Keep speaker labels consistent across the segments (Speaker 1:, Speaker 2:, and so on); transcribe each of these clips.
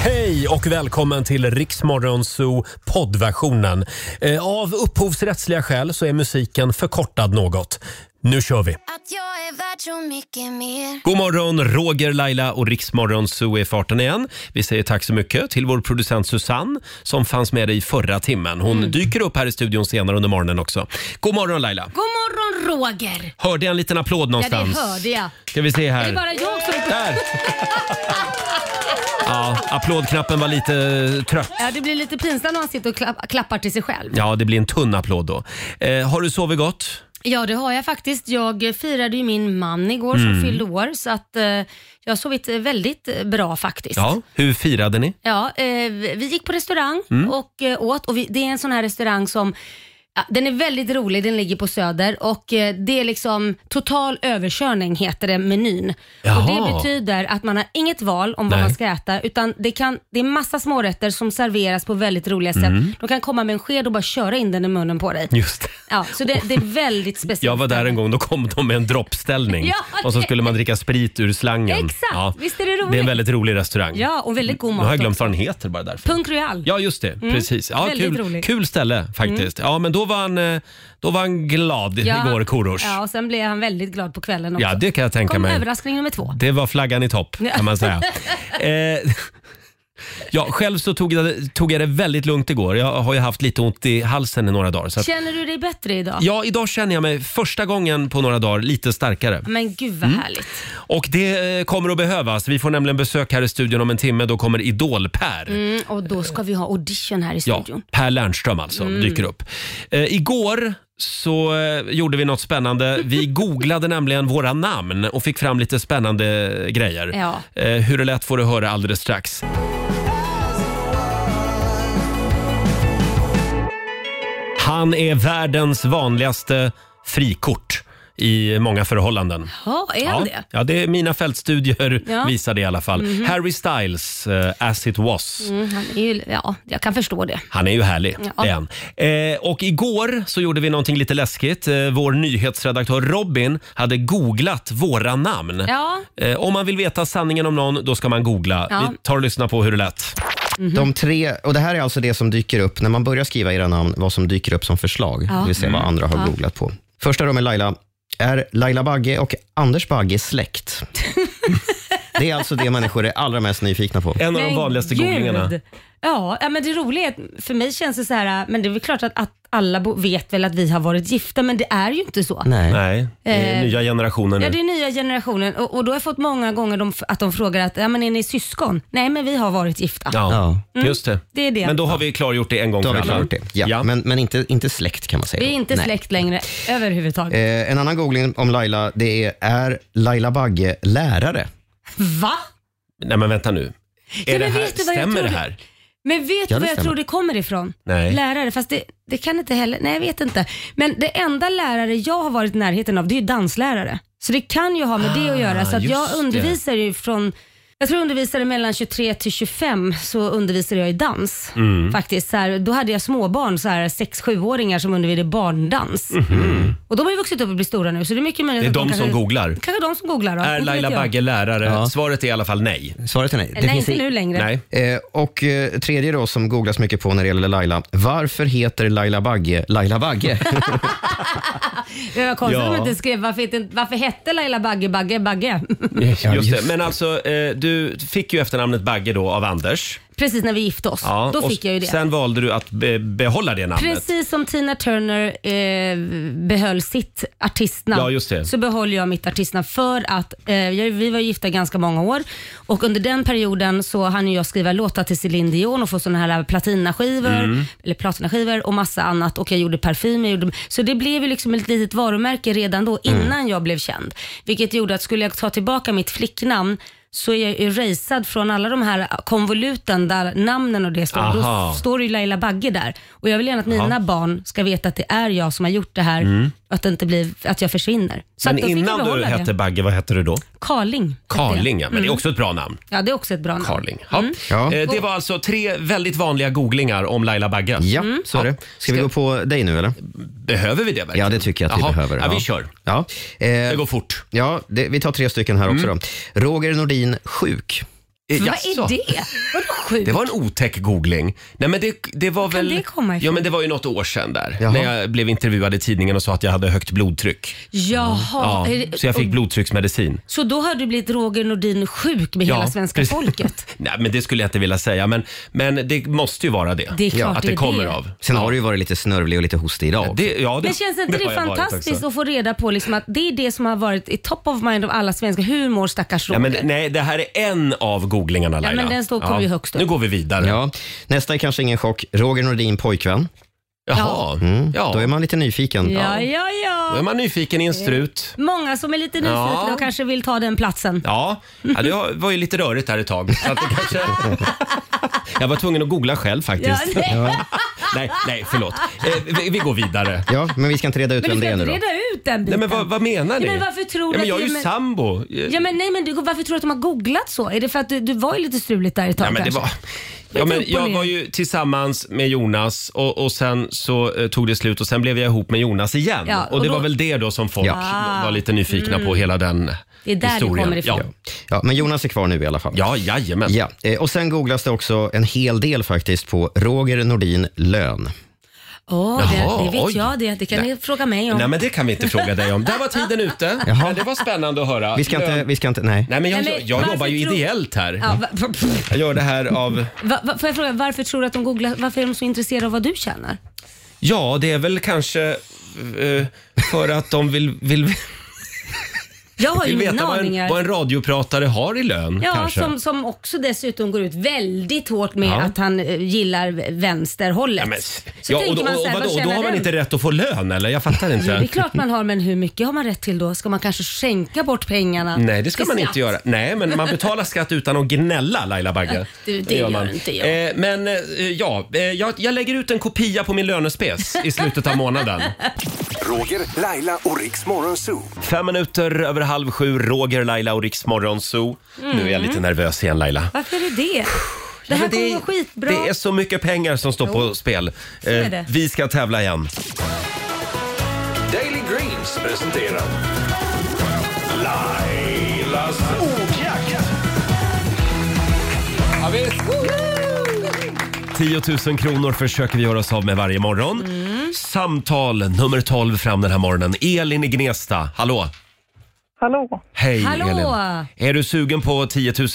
Speaker 1: Hej och välkommen till Riksmorgonzoo poddversionen. Eh, Av upphovsrättsliga skäl så är musiken förkortad något. Nu kör vi!
Speaker 2: Att jag är värd så mycket mer
Speaker 1: God morgon, Roger, Laila och Riksmorgonzoo är i farten igen. Vi säger tack så mycket till vår producent Susanne som fanns med dig i förra timmen. Hon
Speaker 3: Mm.
Speaker 1: dyker upp här i studion senare under morgonen också. God morgon Laila!
Speaker 3: God morgon Roger!
Speaker 1: Hörde jag en liten applåd
Speaker 3: Ja, det
Speaker 1: någonstans?
Speaker 3: hörde jag.
Speaker 1: Ska vi se
Speaker 3: Det
Speaker 1: här.
Speaker 3: är bara jag som...
Speaker 1: Där! Ja, applådknappen var lite trött.
Speaker 3: Ja, det blir lite pinsamt när man sitter och klapp, klappar till sig själv.
Speaker 1: Ja, det blir en tunn applåd då. Eh, har du sovit gott?
Speaker 3: Ja, det har jag faktiskt. Jag firade ju min man igår som fyllde år, så att eh, jag har sovit väldigt bra faktiskt.
Speaker 1: Ja. Hur firade ni?
Speaker 3: Ja, eh, vi gick på restaurang
Speaker 1: Mm.
Speaker 3: och eh, åt och vi, det är en sån här restaurang som ja, den är väldigt rolig, den ligger på Söder och eh, det är liksom total överkörning heter det menyn. Och
Speaker 1: Jaha.
Speaker 3: det betyder att man har inget val om vad
Speaker 1: Nej.
Speaker 3: man ska äta utan det, kan, det är massa smårätter som serveras på väldigt roliga sätt. De kan komma med en sked och bara köra in den i munnen på dig.
Speaker 1: Mm. Just det.
Speaker 3: Ja, så det, det är väldigt speciellt.
Speaker 1: Jag var där en gång, då kom de med en droppställning
Speaker 3: Ja,
Speaker 1: och så
Speaker 3: det-
Speaker 1: skulle man dricka sprit ur slangen.
Speaker 3: Exakt, visst är det roligt?
Speaker 1: Det är en väldigt rolig restaurang.
Speaker 3: Ja, och väldigt god
Speaker 1: Nu
Speaker 3: mat.
Speaker 1: har jag glömt
Speaker 3: också.
Speaker 1: vad den heter bara därför.
Speaker 3: Punk Royal.
Speaker 1: Ja, just det. Precis. Ja,
Speaker 3: Väldigt Mm.
Speaker 1: kul,
Speaker 3: rolig.
Speaker 1: kul ställe faktiskt. Ja, men då var han, eh, då var han glad
Speaker 3: Ja,
Speaker 1: igår, Korosh.
Speaker 3: Ja, och sen blev han väldigt glad på kvällen också.
Speaker 1: Ja, det kan jag tänka
Speaker 3: kom
Speaker 1: mig.
Speaker 3: överraskning nummer två.
Speaker 1: Det var flaggan i topp kan man säga. eh, ja, själv så tog jag, tog jag det väldigt lugnt igår. Jag har ju haft lite ont i halsen i några dagar. Så att,
Speaker 3: Känner du dig bättre idag?
Speaker 1: ja, idag känner jag mig första gången på några dagar lite starkare.
Speaker 3: Men gud vad
Speaker 1: Mm.
Speaker 3: härligt.
Speaker 1: Och det eh, kommer att behövas. Vi får nämligen besök här i studion om en timme. Då kommer Idol-Per.
Speaker 3: Mm, och då ska vi ha audition här i
Speaker 1: Ja,
Speaker 3: studion.
Speaker 1: Per Lernström alltså,
Speaker 3: Mm.
Speaker 1: dyker upp. Eh, igår så eh, gjorde vi något spännande. Vi googlade nämligen våra namn och fick fram lite spännande grejer.
Speaker 3: Ja.
Speaker 1: Eh, hur det lät får du höra alldeles strax. Han är världens vanligaste frikort i många förhållanden.
Speaker 3: Ja, är han det?
Speaker 1: ja, det är mina fältstudier
Speaker 3: Ja. Mhm.
Speaker 1: visar det i alla fall. Harry Styles, eh, As it was.
Speaker 3: Mm, han är ju, ja, jag kan förstå det.
Speaker 1: Han är ju härlig,
Speaker 3: Ja.
Speaker 1: det är han. Eh, och igår så gjorde vi någonting lite läskigt. Eh, vår nyhetsredaktör Robin hade googlat våra namn.
Speaker 3: Ja.
Speaker 1: Eh, om man vill veta sanningen om någon, då ska man googla.
Speaker 3: Ja.
Speaker 1: Vi tar och lyssnar på hur det lät.
Speaker 3: Mm-hmm.
Speaker 4: De tre, och det här är alltså det som dyker upp när man börjar skriva era namn, vad som dyker upp som förslag.
Speaker 3: Ja.
Speaker 4: Det vill säga vad andra har googlat på. Första då med Laila. Är Laila Bagge och Anders Bagge släkt? det är alltså det människor är allra mest nyfikna på.
Speaker 1: En av
Speaker 3: Men
Speaker 1: de vanligaste
Speaker 3: gud.
Speaker 1: googlingarna.
Speaker 3: Ja, ja, men det roliga är att för mig känns det så här, men det är väl klart att, att alla bo- vet väl att vi har varit gifta, men det är ju inte så.
Speaker 4: Nej.
Speaker 1: Nej, det är
Speaker 3: Eh,
Speaker 1: nya generationer
Speaker 3: Ja,
Speaker 1: nu.
Speaker 3: det är nya generationen och, och då har jag fått många gånger de, f- att de frågar att, ja men är ni syskon? Nej, men vi har varit gifta.
Speaker 1: Ja, just det.
Speaker 3: det är det.
Speaker 1: Men då har vi klargjort det en gång
Speaker 4: Mm. Då har
Speaker 1: för
Speaker 4: vi
Speaker 1: alla.
Speaker 4: klart det. Ja,
Speaker 1: Ja.
Speaker 4: Men, men inte, inte släkt kan man säga.
Speaker 3: Vi är
Speaker 4: då.
Speaker 3: inte
Speaker 4: Nej.
Speaker 3: släkt längre överhuvudtaget.
Speaker 4: Eh, en annan googling om Laila, det är, är Laila Bagge lärare?
Speaker 1: Eh.
Speaker 3: Va?
Speaker 1: Nej men vänta nu. Är
Speaker 3: men
Speaker 1: det här,
Speaker 3: vet du vad jag
Speaker 1: stämmer det
Speaker 3: trodde?
Speaker 1: här?
Speaker 3: Men vet du
Speaker 4: Ja, det
Speaker 3: var jag
Speaker 4: stämmer.
Speaker 3: tror det kommer ifrån?
Speaker 1: Nej.
Speaker 3: Lärare, fast det, det kan inte heller, nej jag vet inte. Men det enda lärare jag har varit i närheten av det är ju danslärare. Så det kan ju ha med det att göra. Så att
Speaker 1: Ah, just
Speaker 3: jag
Speaker 1: det.
Speaker 3: undervisar ju från, jag tror jag undervisade mellan 23 till 25 så undervisade jag i dans.
Speaker 1: Mm.
Speaker 3: Faktiskt, så här, då hade jag småbarn, så här 6-7-åringar som undervisade i barndans. Och de har ju vuxit upp och blir stora nu så det är mycket möjligt
Speaker 1: Mm-hmm. Det är de
Speaker 3: att
Speaker 1: som
Speaker 3: kanske,
Speaker 1: googlar.
Speaker 3: kanske de som googlar då.
Speaker 1: Är
Speaker 3: Inte vet
Speaker 1: Laila
Speaker 3: jag.
Speaker 1: Bagge lärare?
Speaker 4: Ja.
Speaker 1: Svaret är i alla fall nej.
Speaker 4: Svaret är nej. Det
Speaker 3: Nej,
Speaker 4: finns
Speaker 3: inte
Speaker 4: i-
Speaker 3: nu längre.
Speaker 1: Nej.
Speaker 4: Eh, och eh, tredje då som googlas mycket på när det gäller Laila. Varför heter Laila Bagge Laila Bagge?
Speaker 3: Det var konstigt
Speaker 1: Ja.
Speaker 3: om jag inte skrev varför, heter- varför hette Laila Bagge Bagge Bagge?
Speaker 1: Mm. Just det.
Speaker 4: just
Speaker 1: Men alltså, eh, du fick ju efternamnet Bagge då av Anders.
Speaker 3: Precis när vi gifte oss.
Speaker 1: Ja,
Speaker 3: då
Speaker 1: och
Speaker 3: fick jag ju det.
Speaker 1: Sen valde du att be- behålla det namnet.
Speaker 3: Precis som Tina Turner eh, behöll sitt artistnamn
Speaker 1: Ja, just det.
Speaker 3: så behåller jag mitt artistnamn för att eh, jag, vi var gifta ganska många år och under den perioden så hann ju jag skriva låtar till Céline Dion och få sådana här platinaskivor,
Speaker 1: Mm.
Speaker 3: eller platinaskivor och massa annat och jag gjorde parfym. Jag gjorde, så det blev ju liksom ett litet varumärke redan då
Speaker 1: Mm.
Speaker 3: innan jag blev känd. Vilket gjorde att skulle jag ta tillbaka mitt flicknamn så är jag erasad från alla de här konvoluten där namnen och det står.
Speaker 1: Aha.
Speaker 3: Då står ju Laila Bagge där. Och jag vill gärna att mina barn ska veta att det är jag som har gjort det här och att det inte blir att jag försvinner. Så att
Speaker 1: Mm. Men
Speaker 3: då fick jag
Speaker 1: innan du
Speaker 3: behålla
Speaker 1: hette
Speaker 3: det.
Speaker 1: Bagge, vad hette du då?
Speaker 3: Carling. hette
Speaker 1: Karling,
Speaker 3: jag. Mm.
Speaker 1: ja. Men det är också ett bra namn.
Speaker 3: Ja, det är också ett bra namn.
Speaker 1: Karling. Ja.
Speaker 4: Ja.
Speaker 1: Eh, Det var alltså tre väldigt vanliga googlingar om Laila Bagge.
Speaker 4: Ja, så är det. Ska vi gå på dig nu eller?
Speaker 1: Behöver vi det verkligen?
Speaker 4: Ja, det tycker jag att vi
Speaker 1: Jaha.
Speaker 4: behöver.
Speaker 1: Ja, vi kör.
Speaker 4: Ja,
Speaker 1: Det
Speaker 4: eh,
Speaker 1: går Mm. fort.
Speaker 4: ja det, vi tar tre stycken här också då. Roger Nordin, sjuk.
Speaker 1: Eh,
Speaker 3: Vad
Speaker 1: jaså?
Speaker 3: är det? Vadå sjukt?
Speaker 1: Det var en otäck googling. Nej, men det, det var väl...
Speaker 3: det komma ifrån?
Speaker 1: Ja, men det var ju något år sedan där.
Speaker 4: Jaha.
Speaker 1: När jag blev intervjuad i tidningen och sa att jag hade högt blodtryck.
Speaker 3: Jaha.
Speaker 1: Ja,
Speaker 3: är det-
Speaker 1: så jag fick
Speaker 3: och-
Speaker 1: blodtrycksmedicin.
Speaker 3: så då har du blivit Roger Nordin sjuk med hela
Speaker 1: Ja,
Speaker 3: svenska
Speaker 1: precis.
Speaker 3: folket?
Speaker 1: Nej, men det skulle jag inte vilja säga. Men, men det måste ju vara det.
Speaker 3: Det är klart
Speaker 1: att
Speaker 3: det
Speaker 1: det,
Speaker 3: är
Speaker 1: kommer
Speaker 3: det.
Speaker 1: av.
Speaker 4: Sen har du ju varit lite snörvlig och lite hostig idag. också.
Speaker 1: Det, ja, det,
Speaker 3: Men känns inte det,
Speaker 1: har jag varit
Speaker 3: fantastiskt
Speaker 1: också.
Speaker 3: att få reda på liksom att det är det som har varit i top of mind av alla svenskar? Hur mår stackars
Speaker 1: Ja,
Speaker 3: Roger?
Speaker 1: men, nej, det här är en av googlingarna Laila.
Speaker 3: men den står- kommer ju högst upp.
Speaker 1: Nu går vi vidare.
Speaker 4: Ja. Nästa är kanske ingen chock. Roger Nordin, pojkvän.
Speaker 1: Jaha.
Speaker 4: Mm.
Speaker 1: Ja.
Speaker 4: Då är man lite nyfiken.
Speaker 3: ja, ja,
Speaker 1: Då
Speaker 3: ja.
Speaker 1: är man nyfiken i en strut.
Speaker 3: Många som är lite nyfikna
Speaker 1: Ja.
Speaker 3: och kanske vill ta den platsen.
Speaker 1: Ja, ja det var ju lite rörigt där ett tag. Så att det kanske... Jag var tvungen att googla själv
Speaker 3: Ja,
Speaker 1: faktiskt.
Speaker 3: nej.
Speaker 1: Nej, nej förlåt. Eh, vi, vi går vidare.
Speaker 4: Ja, men vi ska inte reda ut
Speaker 3: Men du
Speaker 4: vem
Speaker 3: ska
Speaker 4: det är nu
Speaker 3: inte
Speaker 4: då.
Speaker 3: reda ut den
Speaker 1: Nej,
Speaker 3: biten.
Speaker 1: men vad, vad menar ni?
Speaker 3: Ja, men varför tror du
Speaker 1: ja, men jag är
Speaker 3: att det-
Speaker 1: ju
Speaker 3: men-
Speaker 1: sambo. Eh,
Speaker 3: Ja men nej men du, varför tror du att de har googlat så? Är det för att du, du var ju lite struligt där ett tag
Speaker 1: Ja, men det
Speaker 3: kanske?
Speaker 1: var... Ja, men
Speaker 3: upp och
Speaker 1: jag
Speaker 3: ner.
Speaker 1: var ju tillsammans med Jonas och, och sen så eh, tog det slut och sen blev jag ihop med Jonas igen.
Speaker 3: Ja,
Speaker 1: och,
Speaker 3: och
Speaker 1: det
Speaker 3: då-
Speaker 1: var väl det då som folk
Speaker 4: Ja.
Speaker 1: var lite nyfikna på, hela den
Speaker 3: Det är där det
Speaker 1: historien.
Speaker 3: kommer ifrån.
Speaker 4: Ja, men Jonas är kvar nu i alla fall.
Speaker 1: Ja, ja jajamän.
Speaker 4: Ja, eh, och sen googlas det också en hel del faktiskt på Roger Nordin lön.
Speaker 3: Åh,
Speaker 1: Jaha,
Speaker 3: det, det vet
Speaker 1: oj.
Speaker 3: jag det. Det kan ni fråga mig om.
Speaker 1: Nej, men det kan vi inte fråga dig om. Där var tiden ute. Men det var spännande att höra.
Speaker 4: Vi ska inte,
Speaker 1: Lön-
Speaker 4: vi ska inte, nej.
Speaker 1: Nej, men jag,
Speaker 3: Nej,
Speaker 1: jag,
Speaker 3: men varför
Speaker 1: jobbar ju
Speaker 3: tror-
Speaker 1: ideellt här.
Speaker 3: Ja, va, va,
Speaker 1: Jag gör det här av...
Speaker 3: va, va, får jag fråga, varför tror du att de googlar, varför är de så intresserade av vad du tjänar?
Speaker 1: Ja, det är väl kanske eh, för att de vill, vill,
Speaker 3: Jag har ju
Speaker 1: vill
Speaker 3: mina
Speaker 1: veta vad
Speaker 3: aningar.
Speaker 1: en, vad en radiopratare har i lön.
Speaker 3: Ja,
Speaker 1: kanske.
Speaker 3: som, som också dessutom går ut väldigt hårt med
Speaker 1: Ja.
Speaker 3: att han eh, gillar vänsterhållet.
Speaker 1: Ja, men,
Speaker 3: så
Speaker 1: ja,
Speaker 3: tänker
Speaker 1: och då,
Speaker 3: man
Speaker 1: och,
Speaker 3: så här,
Speaker 1: vadå,
Speaker 3: vad
Speaker 1: då
Speaker 3: tjänar
Speaker 1: har man
Speaker 3: den?
Speaker 1: inte rätt att få lön eller? Jag fattar
Speaker 3: Jo, det är
Speaker 1: inte.
Speaker 3: klart man har, men hur mycket har man rätt till då? Ska man kanske skänka bort pengarna?
Speaker 1: Nej, det ska
Speaker 3: till
Speaker 1: man
Speaker 3: skatt?
Speaker 1: inte göra. Nej, men man betalar skatt utan att gnälla Laila Bagge.
Speaker 3: Du, det gör inte jag.
Speaker 1: Eh, men eh, ja, eh, jag, jag lägger ut en kopia på min lönespes i slutet av månaden.
Speaker 5: Roger, Laila och Riks Morgonzoo.
Speaker 1: Fem minuter över halv sju, Roger, Laila och Riks Morgonzoo. Nu är
Speaker 3: Mm.
Speaker 1: jag lite nervös igen Laila.
Speaker 3: Varför är du det? Det
Speaker 1: Ja,
Speaker 3: här
Speaker 1: men
Speaker 3: kommer
Speaker 1: är-
Speaker 3: gå skitbra.
Speaker 1: Alltså, Det är så mycket pengar som står på spel.
Speaker 3: är
Speaker 1: Eh,
Speaker 3: det.
Speaker 1: vi ska tävla igen.
Speaker 5: Daily Greens presenterar Lailas ordjakt.
Speaker 1: 10 000 kronor försöker vi göra oss av med varje morgon.
Speaker 3: Mm.
Speaker 1: Samtal nummer 12 fram den här morgonen. Elin i Gnesta, hallå!
Speaker 6: Hallå?
Speaker 1: Hej
Speaker 3: Hallå.
Speaker 1: Elin! Är du sugen på 10 000?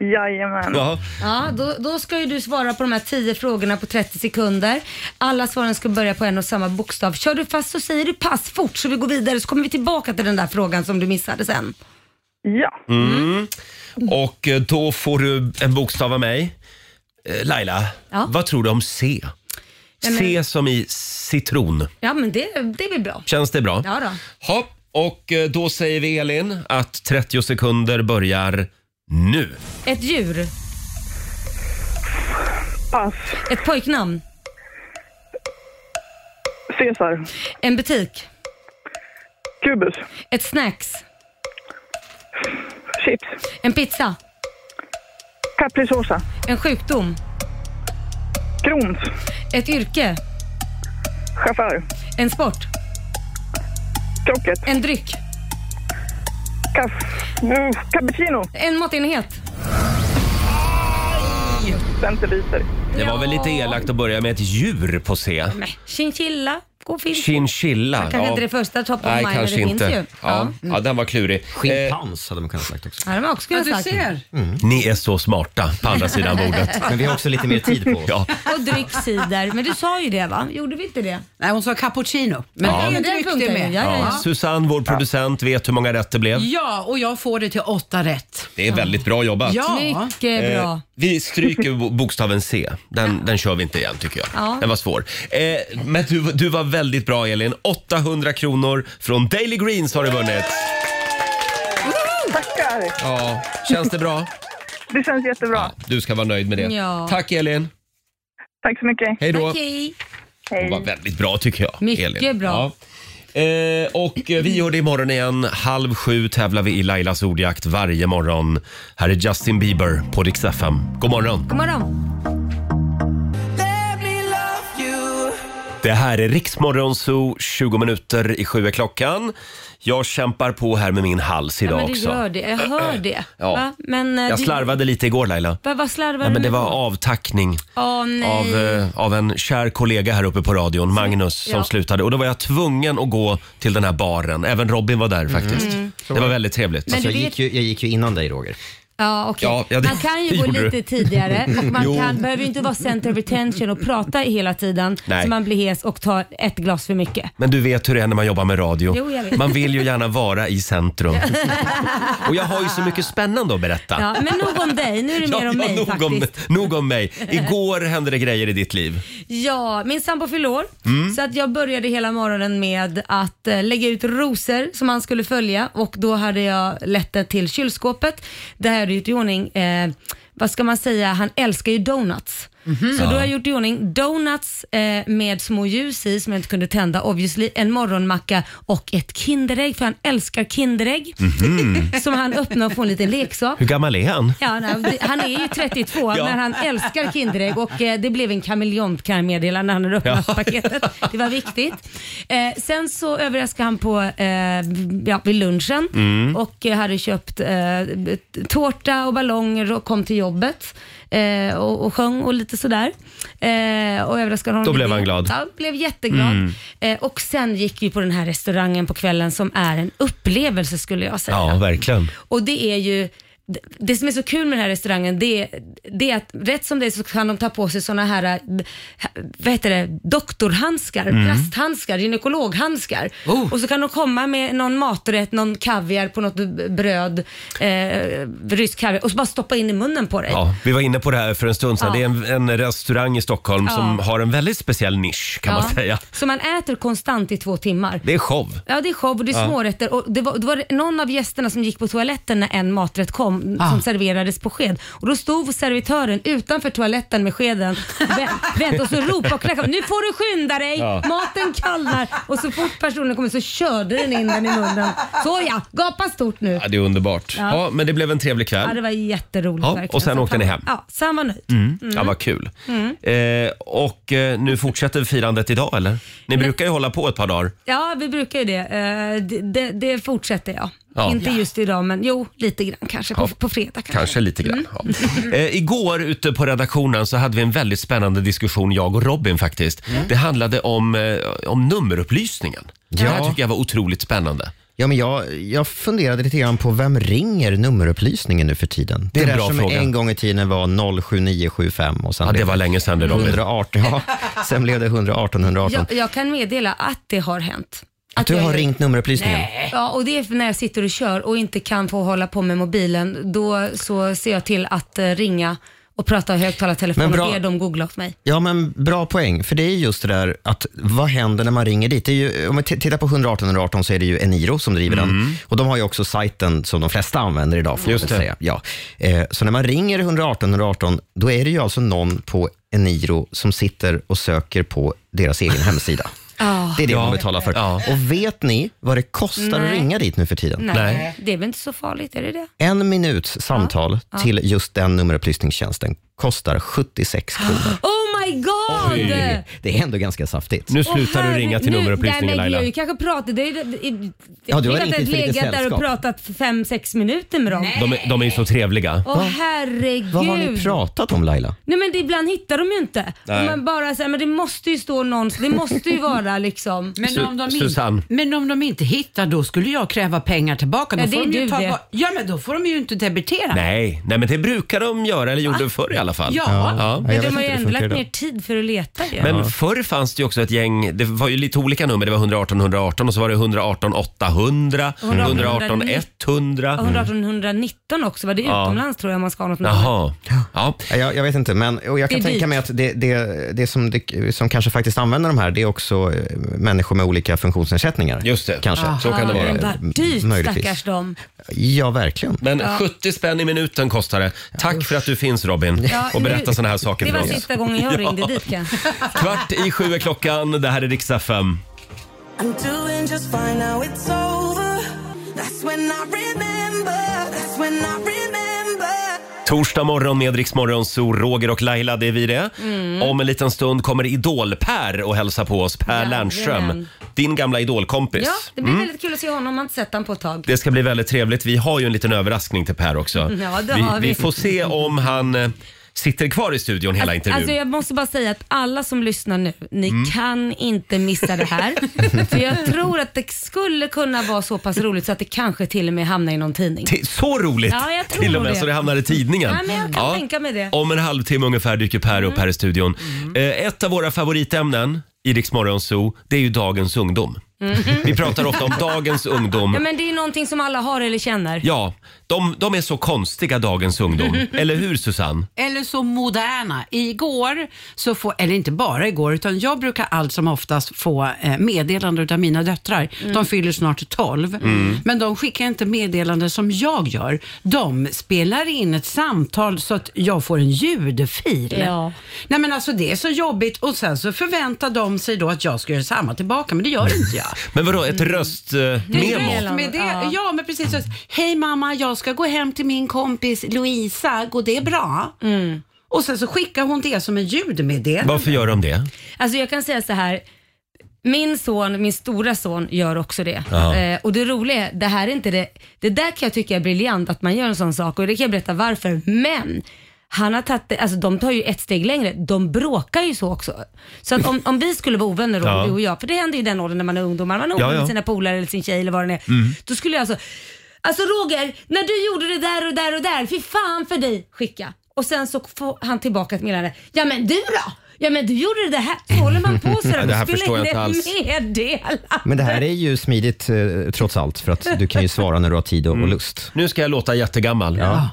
Speaker 6: Jajamän.
Speaker 1: Ja.
Speaker 3: Ja, då, då ska ju du svara på de här 10 frågorna på 30 sekunder. Alla svaren ska börja på en och samma bokstav. Kör du fast så säger du pass fort så vi går vidare så kommer vi tillbaka till den där frågan som du missade sen.
Speaker 6: Ja.
Speaker 1: Och eh, då får du en bokstav av mig. Eh, Laila,
Speaker 3: Ja.
Speaker 1: vad tror du om C?
Speaker 3: men-
Speaker 1: C som i citron.
Speaker 3: Ja, men det, det blir bra.
Speaker 1: Känns det bra?
Speaker 3: Ja då.
Speaker 1: Hopp. Och eh, då säger vi Elin att 30 sekunder börjar nu.
Speaker 3: Ett djur,
Speaker 6: Pass.
Speaker 3: ett pojknamn,
Speaker 6: Cesar.
Speaker 3: en butik,
Speaker 6: Kubus.
Speaker 3: ett snacks,
Speaker 6: Chips.
Speaker 3: en pizza,
Speaker 6: Capricciosa.
Speaker 3: en sjukdom,
Speaker 6: Krons.
Speaker 3: ett yrke,
Speaker 6: Chaufför.
Speaker 3: en sport,
Speaker 6: Krocket.
Speaker 3: en dryck,
Speaker 6: Kaff... Mm, cappuccino.
Speaker 3: en matenhet.
Speaker 6: Centiliter.
Speaker 1: Det var väl lite elakt att börja med ett djur på C.
Speaker 3: Nej, Chinchilla, god film.
Speaker 1: Chinchilla.
Speaker 3: Kanske inte det första top of
Speaker 1: Nej,
Speaker 3: mind,
Speaker 1: kanske
Speaker 3: det finns
Speaker 1: inte.
Speaker 3: ju.
Speaker 1: Ja. Ja.
Speaker 3: Ja.
Speaker 1: den var klurig. Eh,
Speaker 4: Schimpans hade man kunnat sagt också.
Speaker 3: Ja, det var också kul
Speaker 7: Ja, du
Speaker 3: sagt.
Speaker 7: ser.
Speaker 1: ni är så smarta på andra sidan bordet.
Speaker 4: Men vi har också lite mer tid på oss.
Speaker 1: Ja.
Speaker 3: Och dryck cider. Men du sa ju det va? Gjorde vi inte det?
Speaker 7: Nej, hon sa cappuccino. Men det är ju en
Speaker 3: Den
Speaker 7: dryck det
Speaker 3: punkten,
Speaker 7: med.
Speaker 3: ja, ja, ja.
Speaker 1: Susanne, vår producent, vet hur många rätt det blev.
Speaker 7: Ja, och jag får det till åtta rätt.
Speaker 1: Det är väldigt bra jobbat.
Speaker 7: Ja.
Speaker 3: Mycket
Speaker 1: Eh,
Speaker 3: bra.
Speaker 1: vi stryker bo- bokstaven C. Den, den kör vi inte igen tycker jag.
Speaker 3: Ja.
Speaker 1: Den var svår. Eh, men du, du var väldigt bra Elin. 800 kronor från Daily Greens har du vunnit.
Speaker 6: Tackar.
Speaker 1: Ja, känns det bra?
Speaker 6: Det känns jättebra.
Speaker 1: Ja, du ska vara nöjd med det.
Speaker 3: Ja.
Speaker 1: Tack Elin.
Speaker 6: Tack så mycket.
Speaker 1: Hej då.
Speaker 3: Okej.
Speaker 1: Det var
Speaker 6: Hej.
Speaker 1: väldigt bra tycker jag.
Speaker 3: Mycket
Speaker 1: Elin.
Speaker 3: bra.
Speaker 1: Ja. Eh, och eh, vi gör det imorgon igen. Halv sju tävlar vi i Lailas ordjakt varje morgon. Här är Justin Bieber på Rix FM. God morgon.
Speaker 3: God morgon.
Speaker 1: Det här är Riksmorgon Zoo, 20 minuter i sju är klockan. Jag kämpar på här med min hals
Speaker 3: Ja,
Speaker 1: idag
Speaker 3: men du
Speaker 1: också. Eh,
Speaker 3: gör det. Jag hör det.
Speaker 1: Ja.
Speaker 3: Va? Men, eh,
Speaker 1: Jag
Speaker 3: du-
Speaker 1: slarvade lite igår Laila.
Speaker 3: Va- Vad slarvar
Speaker 1: Ja, men
Speaker 3: du
Speaker 1: det
Speaker 3: med
Speaker 1: var
Speaker 3: då?
Speaker 1: avtackning
Speaker 3: Åh, nej.
Speaker 1: av, eh, av en kär kollega här uppe på radion, Magnus, som
Speaker 3: ja.
Speaker 1: slutade. Och då var jag tvungen att gå till den här baren. Även Robin var där faktiskt. Det var väldigt trevligt.
Speaker 3: Mm. Men
Speaker 4: Så
Speaker 3: du
Speaker 4: jag,
Speaker 3: vet,
Speaker 4: gick ju, jag gick ju innan dig, Roger.
Speaker 3: ja, okej.
Speaker 1: Ja, ja, det
Speaker 3: man kan ju gå
Speaker 1: gjorde du.
Speaker 3: lite tidigare och man
Speaker 1: Jo.
Speaker 3: kan, behöver ju inte vara center of attention och prata hela tiden
Speaker 1: Nej.
Speaker 3: så man blir hes och tar ett glas för mycket.
Speaker 1: Men du vet hur det är när man jobbar med radio.
Speaker 3: Jo, jag vet.
Speaker 1: Man vill ju gärna vara i centrum. Och jag har ju så mycket spännande att berätta.
Speaker 3: Ja, men nog om dig, nu är det mer om mig
Speaker 1: nog,
Speaker 3: faktiskt.
Speaker 1: om, nog om mig. Igår hände det grejer i ditt liv.
Speaker 3: Ja, min sambo fyllde år. Så att jag började hela morgonen med att eh, lägga ut rosor som han skulle följa och då hade jag lett det till kylskåpet. Där hade jag gjort i ordning, eh, vad ska man säga, han älskar ju donuts. Så då har jag gjort i ordning donuts eh, med små ljus i som jag inte kunde tända obviously, en morgonmacka och ett Kinderägg för han älskar Kinderägg. som han öppnar och får en liten leksak.
Speaker 1: Hur gammal är han?
Speaker 3: Ja, nej, det- han är ju 32
Speaker 1: Ja.
Speaker 3: men han älskar Kinderägg och eh, det blev en kameleont kan jag meddela när han hade öppnat paketet. Det var viktigt. Eh, sen så överraskade han på eh, ja, vid lunchen
Speaker 1: Mm.
Speaker 3: och eh, hade köpt eh, tårta och ballonger och kom till jobbet. Eh, och, och sjöng och lite sådär. Eh, och överraskade honom
Speaker 1: Då blev
Speaker 3: lite.
Speaker 1: han glad. Mm.
Speaker 3: Ja, blev jätteglad. Eh, och sen gick vi på den här restaurangen på kvällen som är en upplevelse skulle jag säga.
Speaker 1: Ja, verkligen.
Speaker 3: Och det är ju det- det som är så kul med den här restaurangen det är, det är att rätt som det är så kan de ta på sig såna här eh, vad heter det, doktorhandskar,
Speaker 1: Mm.
Speaker 3: plasthandskar, gynekologhandskar.
Speaker 8: Oh.
Speaker 3: Och så kan de komma med någon maträtt, någon kaviar på något b- bröd, eh, rysk kaviar och så bara stoppa in i munnen på dig.
Speaker 1: Ja, vi var inne på det här för en stund sedan.
Speaker 3: Ja.
Speaker 1: Det är en, en restaurang i Stockholm som har en väldigt speciell nisch kan man
Speaker 3: Ja.
Speaker 1: säga.
Speaker 3: Så man äter konstant i två timmar.
Speaker 1: Det är show.
Speaker 3: Ja det är show och det är smårätter och det var, det var någon av gästerna som gick på toaletten när en maträtt kom
Speaker 1: Ah.
Speaker 3: som serverades på sked och då stod servitören utanför toaletten med skeden vä- vänt, och så ropade och knackade nu får du skynda dig, maten kallnar och så fort personen kommer så körde den in den i munnen. Så ja, gapa stort nu.
Speaker 1: Ja, det är underbart. Ja.
Speaker 3: Ja.
Speaker 1: men det blev en trevlig kväll.
Speaker 3: Ja det var jätteroligt
Speaker 1: Ja, och
Speaker 3: verkligen.
Speaker 1: sen
Speaker 3: Så
Speaker 1: åkte ni
Speaker 3: fan-
Speaker 1: hem. Mm.
Speaker 3: Ja, så han var nöjd.
Speaker 1: Ja,
Speaker 3: mm.
Speaker 1: vad kul. Eh, och eh, nu fortsätter firandet idag eller? Ni brukar ju hålla på ett par dagar.
Speaker 3: Ja vi brukar ju det. Eh, det, det, det fortsätter jag.
Speaker 1: Ja.
Speaker 3: Inte just idag men jo lite grann kanske på, på fredag kanske.
Speaker 1: Kanske lite grann. Ja. Eh, igår ute på redaktionen så hade vi en väldigt spännande diskussion, jag och Robin faktiskt. Det handlade om, eh, om nummerupplysningen. Det här tycker jag var otroligt spännande.
Speaker 4: Ja, men jag, jag funderade lite grann på vem ringer nummerupplysningen nu för tiden?
Speaker 1: är en
Speaker 4: där
Speaker 1: bra
Speaker 4: som
Speaker 1: fråga.
Speaker 4: en gång i tiden var 07975 och sen
Speaker 1: Ja, det
Speaker 4: blev
Speaker 1: var länge sedan det Robin.
Speaker 4: 118. Ja, sen blev det 118 118.
Speaker 3: Jag, jag kan meddela att det har hänt.
Speaker 4: Att du
Speaker 3: jag
Speaker 4: har
Speaker 3: gör-
Speaker 4: ringt nummerupplysningen?
Speaker 3: Ja, och det är för när jag sitter och kör och inte kan få hålla på med mobilen. Då så ser jag till att eh, ringa och prata i högtalartelefon
Speaker 4: Men bra.
Speaker 3: och ber dem googla åt mig.
Speaker 4: Ja, men bra poäng. För det är just det där att vad händer när man ringer dit? Det är ju, om vi t- tittar på 118 118 så är det ju Eniro som driver den. Och de har ju också sajten som de flesta använder idag. Får man
Speaker 1: Mm. Just
Speaker 4: väl
Speaker 1: det.
Speaker 4: Säga. Ja. Eh, så när man ringer 118 118, då är det ju alltså någon på Eniro som sitter och söker på deras egen hemsida. Det är det man betalar för.
Speaker 1: Ja.
Speaker 4: Och vet ni vad det kostar att
Speaker 3: Ah. Nej.
Speaker 4: ringa dit nu för tiden?
Speaker 3: Nej,
Speaker 1: Nej.
Speaker 3: det är väl inte så farligt, är det det?
Speaker 4: En minuts samtal till just den nummerupplysningstjänsten kostar 76 kronor.
Speaker 3: Oh my god!
Speaker 4: Det är ändå ganska saftigt.
Speaker 1: Nu
Speaker 3: Åh,
Speaker 1: slutar du
Speaker 3: herre-
Speaker 1: ringa till
Speaker 3: nu-
Speaker 1: nummerupplysningen
Speaker 3: nej, men
Speaker 1: Laila.
Speaker 3: Gud, kanske pratar, det, är- det, det,
Speaker 4: Ja, du har
Speaker 3: jag har
Speaker 4: ringt
Speaker 3: inte
Speaker 4: till lite
Speaker 3: legat där och
Speaker 4: sällskap.
Speaker 3: pratat för fem sex minuter med dem.
Speaker 1: De, är- de är ju så trevliga.
Speaker 3: Åh herregud.
Speaker 4: Vad har ni pratat om Laila?
Speaker 3: Nej men det, ibland hittar de ju inte.
Speaker 1: Nej.
Speaker 3: Och Man bara säger men det måste ju stå någonstans, det måste ju vara liksom.
Speaker 1: Su-
Speaker 8: Men om, de
Speaker 1: Susanne.
Speaker 8: inte, men om de inte hittar då skulle jag kräva pengar tillbaka. Då
Speaker 3: Ja, det
Speaker 8: får
Speaker 3: är
Speaker 8: de
Speaker 3: du
Speaker 8: ju ta
Speaker 3: det.
Speaker 8: ba- ja men då får de ju inte debitera.
Speaker 1: Nej, nej, men det brukar de göra, eller gjorde förr i alla fall.
Speaker 8: Ja.
Speaker 1: Ja.
Speaker 4: jag
Speaker 3: Men
Speaker 4: vet
Speaker 3: de har
Speaker 4: inte
Speaker 3: ju
Speaker 4: hur det
Speaker 3: ändå lagt
Speaker 4: funkar
Speaker 3: ner tid för att leta ju.
Speaker 1: Men förr fanns det ju också ett gäng, det var ju lite olika nummer. Det var 118 118 och så var det 118 800, 118 100.
Speaker 3: 118 119 också, var det utomlands tror jag man ska ha något med.
Speaker 1: Mm. Jaha. Ja.
Speaker 4: Ja, Jag, jag vet inte, men och
Speaker 3: Det
Speaker 4: jag kan
Speaker 3: är
Speaker 4: tänka
Speaker 3: dyrt.
Speaker 4: mig att det, det, det, som, det som kanske faktiskt använder de här, det är också eh, människor med olika funktionsnedsättningar.
Speaker 1: Just det.
Speaker 4: Kanske.
Speaker 1: Så kan det
Speaker 3: Ja,
Speaker 1: vara.
Speaker 3: men vad dyrt
Speaker 4: Möjligtvis.
Speaker 3: stackars dem.
Speaker 4: Ja, verkligen.
Speaker 1: Men 70 spänn i minuten kostar det. Tack för att du finns Robin
Speaker 3: Ja,
Speaker 1: och
Speaker 3: nu-
Speaker 1: berättar såna här saker
Speaker 3: Det
Speaker 1: för
Speaker 3: var
Speaker 1: oss.
Speaker 3: sista gången jag ringde dit kanske.
Speaker 1: Kvart i sju är klockan. Det här är Rix FM.
Speaker 7: I'm doing just fine now it's over. That's when I remember. That's when I remember.
Speaker 1: Torsdag morgon med Rix Morgon, så Roger och Laila, det är vi det.
Speaker 3: Mm.
Speaker 1: Om en liten stund kommer Idol-Per och hälsa på oss. Per
Speaker 3: Jajamän.
Speaker 1: Lernström, din gamla idolkompis.
Speaker 3: Ja, det blir väldigt kul att se honom. Man har inte sett honom på ett tag.
Speaker 1: Mm. Det ska bli väldigt trevligt. Vi har ju en liten överraskning till Per också.
Speaker 3: Ja, det
Speaker 1: vi,
Speaker 3: har vi.
Speaker 1: vi får se om han eh, sitter kvar i studion hela intervjun. Mm.
Speaker 3: Alltså jag måste bara säga att alla som lyssnar nu, ni kan inte missa det här. För jag tror att det skulle kunna vara så pass roligt så att det kanske till och med hamnar i någon tidning.
Speaker 1: Ti- Så roligt!
Speaker 3: Ja, jag tror
Speaker 1: till och med
Speaker 3: det.
Speaker 1: så det hamnar i tidningen.
Speaker 3: Ja, men jag kan tänka mig det. Mm.
Speaker 1: Om en halvtimme ungefär dyker Per upp här i studion. Eh, ett av våra favoritämnen i Rix Morgon Zoo, det är ju dagens ungdom. Vi pratar ofta om dagens ungdom.
Speaker 3: Mm. Ja, men det är ju någonting som alla har eller känner.
Speaker 1: Ja, de, de är så konstiga dagens ungdom. Eller hur Susanne?
Speaker 7: Eller så moderna. Igår, så får, eller inte bara igår, utan jag brukar allt som oftast få eh, meddelanden av mina döttrar. De fyller snart 12. Men de skickar inte meddelanden som jag gör. De spelar in ett samtal så att jag får en ljudfil.
Speaker 3: Ja.
Speaker 7: Nej men alltså det är så jobbigt och sen så förväntar de sig då att jag ska göra samma tillbaka, men det gör inte jag.
Speaker 1: Men vadå, ett röstmemo?
Speaker 3: väl-
Speaker 7: Med det,
Speaker 3: Ja.
Speaker 7: ja. men precis. Så, Hej mamma, jag ska gå hem till min kompis Louisa. Går det bra? Och sen så skickar hon det som en ljudmeddelande.
Speaker 1: Varför gör de det?
Speaker 3: Alltså jag kan säga så här. Min son, min stora son gör också det.
Speaker 1: Ja.
Speaker 3: Eh, och det roliga är, det här är inte det, det där kan jag tycka är briljant att man gör en sån sak och det kan jag berätta varför. Men han har tagit, det- alltså de tar ju ett steg längre, de bråkar ju så också. Så att om, om vi skulle vara ovänner då,
Speaker 1: Ja.
Speaker 3: du och jag, för det händer ju i den åldern när man är ungdomar, man är ovän
Speaker 1: Ja, Mm. ja.
Speaker 3: med sina polare eller sin tjej eller vad det är. Då skulle jag alltså, alltså Roger, när du gjorde det där och där och där, fy fan för dig, skicka. Och sen så får han tillbaka ett meddelande, ja men du då? Ja men du gjorde det här, så håller man på sådär.
Speaker 1: Ja, det här förstår jag inte alls.
Speaker 4: Men det här är ju smidigt eh, trots allt för att du kan ju svara när du har tid
Speaker 1: Mm.
Speaker 4: och, och lust.
Speaker 1: Nu ska jag låta jättegammal. Ja.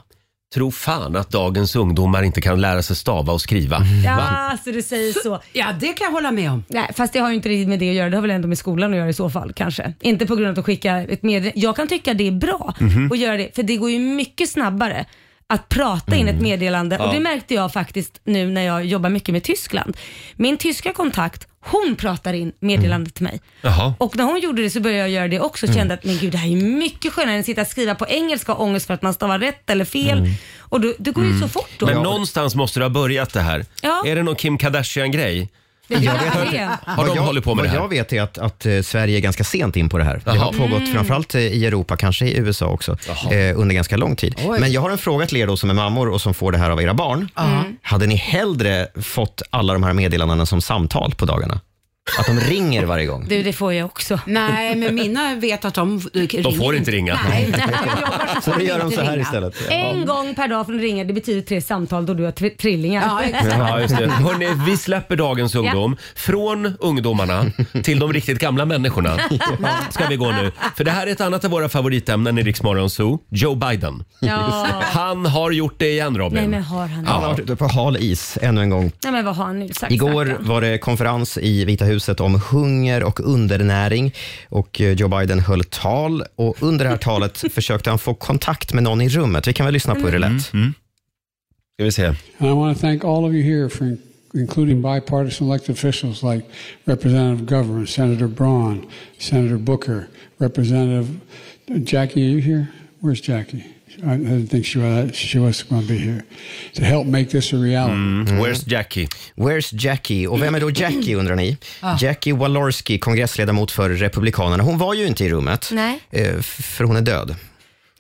Speaker 1: Tro fan att dagens ungdomar inte kan lära sig stava och skriva.
Speaker 3: Ja, så du säger så.
Speaker 7: Ja, det kan jag hålla med om.
Speaker 3: Nej, fast det har ju inte riktigt med det att göra. Det har väl ändå med skolan att göra i så fall kanske. Inte på grund av att skicka ett meddelande. Jag kan tycka det är bra
Speaker 1: Mhm.
Speaker 3: att göra det, för det går ju mycket snabbare att prata in
Speaker 1: Mm.
Speaker 3: ett meddelande och det märkte jag faktiskt nu när jag jobbar mycket med Tyskland. Min tyska kontakt, hon pratar in meddelandet till mig.
Speaker 1: Mm. Jaha. Mm.
Speaker 3: Och när hon gjorde det så började jag göra det också och kände att men gud det här är mycket skönare än att sitta och skriva på engelska och ångest för att man stavar rätt eller fel. Och då, det går ju så fort då.
Speaker 1: Mm. Men någonstans måste det ha börjat det här.
Speaker 3: Ja.
Speaker 1: Är det någon Kim Kardashian-grej?
Speaker 3: det gör
Speaker 4: vet
Speaker 3: jag
Speaker 4: inte.
Speaker 3: det.
Speaker 1: Har de
Speaker 4: jag,
Speaker 1: hållit på med det
Speaker 4: vad
Speaker 1: här?
Speaker 4: jag vet är att, att eh, Sverige är ganska sent in på det här. Det
Speaker 1: Jaha.
Speaker 4: har pågått framförallt eh, i Europa, kanske i USA också, eh, under ganska lång tid. Men jag har en fråga till er då som är mammor och som får det här av era barn. Hade ni hellre fått alla de här meddelandena som samtal på dagarna? Att de ringer varje gång?
Speaker 3: Du det får jag också.
Speaker 7: Nej, men mina vet att de eh,
Speaker 1: De får inte ringa.
Speaker 7: Nej.
Speaker 4: Så då gör de
Speaker 7: Inte
Speaker 4: så här
Speaker 7: ringa.
Speaker 4: istället.
Speaker 3: En gång per dag från ringer, det betyder tre samtal då du har tr- trillingar.
Speaker 7: Ja, exakt.
Speaker 1: Ja, just det. Hörrni, vi släpper dagens ungdom. Från ungdomarna till de riktigt gamla människorna ska vi gå nu. För det här är ett annat av våra favoritämnen i Rix Morgon Zoo. Joe Biden.
Speaker 3: Ja.
Speaker 1: Han har gjort det igen Robin.
Speaker 3: Nej men har han
Speaker 4: Han har varit ute på hal is ännu en gång.
Speaker 3: Nej men vad har han nu sagt?
Speaker 4: Igår
Speaker 3: stackarn?
Speaker 4: var det konferens i Vita huset om hunger och undernäring och eh, Joe Biden höll tal och under det här talet försökte han få kontakt med någon i rummet. Vi kan väl lyssna på hur det lät.
Speaker 1: Mm. Ska vi se.
Speaker 9: And I want to thank all of you here for in- including bipartisan elected officials like Representative Governor, Senator Braun, Senator Booker, Representative Jackie. Are you here? Where's Jackie? I I didn't think she was, she was going to be here to help make this a reality.
Speaker 1: Where's Jackie?
Speaker 4: Where's Jackie? Och vem är då Jackie undrar ni?
Speaker 1: Ah.
Speaker 4: Jackie Walorski, kongressledamot för Republikanerna. Hon var ju inte i rummet,
Speaker 3: Nej.
Speaker 4: eh, f- för hon är död.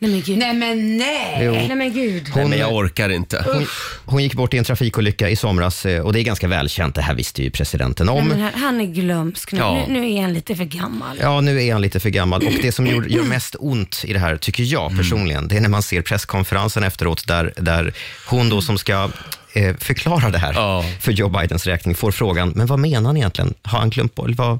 Speaker 3: Nej men gud. Nej,
Speaker 7: Nej, men nej.
Speaker 3: Nej men gud.
Speaker 1: Nej, men jag orkar inte.
Speaker 4: Hon, hon gick bort i en trafikolycka i somras eh, och det är ganska välkänt. Det här visste ju presidenten om.
Speaker 3: Nej,
Speaker 1: Mm.
Speaker 3: men han- han är glömsk nu.
Speaker 1: Ja.
Speaker 3: nu. Nu är han lite för gammal.
Speaker 4: Ja, nu är han lite för gammal. Och det som gör, gör mest ont i det här, tycker
Speaker 1: Mm.
Speaker 4: jag personligen, det är när man ser presskonferensen efteråt där, där hon då som ska eh, förklara det här
Speaker 1: Ja.
Speaker 4: för Joe Bidens räkning får frågan, men vad menar han egentligen? Har han glömt bort? eller Vad?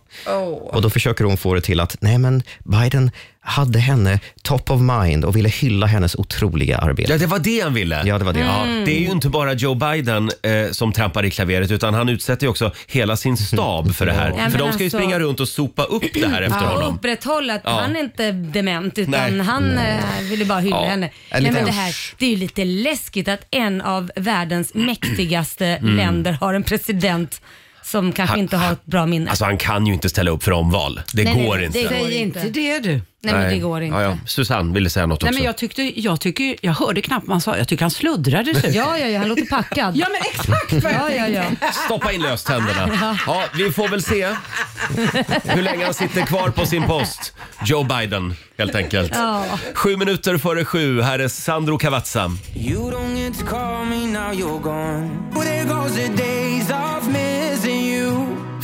Speaker 4: Och då försöker hon få det till att, nej men Biden hade henne top of mind och ville hylla hennes otroliga arbete.
Speaker 1: Ja, det var det han ville.
Speaker 4: Ja, det var det.
Speaker 1: Ja, det är ju inte bara Joe Biden eh, som trampar i klaveret utan han utsätter ju också hela sin stab för det här.
Speaker 3: men
Speaker 1: för de ska ju
Speaker 3: alltså-
Speaker 1: springa runt och sopa upp det här efter
Speaker 3: Ja,
Speaker 1: honom.
Speaker 3: upprätthålla att
Speaker 1: Ja.
Speaker 3: han är inte dement utan
Speaker 1: Nej.
Speaker 3: han eh, ville bara hylla
Speaker 1: Ja.
Speaker 3: henne.
Speaker 4: En
Speaker 3: Nej, men
Speaker 4: liten-
Speaker 3: det, här, det är ju lite
Speaker 1: Mm.
Speaker 3: läskigt att en av världens mäktigaste länder har en president som kanske inte har ett bra minne.
Speaker 1: Alltså han kan ju inte ställa upp för omval. Det
Speaker 3: Nej, nej,
Speaker 1: går
Speaker 3: nej,
Speaker 1: inte.
Speaker 3: det går
Speaker 7: Säg
Speaker 3: inte.
Speaker 7: inte det du.
Speaker 3: Nej, men det
Speaker 1: Nej.
Speaker 3: går inte.
Speaker 1: Ja, ja. Susanne ville säga något
Speaker 7: Nej,
Speaker 1: också.
Speaker 7: men jag, tyckte, jag, tycker, jag hörde knappt vad han sa. Jag tycker han sluddrade. typ.
Speaker 3: Ja, ja, ja, han låter packad.
Speaker 7: ja, men exakt vad jag
Speaker 3: ja, ja, ja.
Speaker 1: Stoppa in löständerna. Ja, vi får väl se hur länge han sitter kvar på sin post. Joe Biden, helt enkelt.
Speaker 3: Ja.
Speaker 1: Sju minuter före sju. Här är Sandro Cavazza.
Speaker 10: You don't get to call me now you're gone. There goes the days of missing you.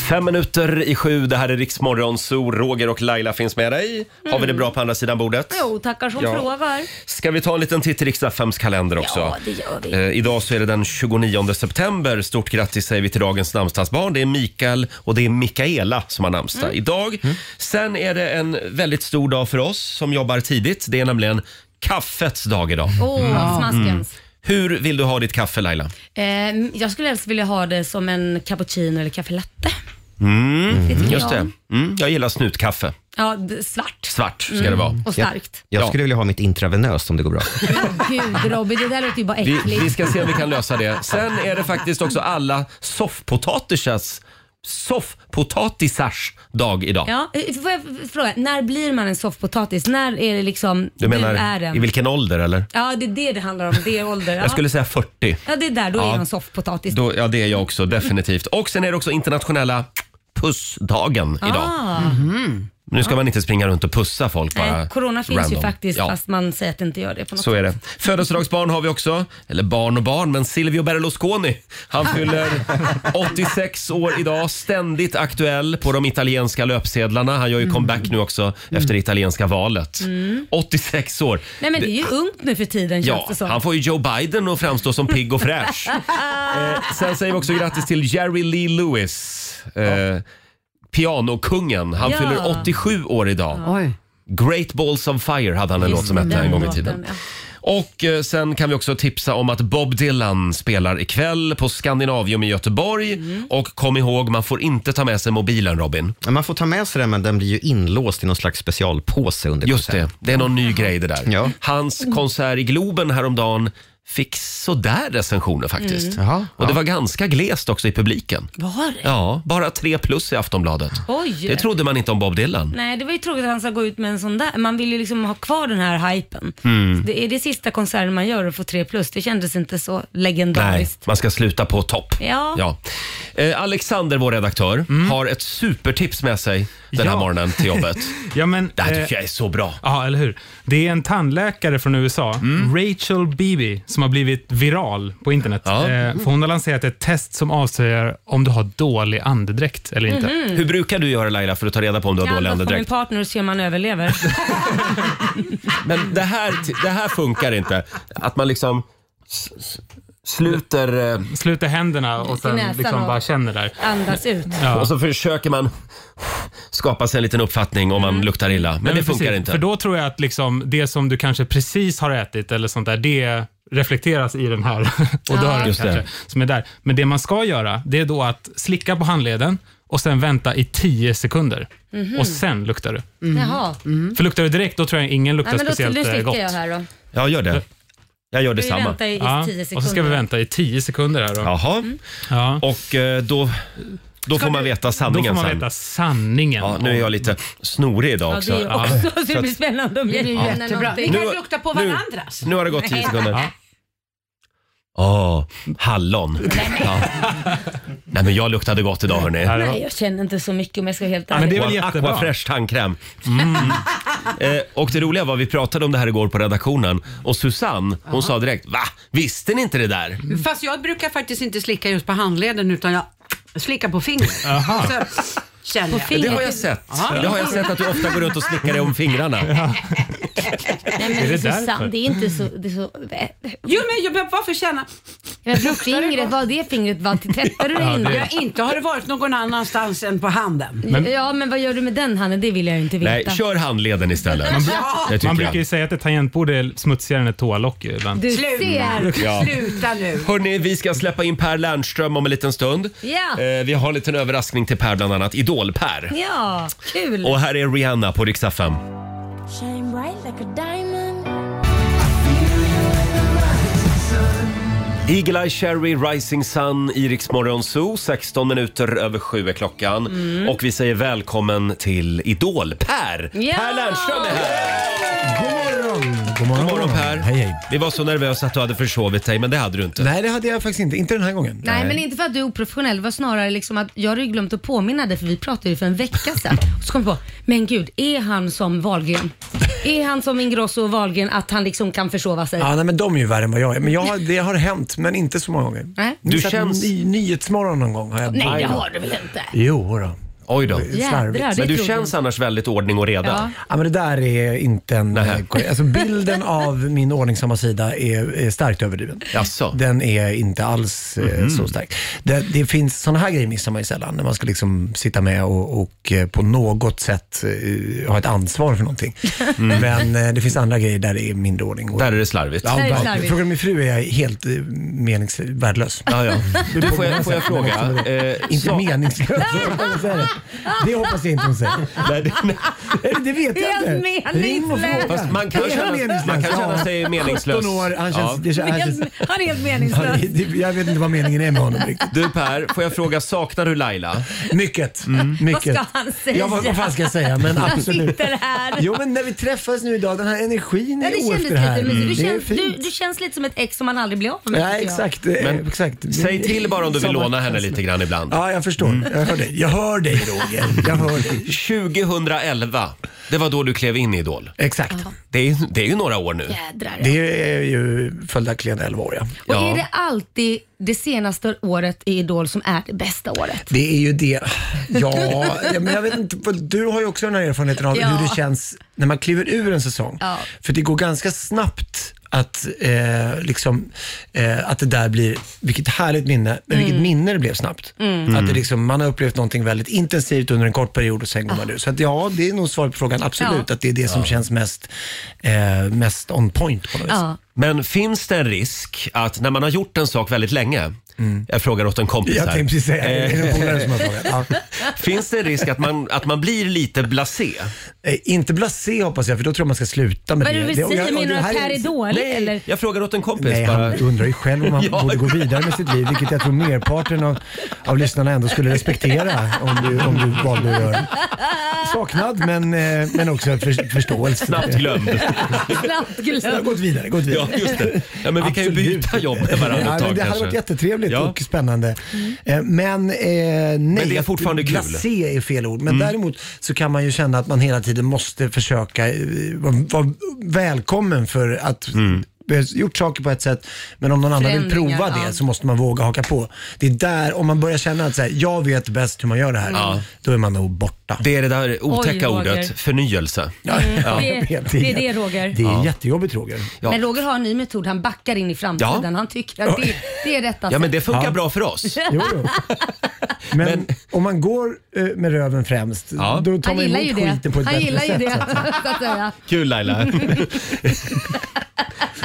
Speaker 1: Fem minuter i sju. Det här är Riksmorgon, så Roger och Laila finns med dig. Har vi det bra på andra sidan bordet?
Speaker 3: Jo, Oh, tackar som
Speaker 1: Ja.
Speaker 3: frågar.
Speaker 1: Ska vi ta en liten titt i Riks-FMs kalender också?
Speaker 3: Ja, det gör vi.
Speaker 1: Eh, idag så är det den 29 september. Stort grattis säger vi till dagens namnsdagsbarn. Det är Mikael och det är Mikaela som har namnsdag
Speaker 3: Mm.
Speaker 1: idag. Sen är det en väldigt stor dag för oss som jobbar tidigt. Det är nämligen kaffets dag idag.
Speaker 3: Åh,
Speaker 1: Mm.
Speaker 3: smaskens.
Speaker 1: Hur vill du ha ditt kaffe Laila?
Speaker 3: Eh, jag skulle helst vilja ha det som en cappuccino eller kaffelatte. Det tycker
Speaker 1: Just
Speaker 3: jag.
Speaker 1: det. Mm, jag gillar snutkaffe.
Speaker 3: Ja, d- svart
Speaker 1: Svart ska det vara.
Speaker 3: och starkt.
Speaker 4: Jag
Speaker 1: Ja.
Speaker 4: skulle vilja ha mitt intravenöst om det går bra.
Speaker 3: Gud Robin, det där låter ju bara
Speaker 1: Vi,
Speaker 3: äckligt.
Speaker 1: vi ska se om vi kan lösa det. Sen är det faktiskt också alla soffpotatisars soffpotatisars dag idag.
Speaker 3: Ja, eh, får jag fråga, när blir man en soffpotatis? När är det liksom,
Speaker 1: Du menar
Speaker 3: är
Speaker 1: i
Speaker 3: en?
Speaker 1: vilken ålder eller?
Speaker 3: Ja, det är det det handlar om, det är ålder. Ja,
Speaker 1: Jag skulle säga 40.
Speaker 3: ja det är där, då
Speaker 1: Ja.
Speaker 3: är man soffpotatis.
Speaker 1: Då, ja, det är jag
Speaker 3: Mm.
Speaker 1: också. Definitivt. Och sen är det också internationella pussdagen idag.
Speaker 3: Ah,
Speaker 1: Nu ska man inte springa runt och pussa folk bara.
Speaker 3: nej, Eh, corona finns ju
Speaker 1: random.
Speaker 3: faktiskt
Speaker 1: Ja,
Speaker 3: fast man säger att det inte gör det på något
Speaker 1: så är det. Födelsedagsbarn har vi också. Eller barn och barn, men Silvio Berlusconi. Han fyller 86 år idag. Ständigt aktuell på de italienska löpsedlarna. Han gör
Speaker 3: Mm.
Speaker 1: ju comeback nu också efter det italienska valet. 86 år.
Speaker 3: Nej men det är ju ungt nu för tiden känns
Speaker 1: Ja,
Speaker 3: Mm. det som.
Speaker 1: han får ju Joe Biden att framstå som pigg och fräsch. eh, sen säger vi också grattis till Jerry Lee Lewis. Eh, Pianokungen. Han
Speaker 3: Ja.
Speaker 1: fyller 87 år idag.
Speaker 7: Oj.
Speaker 1: Great Balls of Fire hade han en låt som hette en
Speaker 3: Liksom
Speaker 1: gång i tiden. Och eh, sen kan vi också tipsa om att Bob Dylan spelar ikväll på Skandinavium i Göteborg. Och kom ihåg, man får inte ta med sig mobilen Robin.
Speaker 4: Men Man får ta med sig den, men den blir ju inlåst i någon slags specialpåse under
Speaker 1: Just
Speaker 4: konserten.
Speaker 1: det, det är någon ny grej det där.
Speaker 4: Ja.
Speaker 1: Hans konsert i Globen häromdagen fick sådär recensioner faktiskt.
Speaker 4: Jaha,
Speaker 1: Och det var ganska glest också i publiken.
Speaker 3: Var det?
Speaker 1: Ja, bara tre plus i Aftonbladet.
Speaker 3: Oj.
Speaker 1: Det trodde man inte om Bob Dylan.
Speaker 3: Nej, det var ju tråkigt att han ska gå ut med en sån där. Man vill ju liksom ha kvar den här hypen.
Speaker 9: Mm.
Speaker 3: Det är det sista konserten man gör och får tre plus. Det kändes inte så
Speaker 1: Nej,
Speaker 3: legendariskt.
Speaker 1: man ska sluta på topp.
Speaker 3: Ja.
Speaker 1: Eh, Alexander, vår redaktör, har ett supertips med sig den här
Speaker 9: Mm. Ja.
Speaker 1: morgonen till jobbet.
Speaker 9: Ja, men,
Speaker 1: Det här
Speaker 9: eh,
Speaker 1: tycker jag är så bra.
Speaker 9: Ja, eller hur? Det är en tandläkare från USA,
Speaker 1: Mm.
Speaker 9: Rachel Beebe, som har blivit viral på internet.
Speaker 1: Ja.
Speaker 9: Eh, för hon har lanserat ett test som avslöjar om du har dålig andedräkt eller inte.
Speaker 3: Mhm.
Speaker 1: Hur brukar du göra Laila för att ta reda på om du har
Speaker 3: Jag
Speaker 1: dålig
Speaker 3: andas på min
Speaker 1: andedräkt?
Speaker 3: partner och ser om man överlever.
Speaker 1: Men det här, det här funkar inte. Att man liksom s- s- sluter... eh,
Speaker 9: Sluta händerna och sen
Speaker 3: näsan
Speaker 9: liksom
Speaker 3: och-
Speaker 9: bara känner där.
Speaker 3: Andas ut.
Speaker 9: Ja.
Speaker 1: Och så försöker man skapa sig en liten uppfattning om man luktar illa. Men,
Speaker 9: Mm. Nej,
Speaker 1: det funkar
Speaker 9: precis.
Speaker 1: inte.
Speaker 9: För då tror jag att liksom det som du kanske precis har ätit eller sånt där, det reflekteras i den här odören
Speaker 1: Just det.
Speaker 9: kanske, som är där. Men det man ska göra, det är då att slicka på handleden och sen vänta i 10 sekunder. Och sen luktar du.
Speaker 3: Jaha.
Speaker 1: Mm.
Speaker 9: För luktar du direkt, då tror jag ingen luktar
Speaker 3: Nej, men då,
Speaker 9: speciellt
Speaker 3: nu
Speaker 9: eh,
Speaker 3: sitter
Speaker 9: gott.
Speaker 3: jag här då.
Speaker 1: Ja, gör det. Jag gör
Speaker 3: Vi
Speaker 1: detsamma.
Speaker 3: väntar i, i
Speaker 9: Ja,
Speaker 3: tio sekunder.
Speaker 9: och så ska vi vänta i 10 sekunder här då.
Speaker 1: Jaha,
Speaker 9: Mm. Ja.
Speaker 1: och eh, då, då får man veta
Speaker 9: Då får
Speaker 1: sanningen
Speaker 9: man
Speaker 1: sen.
Speaker 9: veta sanningen.
Speaker 1: Ja, nu är jag lite snorig idag
Speaker 3: Ja, det
Speaker 1: också.
Speaker 3: är ju också, så det blir spännande om jag känner
Speaker 7: Jättebra. Vi
Speaker 3: någonting.
Speaker 7: kan
Speaker 1: Nu-
Speaker 7: lukta på
Speaker 1: nu-
Speaker 7: varandras.
Speaker 1: Nu har det gått 10 sekunder. Åh, hallon. Ja. Nej men jag luktade gott idag hörni.
Speaker 9: Ja, det var-
Speaker 3: Nej, jag känner inte så mycket om jag ska vara helt
Speaker 9: Men
Speaker 3: ärlig.
Speaker 9: det är väl
Speaker 1: Aqua-
Speaker 9: jättebra.
Speaker 1: Aquafresh tandkräm. Eh, och det roliga var vi pratade om det här igår på redaktionen och Susanne hon sa direkt Va? Visste ni inte det där?
Speaker 7: Fast jag brukar faktiskt inte slicka just på handleden utan jag slickar på fingret.
Speaker 9: Aha.
Speaker 7: Så känner jag.
Speaker 1: Det har
Speaker 3: Fingret.
Speaker 1: jag sett. Det har jag sett att du ofta går runt och slickar dig om fingrarna.
Speaker 3: Nej, men
Speaker 9: Är det
Speaker 3: Susanne,
Speaker 9: därför?
Speaker 3: det är inte så... Det är så äh,
Speaker 7: Jo men jag behöver varför känna?
Speaker 3: jag tror fingret, vad det fingret var? Tvättar du det innan?
Speaker 7: Jag inte har det varit någon annanstans än på handen.
Speaker 3: Ja, men vad gör du med den handen? Det vill jag ju inte veta.
Speaker 1: Nej, kör handleden istället. Det
Speaker 9: Man
Speaker 1: tycker
Speaker 9: brukar ju
Speaker 1: jag.
Speaker 9: säga att ett tangentbord är smutsigare än ett toalock ju ibland.
Speaker 3: Du
Speaker 7: Sluta.
Speaker 3: ser.
Speaker 1: Ja.
Speaker 7: Sluta nu.
Speaker 1: Hörni, vi ska släppa in Per Lernström om en liten stund.
Speaker 3: Ja.
Speaker 1: Eh, vi har en liten överraskning till Per bland annat. Idol-Per.
Speaker 3: Ja, kul.
Speaker 1: Och här är Rihanna på Rix FM.
Speaker 11: Shine bright like a diamond. Eagle Eye Cherry Rising Sun i Rix Morgon Zoo. 16 minuter över sju är klockan.
Speaker 1: Mm.
Speaker 11: Och vi säger välkommen till Idol. Per! Per Lernström är här!
Speaker 1: God morgon!
Speaker 11: God morgon, Per. Hej, hej. Vi var så nervösa att du hade försovit dig, men det hade du inte.
Speaker 1: Nej, det hade jag faktiskt inte. Inte den här gången.
Speaker 11: Nej.
Speaker 3: Nej, men inte för att du är oprofessionell. Det var snarare liksom att jag hade ju glömt att påminna dig för vi pratade ju för en vecka sedan. Och så kom jag på, men gud, är han som Wahlgren? Är han som Ingrosso och Wahlgren att han liksom kan försova sig?
Speaker 1: Ja, nej, men de är ju värre än vad jag är. Men jag, har- det har hänt, men inte så många gånger.
Speaker 3: Nej.
Speaker 1: Du
Speaker 3: Du
Speaker 1: känns...
Speaker 3: känns-
Speaker 1: Ny, nyhetsmorgon någon gång har jag
Speaker 3: Nej, det
Speaker 1: Aj då.
Speaker 3: har du väl inte?
Speaker 1: Jo då.
Speaker 11: Oj då.
Speaker 3: Jädrar, det
Speaker 11: Men du
Speaker 3: tror jag.
Speaker 11: känns annars väldigt ordning och reda.
Speaker 1: Ja. men det där är inte en... eh, korrekt- Alltså bilden av min ordningsamma sida är, är starkt överdriven.
Speaker 11: Jaså?
Speaker 1: Den är inte alls eh,
Speaker 11: Mhm.
Speaker 1: så stark. Det, det finns sådana här grejer missar man ju sällan. När man ska liksom sitta med och, och eh, på något sätt eh, ha ett ansvar för någonting.
Speaker 11: Mm.
Speaker 1: Men eh, det finns andra grejer där det är mindre ordning. och-
Speaker 11: Där är det slarvigt.
Speaker 1: Ja, verkligen. Frågar du min fru är jag helt eh, menings... värdelös.
Speaker 11: Ja, ja. Du,
Speaker 1: Det är
Speaker 11: får jag-
Speaker 1: på
Speaker 11: får jag
Speaker 1: sätt, men
Speaker 11: fråga,
Speaker 1: också med det.
Speaker 11: eh,
Speaker 1: inte
Speaker 11: sa-
Speaker 1: meningslös. jag kan säga det. det hoppas jag inte hon säger.
Speaker 11: Nej, det,
Speaker 1: det vet jag
Speaker 3: Helt
Speaker 1: inte. Ring och fråga.
Speaker 3: meningslöst.
Speaker 11: Fast man kan
Speaker 1: Är han
Speaker 11: känna-
Speaker 1: meningslös?
Speaker 11: man kan känna
Speaker 1: Ja.
Speaker 11: sig meningslös.
Speaker 1: 17 år, han känns,
Speaker 11: Ja.
Speaker 1: det, känns- han känns,
Speaker 3: Han är helt meningslös.
Speaker 1: det- det- jag vet inte vad meningen är med honom riktigt.
Speaker 11: Du Per, får jag fråga, saknar du Laila?
Speaker 1: Mycket.
Speaker 3: Vad
Speaker 1: mycket.
Speaker 3: ska han säga?
Speaker 1: Ja, vad, vad fan ska jag säga? Men
Speaker 3: Han
Speaker 1: absolut.
Speaker 3: sitter här.
Speaker 1: Jo, men när vi träffas nu idag, den här energin
Speaker 3: Ja,
Speaker 1: är
Speaker 3: det
Speaker 1: o
Speaker 3: kändes
Speaker 1: efter här. Mm.
Speaker 3: lite mysigt. Du,
Speaker 1: Det är
Speaker 3: känns,
Speaker 1: fint.
Speaker 3: du, du känns lite som ett ex som man aldrig blir av med.
Speaker 1: Ja,
Speaker 3: tycker jag.
Speaker 1: exakt. eh,
Speaker 11: Men
Speaker 1: exakt.
Speaker 11: Säg till bara om du vill
Speaker 1: Samma
Speaker 11: låna henne
Speaker 1: känsla.
Speaker 11: lite grann ibland. Mm.
Speaker 1: Ja, jag förstår. Jag hör dig. Jag hör dig Roger. Jag hör dig.
Speaker 11: 2011, det var då du klev in i Idol.
Speaker 1: Exakt.
Speaker 11: Det är, det är ju några år nu.
Speaker 3: Jädrar.
Speaker 1: Det är ju följaktligen 11 år ja.
Speaker 3: Och är det alltid det senaste året i Idol som är det bästa året?
Speaker 1: Det är ju det. Ja, ja, men jag vet inte. för Du har ju också den här erfarenheten av
Speaker 3: Ja.
Speaker 1: hur det känns när man kliver ur en säsong.
Speaker 3: Ja.
Speaker 1: För det går ganska snabbt att, eh, liksom, eh, att det där blir, vilket härligt minne, men vilket
Speaker 12: Mm.
Speaker 1: minne det blev snabbt.
Speaker 12: Mm.
Speaker 1: Att det liksom, man har upplevt någonting väldigt intensivt under en kort period och sen går man ur. Så att, ja, det är nog svaret på frågan, absolut,
Speaker 11: Ah. Ja.
Speaker 1: att det är det som
Speaker 11: Ja.
Speaker 1: känns mest, eh, mest on point på något vis.
Speaker 11: Men finns det en risk att när man har gjort en sak väldigt länge, jag frågar åt en kompis
Speaker 1: Mm. Jag
Speaker 11: här. Eh,
Speaker 1: tänkte precis säga det. Det är en polare som har frågat.
Speaker 11: Finns det en risk att man, att man blir lite blasé?
Speaker 1: Eh, inte blasé hoppas jag, för då tror jag man ska sluta med
Speaker 3: Vad är det
Speaker 1: det.
Speaker 3: du
Speaker 1: Det-
Speaker 3: vill
Speaker 1: och jag- och
Speaker 3: säga? Menar du
Speaker 1: det
Speaker 3: att
Speaker 1: här är-
Speaker 3: här är dåligt
Speaker 11: Nej,
Speaker 3: eller?
Speaker 11: jag frågar åt en kompis
Speaker 1: Nej,
Speaker 11: bara.
Speaker 1: han undrar ju själv om han
Speaker 11: Ja.
Speaker 1: borde gå vidare med sitt liv, vilket jag tror merparten av, av lyssnarna ändå skulle respektera om du, om du valde att göra. Saknad, men, eh, men också för, förståelse.
Speaker 11: Snabbt glömd.
Speaker 3: Snabbt
Speaker 1: Snabbt
Speaker 3: glömt.
Speaker 1: gått vidare, gått vidare.
Speaker 11: Ja, just det. Ja, men vi kan ju byta jobb med varandra ett
Speaker 1: Ja,
Speaker 11: tag
Speaker 1: men det hade
Speaker 11: kanske.
Speaker 1: varit jättetrevligt
Speaker 11: Ja.
Speaker 1: och spännande.
Speaker 11: Mm.
Speaker 1: Eh, Men eh, nej,
Speaker 11: det är
Speaker 1: att
Speaker 11: fortfarande kul.
Speaker 1: Blasé är fel ord. Men
Speaker 11: Mm.
Speaker 1: däremot så kan man ju känna att man hela tiden måste försöka eh, vara vara välkommen för att
Speaker 11: Mm.
Speaker 1: vi har gjort saker på ett sätt, men om någon annan vill
Speaker 12: Förändringar,
Speaker 1: prova det
Speaker 12: ja.
Speaker 1: så måste man våga haka på. Det är där, om man börjar känna att så här, jag vet bäst hur man gör det här,
Speaker 11: Ja.
Speaker 1: då är man nog borta.
Speaker 11: Det är det där otäcka
Speaker 3: Oj, Roger.
Speaker 11: ordet förnyelse.
Speaker 3: Mm,
Speaker 11: Ja.
Speaker 3: det, det är det Roger.
Speaker 1: Det är jättejobbigt Roger.
Speaker 11: Ja.
Speaker 3: Men Roger har en ny metod. Han backar in i framtiden.
Speaker 11: Ja.
Speaker 3: Han tycker att det, det är rätta
Speaker 11: Ja, men det
Speaker 3: sätt.
Speaker 11: funkar bra för oss.
Speaker 1: Jo, jo. Men, om man går eh, med röven främst, då tar
Speaker 3: Han
Speaker 1: man
Speaker 3: gillar
Speaker 1: emot
Speaker 3: ju det.
Speaker 1: skiten på ett
Speaker 3: Han
Speaker 1: bättre
Speaker 3: gillar ju
Speaker 1: sätt.
Speaker 3: det.
Speaker 1: så att säga.
Speaker 3: Så att säga.
Speaker 11: Kul Laila.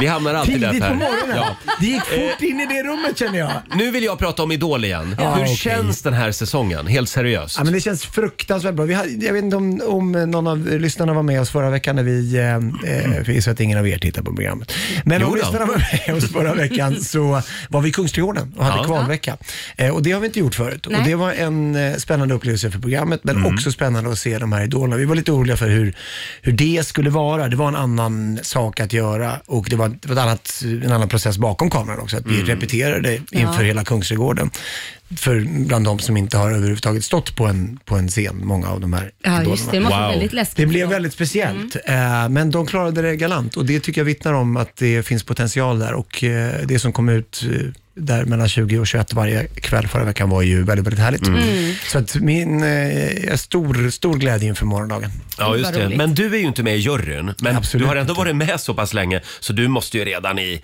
Speaker 11: Vi hamnar alltid där
Speaker 1: Tidigt
Speaker 11: Per.
Speaker 1: på
Speaker 11: Ja.
Speaker 1: morgonen.
Speaker 11: Mm.
Speaker 1: Det gick fort in i det rummet känner jag.
Speaker 11: Nu vill jag prata om Idol igen.
Speaker 1: Ja,
Speaker 11: Hur
Speaker 1: okej.
Speaker 11: känns den här säsongen? Helt seriöst.
Speaker 1: Ja, men det känns fruktansvärt bra. Vi hade, jag vet inte om, om någon av lyssnarna var med oss förra veckan när vi, eh, eh, för jag gissar att ingen av er tittar på programmet. Men
Speaker 11: Jo
Speaker 1: om
Speaker 11: då.
Speaker 1: lyssnarna var med oss förra veckan så var vi i Kungsträdgården och hade
Speaker 11: Ja.
Speaker 1: kvalvecka. Eh, och det har vi inte gjort förut.
Speaker 12: Nej.
Speaker 1: Och det var en eh, spännande upplevelse för programmet men
Speaker 12: Mm.
Speaker 1: också spännande att se de här idolerna. Vi var lite oroliga för hur, hur det skulle vara. Det var en annan sak att göra och det var, det var ett annat, en annan process bakom kameran också. Att vi
Speaker 12: Mm.
Speaker 1: repeterade inför
Speaker 12: Ja.
Speaker 1: hela hela Kungsträdgården. För bland de som inte har överhuvudtaget stått på en, på en scen, många av de här
Speaker 3: Ja, just det. Det måste vara
Speaker 1: Wow.
Speaker 3: väldigt läskigt
Speaker 1: Det blev väldigt speciellt. Eh, Men de klarade det galant och det tycker jag vittnar om att det finns potential där. Och eh, det som kom ut eh, där mellan 20 och 21 varje kväll förra veckan var ju väldigt, väldigt härligt.
Speaker 11: Mm. Mm.
Speaker 1: Så att min eh, stor, stor glädje inför morgondagen.
Speaker 11: Ja, just det. Men du är ju inte med i juryn. Men du har ändå varit med så pass länge så du måste ju redan i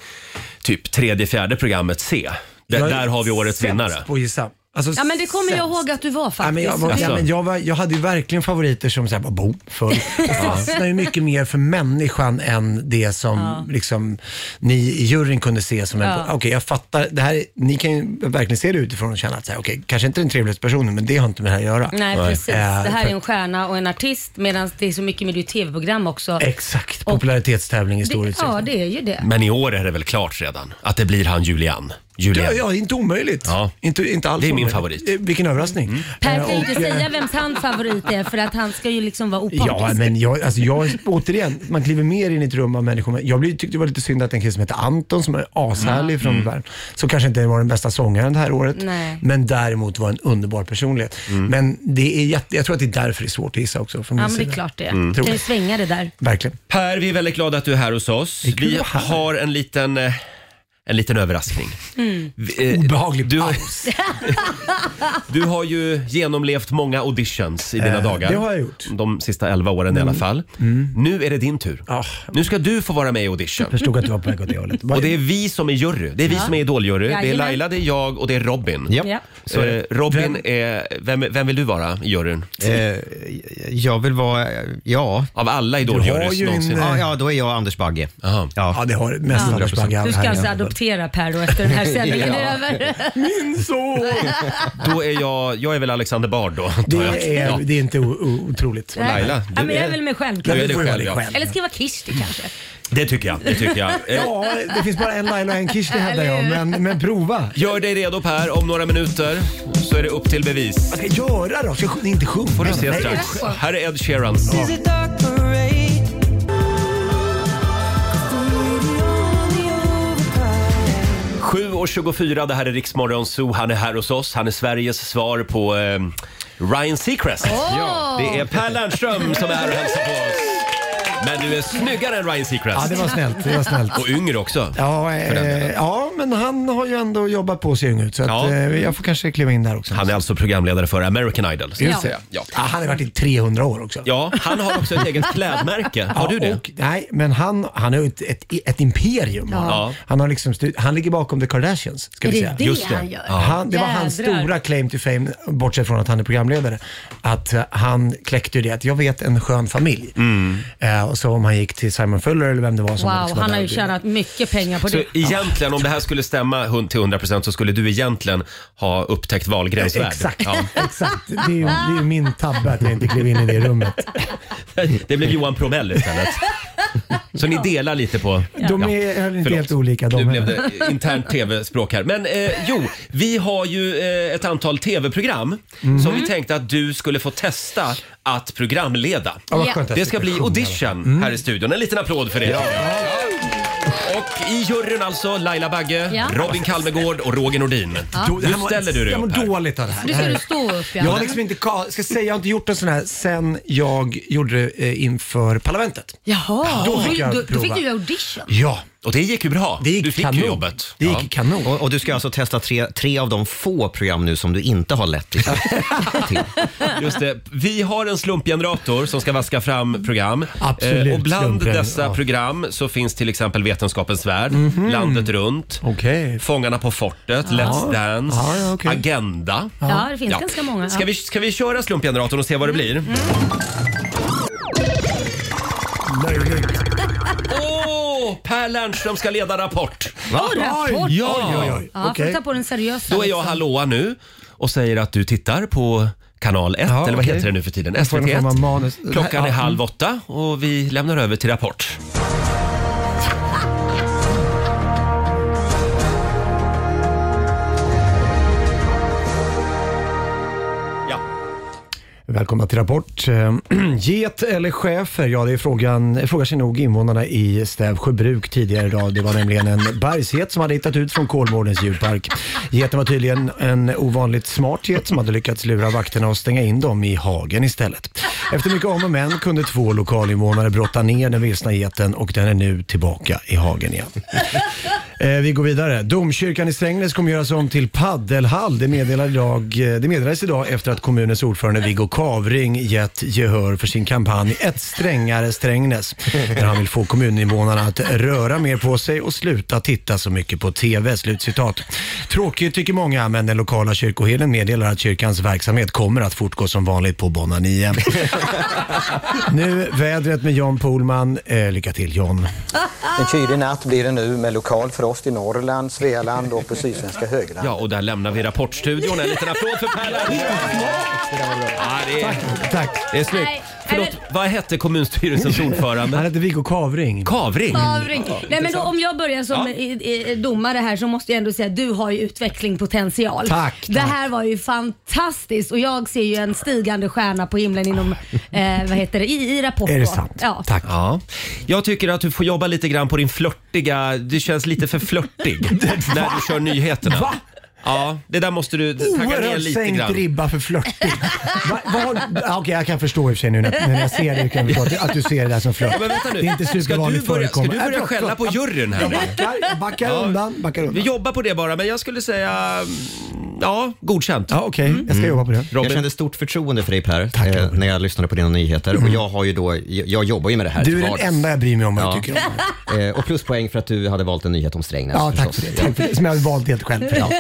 Speaker 11: typ tredje, fjärde programmet se. D-
Speaker 1: Jag är
Speaker 11: där har vi årets
Speaker 1: sämst
Speaker 11: vinnare.
Speaker 1: på att gissa. Alltså,
Speaker 3: Ja, men det kommer jag
Speaker 1: sämst.
Speaker 3: ihåg att du var
Speaker 1: Ja,
Speaker 3: faktiskt.
Speaker 1: men jag, var,
Speaker 11: Alltså.
Speaker 1: ja, men jag, var, jag hade ju verkligen favoriter som så här, bara boom, full. Jag fastnade ju mycket mer för människan än det som liksom, ni i juryn kunde se som en...
Speaker 12: Ja.
Speaker 1: Okej, jag fattar. Det här, är- ni kan ju verkligen se det utifrån och känna att, så här, okej, kanske inte den trevligaste personen, men det har inte med det här att göra.
Speaker 3: Nej, precis.
Speaker 9: Äh,
Speaker 1: Eh,
Speaker 3: Det här
Speaker 1: för-
Speaker 3: är en stjärna och en artist medan det är så mycket med det är ju tv-program också.
Speaker 1: Exakt, popularitetstävling i stor
Speaker 3: det,
Speaker 1: utsträckning.
Speaker 9: Mm.
Speaker 3: Ja, det är ju det.
Speaker 11: Men i år är det väl klart redan att det blir han Julian.
Speaker 1: Julian.
Speaker 9: Ja, ja, inte omöjligt. Inte, inte alls
Speaker 1: Det är min
Speaker 9: omöjligt.
Speaker 1: favorit.
Speaker 9: Eh, Vilken överraskning.
Speaker 3: Per
Speaker 9: Eh,
Speaker 3: kan ju
Speaker 9: och,
Speaker 3: inte
Speaker 9: eh,
Speaker 3: säga vems hans favorit är för att han ska ju liksom vara opartisk.
Speaker 9: Ja, men jag, alltså jag, återigen, man kliver mer in i ett rum av människor. Jag blev- tyckte det var lite synd att en kille som heter Anton, som är ashärlig
Speaker 3: Mm.
Speaker 9: från
Speaker 3: Mm.
Speaker 9: Värmland, som kanske inte var den bästa sångaren det här året,
Speaker 3: Nej.
Speaker 9: men däremot var en underbar personlighet. Men det är jätte, jag tror att det är därför det är svårt att gissa också. Från
Speaker 3: Ja,
Speaker 9: min
Speaker 3: men det är
Speaker 9: sida.
Speaker 3: klart det
Speaker 1: Mm.
Speaker 3: Kan ju svänga det där.
Speaker 9: Verkligen.
Speaker 1: Per, vi är väldigt glada att du är här hos oss. Vi har en liten, eh, en liten överraskning.
Speaker 3: Mm.
Speaker 1: Vi, eh, du, du har ju genomlevt många auditions i dina
Speaker 9: Eh,
Speaker 1: dagar.
Speaker 9: det har jag gjort. Mm.
Speaker 1: De sista elva åren i alla fall. Nu är det din tur. Nu ska du få vara med i audition.
Speaker 9: Jag förstod att du var på väg åt det hållet.
Speaker 1: Och det är vi som är jury. Det är vi
Speaker 9: Ja.
Speaker 1: som är idoljury. Det är
Speaker 9: Jajamän.
Speaker 1: Laila, det är jag och det är Robin.
Speaker 4: Ja.
Speaker 1: Så, eh, Robin är... Vem, vem vill du vara i juryn?
Speaker 4: Eh, jag vill vara, ja.
Speaker 1: Av alla idoljuries någonsin.
Speaker 9: eh,
Speaker 4: Ja, ja, då är jag Anders Bagge.
Speaker 1: Ja.
Speaker 4: ja,
Speaker 9: det har mest Anders Bagge
Speaker 3: Du ska alltså adoptera Per då efter den här sändningen är
Speaker 1: Ja.
Speaker 3: över.
Speaker 9: Min son!
Speaker 1: Då är jag... Jag är väl Alexander Bard då. antar jag.
Speaker 9: Det är,
Speaker 1: Ja.
Speaker 9: det är inte o- o- otroligt.
Speaker 1: Och Laila,
Speaker 3: ja,
Speaker 1: du
Speaker 3: men jag
Speaker 1: är-
Speaker 3: är väl mig själv.
Speaker 1: Du är
Speaker 3: kanske.
Speaker 1: dig själv, ja.
Speaker 3: Eller ska jag vara Kirsti kanske?
Speaker 1: Det tycker jag. Det tycker jag. Eh,
Speaker 9: Ja, det finns bara en Laila och en Kirsti hävdar jag, men, men prova.
Speaker 1: Gör dig redo Per, om några minuter så är det upp till bevis.
Speaker 9: Vad ska jag göra då? Ska jag sj- inte sjunga?
Speaker 1: Får du
Speaker 9: Nej,
Speaker 1: se strax.
Speaker 9: usch.
Speaker 1: Här är Ed Sheeran.
Speaker 13: Sees a dark parade.
Speaker 1: Sju och 24, det här är Riksmorgon Zoo. Han är här hos oss. Han är Sveriges svar på eh, Ryan Seacrest.
Speaker 13: Åh!
Speaker 1: Det är Per Lernström som är här och hälsar på oss. Men du är snyggare än Ryan Seacrest.
Speaker 9: Ja, det var snällt, det var snällt.
Speaker 1: Och yngre också.
Speaker 9: Ja,
Speaker 1: För den
Speaker 9: eh,
Speaker 1: delen.
Speaker 9: ja, men han har ju ändå jobbat på sig ung ut så att,
Speaker 1: Ja.
Speaker 9: eh, jag får kanske kliva in där också.
Speaker 1: Han är alltså programledare för American Idol.
Speaker 9: Just det.
Speaker 1: Ja.
Speaker 9: Ja, han har varit i 300 år också.
Speaker 1: Ja, han har också ett eget klädmärke. Har
Speaker 9: Ja,
Speaker 1: du det?
Speaker 9: Och, nej, men han, han har ju ett, ett, ett imperium.
Speaker 1: Ja. Ja.
Speaker 9: Han, har liksom stu- han ligger bakom The Kardashians. Ska
Speaker 1: Är
Speaker 9: vi
Speaker 1: det
Speaker 9: säga.
Speaker 1: det Just det. han gör? Ja.
Speaker 9: Han, det var hans
Speaker 1: Jädrar.
Speaker 9: stora claim to fame, bortsett från att han är programledare. Att eh, han kläckte ju det att jag vet en skön familj. Eh, och så om han gick till Simon Fuller eller vem det var som
Speaker 3: Wow,
Speaker 9: var liksom
Speaker 3: han
Speaker 9: där
Speaker 3: har ju
Speaker 9: och-
Speaker 3: tjänat mycket pengar på
Speaker 1: Så
Speaker 3: det.
Speaker 1: egentligen, om det här skulle stämma hund- till 100% så skulle du egentligen ha upptäckt Wahlgrens värld.
Speaker 9: Exakt,
Speaker 1: Ja.
Speaker 9: exakt. Det är, ju, det är ju min tabbe att jag inte klev in i det rummet.
Speaker 1: Det blev Johan Promell istället. Så ni delar lite på...
Speaker 9: De
Speaker 1: Ja.
Speaker 9: är är inte
Speaker 1: Förlåt.
Speaker 9: helt olika de
Speaker 1: Nu blev
Speaker 9: heller.
Speaker 1: det internt tv-språk här. Men eh, jo, vi har ju eh, ett antal tv-program
Speaker 9: Mhm.
Speaker 1: som vi tänkte att du skulle få testa att programleda.
Speaker 9: Ja, vad skönt att
Speaker 1: Det
Speaker 9: jag
Speaker 1: ska
Speaker 9: slipper
Speaker 1: bli
Speaker 9: sjunga
Speaker 1: audition
Speaker 9: Mm.
Speaker 1: här i studion. En liten applåd för det. Och i juryn alltså Laila Bagge,
Speaker 3: Ja.
Speaker 1: Robin Kalmegård och Roger Nordin.
Speaker 3: Ja.
Speaker 9: Jo, det här
Speaker 1: Hur
Speaker 9: var-
Speaker 1: ställer du dig
Speaker 9: jag mår
Speaker 1: upp här?
Speaker 9: dåligt av det här.
Speaker 3: Nu
Speaker 9: Det
Speaker 3: ska
Speaker 9: här
Speaker 3: du
Speaker 9: är-
Speaker 3: stå upp
Speaker 9: Jag har
Speaker 3: ja.
Speaker 9: liksom inte, ka- ska säga, jag har inte gjort en sån här sen jag gjorde det eh, inför parlamentet.
Speaker 3: Jaha,
Speaker 9: Då fick jag
Speaker 3: då, då fick
Speaker 9: prova.
Speaker 3: du audition.
Speaker 9: Ja.
Speaker 1: Och det gick ju bra.
Speaker 4: Det gick du
Speaker 1: fick ju kanon. jobbet.
Speaker 4: Det
Speaker 1: gick
Speaker 9: kanon.
Speaker 4: Och, och du ska alltså testa tre, tre av de få program nu som du inte har lett till.
Speaker 1: Just det. Vi har en slumpgenerator som ska vaska fram program. Eh,
Speaker 9: Absolut,
Speaker 1: och bland
Speaker 9: slumpen,
Speaker 1: dessa
Speaker 9: ja.
Speaker 1: program så finns till exempel Vetenskapens värld,
Speaker 9: Mhm.
Speaker 1: Landet runt,
Speaker 9: okay.
Speaker 1: Fångarna på fortet,
Speaker 3: Ja.
Speaker 1: Let's Dance,
Speaker 3: Ja, ja, okej.
Speaker 1: Agenda.
Speaker 3: Ja, det finns ganska många.
Speaker 1: Ska vi, ska vi köra slumpgeneratorn och se vad det blir?
Speaker 9: Mm.
Speaker 1: Åh, Per Lernström ska leda Rapport.
Speaker 3: Va? Åh, Rapport.
Speaker 1: Ja.
Speaker 3: Ja, får du ta på den seriösa.
Speaker 1: Då är jag
Speaker 3: liksom.
Speaker 1: hallåa nu och säger att du tittar på kanal 1, eller vad
Speaker 9: okej.
Speaker 1: heter det nu för tiden?
Speaker 9: Jag får någon form av manus.
Speaker 1: SVT1. Klockan är
Speaker 9: Ja.
Speaker 1: halv åtta och vi lämnar över till Rapport.
Speaker 9: Välkomna till Rapport. Eh, Get eller schäfer? Ja, det är frågan, frågar sig nog invånarna i Stävsjöbruk tidigare idag. Det var nämligen en bergsget som hade hittat ut från Kolmårdens djurpark. Geten var tydligen eh, en ovanligt smart get som hade lyckats lura vakterna och stänga in dem i hagen istället. Efter mycket om och men kunde två lokalinvånare brotta ner den vilsna geten och den är nu tillbaka i hagen igen. Eh, vi går vidare. Domkyrkan i Strängnäs kommer göras om till paddelhall. Det, meddelade idag, eh, det meddelades idag efter att kommunens ordförande Viggo Kavring gett gehör för sin kampanj Ett strängare Strängnäs. Där han vill få kommuninvånarna att röra mer på sig och sluta titta så mycket på TV. Slutcitat. Tråkigt tycker många, men den lokala kyrkoherden meddelar att kyrkans verksamhet kommer att fortgå som vanligt på Bonania. nu vädret med Jan Polman. Eh, lycka till Jan.
Speaker 14: En kylig natt blir det nu med lokal frost i Norrland, Svealand och på sydsvenska höglandet.
Speaker 1: Ja, och där lämnar vi Rapportstudion. En liten applåd för Per Lernström. Ja, det är,
Speaker 9: Tack.
Speaker 1: Det är snyggt.
Speaker 11: Förlåt, vad hette kommunstyrelsens ordförande? Han
Speaker 1: hette Viggo Kavring.
Speaker 11: Kavring?
Speaker 3: Kavring. Nej, men då, om jag börjar som
Speaker 11: Ja.
Speaker 3: i- i- domare här så måste jag ändå säga att du har ju utvecklingpotential.
Speaker 1: Tack,
Speaker 3: Det här var ju fantastiskt och jag ser ju en stigande stjärna på himlen inom, eh, vad heter det, i, i rapporten.
Speaker 11: Är det sant?
Speaker 3: Ja.
Speaker 1: Tack.
Speaker 11: Ja. Jag tycker att du får jobba lite grann på din flörtiga... Du känns lite för flörtig när du kör nyheterna.
Speaker 1: Va?
Speaker 11: Ja, det där måste du tagga ner
Speaker 1: Oerhört
Speaker 11: lite
Speaker 1: sänkt
Speaker 11: grann.
Speaker 1: ribba för flörtig. Va, vad har- ja, Okej, jag kan förstå i och för sig nu när, när jag ser det. Kan jag förstå att, att du ser det där som flört.
Speaker 11: Ja, men vänta nu.
Speaker 1: Det är inte
Speaker 11: Ska du
Speaker 1: supervanligt
Speaker 11: börja- ska du
Speaker 1: förekommande.
Speaker 11: börja
Speaker 1: Nej, förlåt,
Speaker 11: skälla på
Speaker 1: förlåt.
Speaker 11: juryn här
Speaker 1: Jag
Speaker 11: nu?
Speaker 1: backar, jag backar
Speaker 11: Ja.
Speaker 1: undan. Backar undan.
Speaker 11: Vi jobbar på det bara, men jag skulle säga... mm, Ja, godkänt. Mm.
Speaker 1: Ja, Okej, jag ska jobba på det.
Speaker 11: Robin?
Speaker 4: Jag kände stort förtroende för dig Per, eh, när jag lyssnade på dina nyheter. Och jag, har ju då, jag, jag jobbar ju med det här
Speaker 1: Mm. Du
Speaker 4: till
Speaker 1: är den
Speaker 4: vardags.
Speaker 1: enda jag bryr mig om vad du
Speaker 4: Ja.
Speaker 1: tycker om.
Speaker 4: Eh, Och pluspoäng för att du hade valt en nyhet om Strängnäs
Speaker 1: Ja, tack
Speaker 4: förstås.
Speaker 1: för det. Tack för det. Som jag har valt helt själv.
Speaker 4: Ja.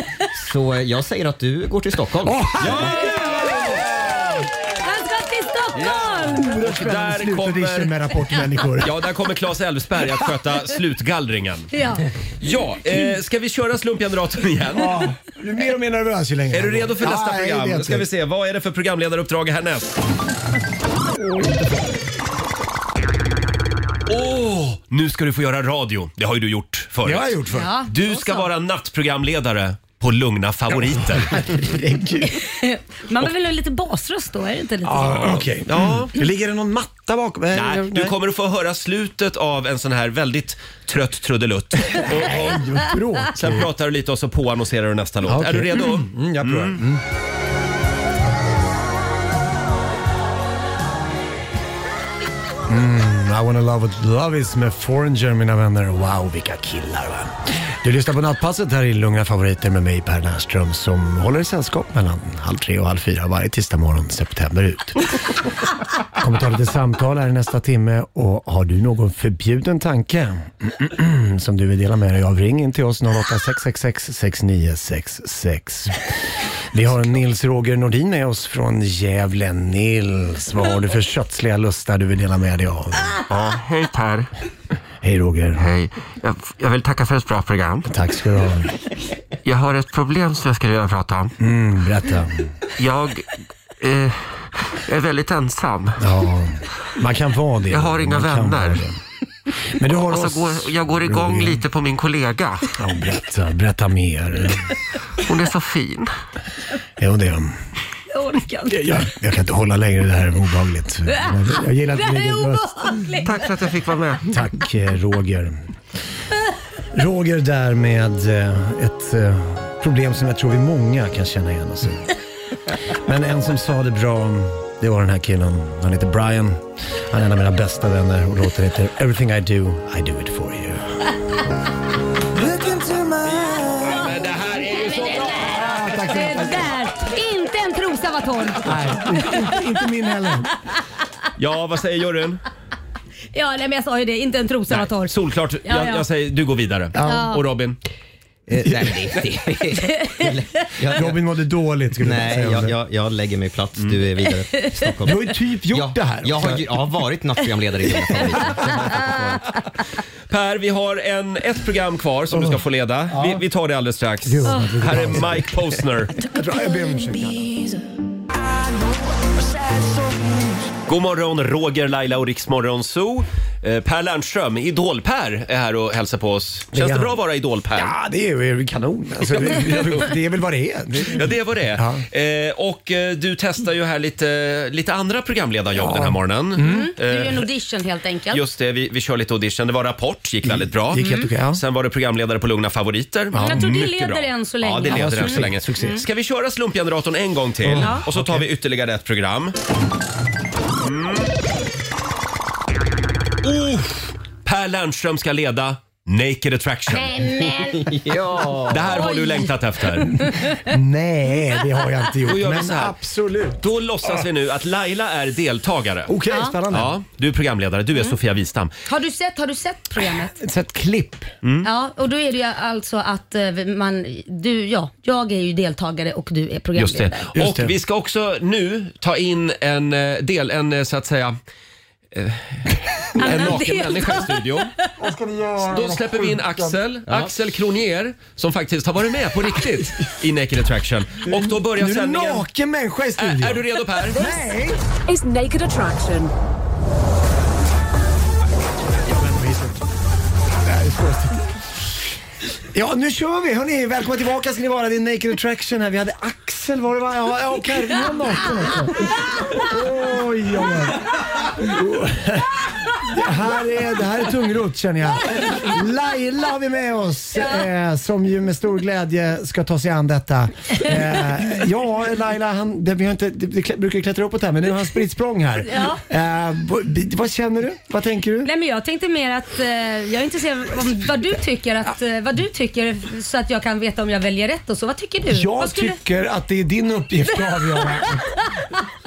Speaker 4: Så eh, jag säger att du går till Stockholm. Eh,
Speaker 3: Han ska till Stockholm!
Speaker 11: Och där kommer...
Speaker 1: med rapportmänniskor.
Speaker 11: Ja, där kommer Claes Elfsberg att sköta slutgallringen.
Speaker 3: Ja.
Speaker 11: Ja, eh, ska vi köra slumpgeneratorn igen?
Speaker 1: Ja, du är mer och mer nervös ju längre.
Speaker 11: Är du redo för nästa
Speaker 1: Nej, det är
Speaker 11: program?
Speaker 1: jag
Speaker 11: Ska vi
Speaker 1: inte.
Speaker 11: se, vad är det för programledaruppdrag härnäst? Åh, nu ska du få göra radio. Det har ju du gjort förut.
Speaker 1: Det har jag gjort förut. Ja,
Speaker 11: du ska vara nattprogramledare på Lugna favoriter.
Speaker 3: Man behöver väl ha lite basröst då, är det inte lite
Speaker 1: Ja,
Speaker 3: så?
Speaker 1: okej. Mm.
Speaker 11: Ja.
Speaker 1: Ligger det någon matta bakom? Nej,
Speaker 11: Nej, du kommer att få höra slutet av en sån här väldigt trött trudelutt.
Speaker 1: vad tråkigt.
Speaker 11: Sen pratar du lite och så påannonserar du nästa låt.
Speaker 1: Ja, okej.
Speaker 11: Är du redo?
Speaker 1: Mm, jag provar. Mm. Mm, I wanna love what love is med Foreigner mina vänner. Wow, vilka killar va. Du lyssnar på Nattpasset här i Lugna Favoriter med mig Per Nernström som håller i sällskap mellan halv tre och halv fyra varje tisdag morgon september ut. kommer ta lite samtal här i nästa timme och har du någon förbjuden tanke som du vill dela med dig av ring in till oss 08 666 6966. Vi har Nils Roger Nordin med oss från Gävle. Nils, vad har du för kötsliga lustar du vill dela med dig av?
Speaker 15: Ja, hej Per.
Speaker 1: Hej Roger.
Speaker 15: Hej. Jag, jag vill tacka för ett bra program.
Speaker 1: Tack ska du ha.
Speaker 15: Jag har ett problem som jag skulle vilja prata om.
Speaker 1: Mm, berätta.
Speaker 15: Jag eh, är väldigt ensam.
Speaker 1: Ja, man kan vara det.
Speaker 15: Jag har inga
Speaker 1: Man kan vara
Speaker 15: vänner.
Speaker 1: det. Men du har
Speaker 15: Och
Speaker 1: oss,
Speaker 15: så går, jag går igång
Speaker 1: Roger.
Speaker 15: lite på min kollega.
Speaker 1: Ja, berätta, berätta mer.
Speaker 15: Hon är så fin.
Speaker 1: Jo, det är de.
Speaker 3: Jag orkar inte.
Speaker 1: Jag, jag kan inte hålla längre, det här är obehagligt. Jag- Jag gillar
Speaker 3: det
Speaker 1: inte min
Speaker 3: här är
Speaker 1: egen röst.
Speaker 3: obehagligt.
Speaker 15: Tack för att jag fick vara med.
Speaker 1: Tack eh, Roger. Roger där med eh, ett eh, problem som jag tror vi många kan känna igen oss i. Men en som sa det bra, det var den här killen. Han heter Brian. Han är en av mina bästa vänner och låten heter Everything I Do, I Do It For You.
Speaker 11: Men det här är ju så bra!
Speaker 3: Det där, inte en trosa var torr.
Speaker 1: Inte min heller.
Speaker 11: Ja, vad säger juryn?
Speaker 3: Ja, nej, men jag sa ju det, inte en trosa var torr.
Speaker 11: Solklart.
Speaker 3: Ja,
Speaker 11: Jag,
Speaker 3: ja.
Speaker 11: jag säger, du går vidare.
Speaker 3: Ja.
Speaker 11: Och Robin?
Speaker 4: Eh, nej, det, det, jag, jag,
Speaker 1: Robin mådde dåligt skulle jag
Speaker 4: nej
Speaker 1: säga. om
Speaker 4: jag,
Speaker 1: det. Mm.
Speaker 4: jag, jag lägger mig platt. Du är vidare till Stockholm.
Speaker 1: Du har ju typ gjort
Speaker 4: jag,
Speaker 1: det här.
Speaker 4: Jag har,
Speaker 1: också.
Speaker 4: ju- jag har varit nattprogramledare i Lugna favoriter.
Speaker 11: Per, vi har en, ett program kvar som du ska få leda. Vi, vi tar det alldeles strax.
Speaker 1: Gud, vad bra.
Speaker 11: Här är Mike Posner.
Speaker 1: Jag tror- jag ber om ursäkt.
Speaker 11: God morgon, Roger, Laila och Riksmorgon Zoo. Eh, Per Lernström, Idol-Per, är här och hälsar på oss. Känns det
Speaker 1: han.
Speaker 11: bra att vara Idol-Per?
Speaker 1: Ja, det är ju kanon. Alltså, det, det är väl vad det är. Det-
Speaker 11: Ja, det var det. Eh, och eh, du testar ju här lite, lite andra programledarjobb den här morgonen.
Speaker 1: Mm.
Speaker 3: Du
Speaker 11: Eh,
Speaker 3: är en audition helt enkelt.
Speaker 11: Just det, vi, vi kör lite audition. Det var Rapport, gick väldigt bra. Mm.
Speaker 1: gick helt okej, ja.
Speaker 11: Sen var det programledare på Lugna Favoriter.
Speaker 3: Men jag tror det
Speaker 11: mycket
Speaker 3: leder än så länge.
Speaker 11: Ja, det leder
Speaker 1: Ja,
Speaker 11: än så
Speaker 1: succé,
Speaker 11: länge.
Speaker 1: succé.
Speaker 11: Mm. Ska vi köra slumpgeneratorn en gång till?
Speaker 1: Ja.
Speaker 11: Och så tar vi ytterligare ett program. Mm. Oh, per Lernström ska leda Naked Attraction.
Speaker 4: ja.
Speaker 11: Det här har du längtat efter.
Speaker 1: Nej, det har jag inte gjort.
Speaker 11: Då gör vi
Speaker 1: men
Speaker 11: så här.
Speaker 1: absolut.
Speaker 11: Då låtsas vi nu att Laila är deltagare.
Speaker 1: Okej,
Speaker 3: Ja. Mm.
Speaker 1: spännande.
Speaker 11: Ja, du är programledare. Du är Sofia Wistam.
Speaker 3: Har du sett, har du sett programmet?
Speaker 1: Så ett klipp. Mm.
Speaker 3: Ja, och då är det ju alltså att eh, man, du, ja, jag är ju deltagare och du är
Speaker 11: Just
Speaker 3: programledare.
Speaker 11: det.
Speaker 1: Just
Speaker 11: och
Speaker 1: det.
Speaker 11: vi ska också nu ta in en eh, del, en eh, så att säga eh, en
Speaker 16: Annan
Speaker 11: naken
Speaker 16: deltagare.
Speaker 11: människa i studion. Då släpper vi in Axel,
Speaker 16: Ja.
Speaker 11: Axel Kronier som faktiskt har varit med på riktigt i Naked Attraction. Och då börjar
Speaker 1: Nu är det
Speaker 11: sändningen.
Speaker 1: naken människa i studion.
Speaker 11: Är, är du redo Per?
Speaker 1: Nej!
Speaker 17: is Naked Attraction.
Speaker 1: Ja, nu kör vi. Hörni, välkomna tillbaka ska ni vara. Det är Naked Attraction här. Vi hade Axel, var det va? Ja, ja, och Carro naken också. Oj, oj, oj. Det här är, det här är tungrot känner jag. Laila har vi med oss eh, som ju med stor glädje ska ta sig an detta. Eh, ja, Laila, han, det, vi har inte, det, det klä- brukar ju klättra uppåt här men nu har han spritt språng här. Eh, vad- vad känner du? Vad tänker du?
Speaker 3: Nej, men jag tänkte mer att eh, jag är intresserad av vad du tycker, att, eh, vad du tycker så att jag kan veta om jag väljer rätt och så. Vad tycker du?
Speaker 1: Jag
Speaker 3: vad skulle-
Speaker 1: tycker att det är din uppgift att avgöra.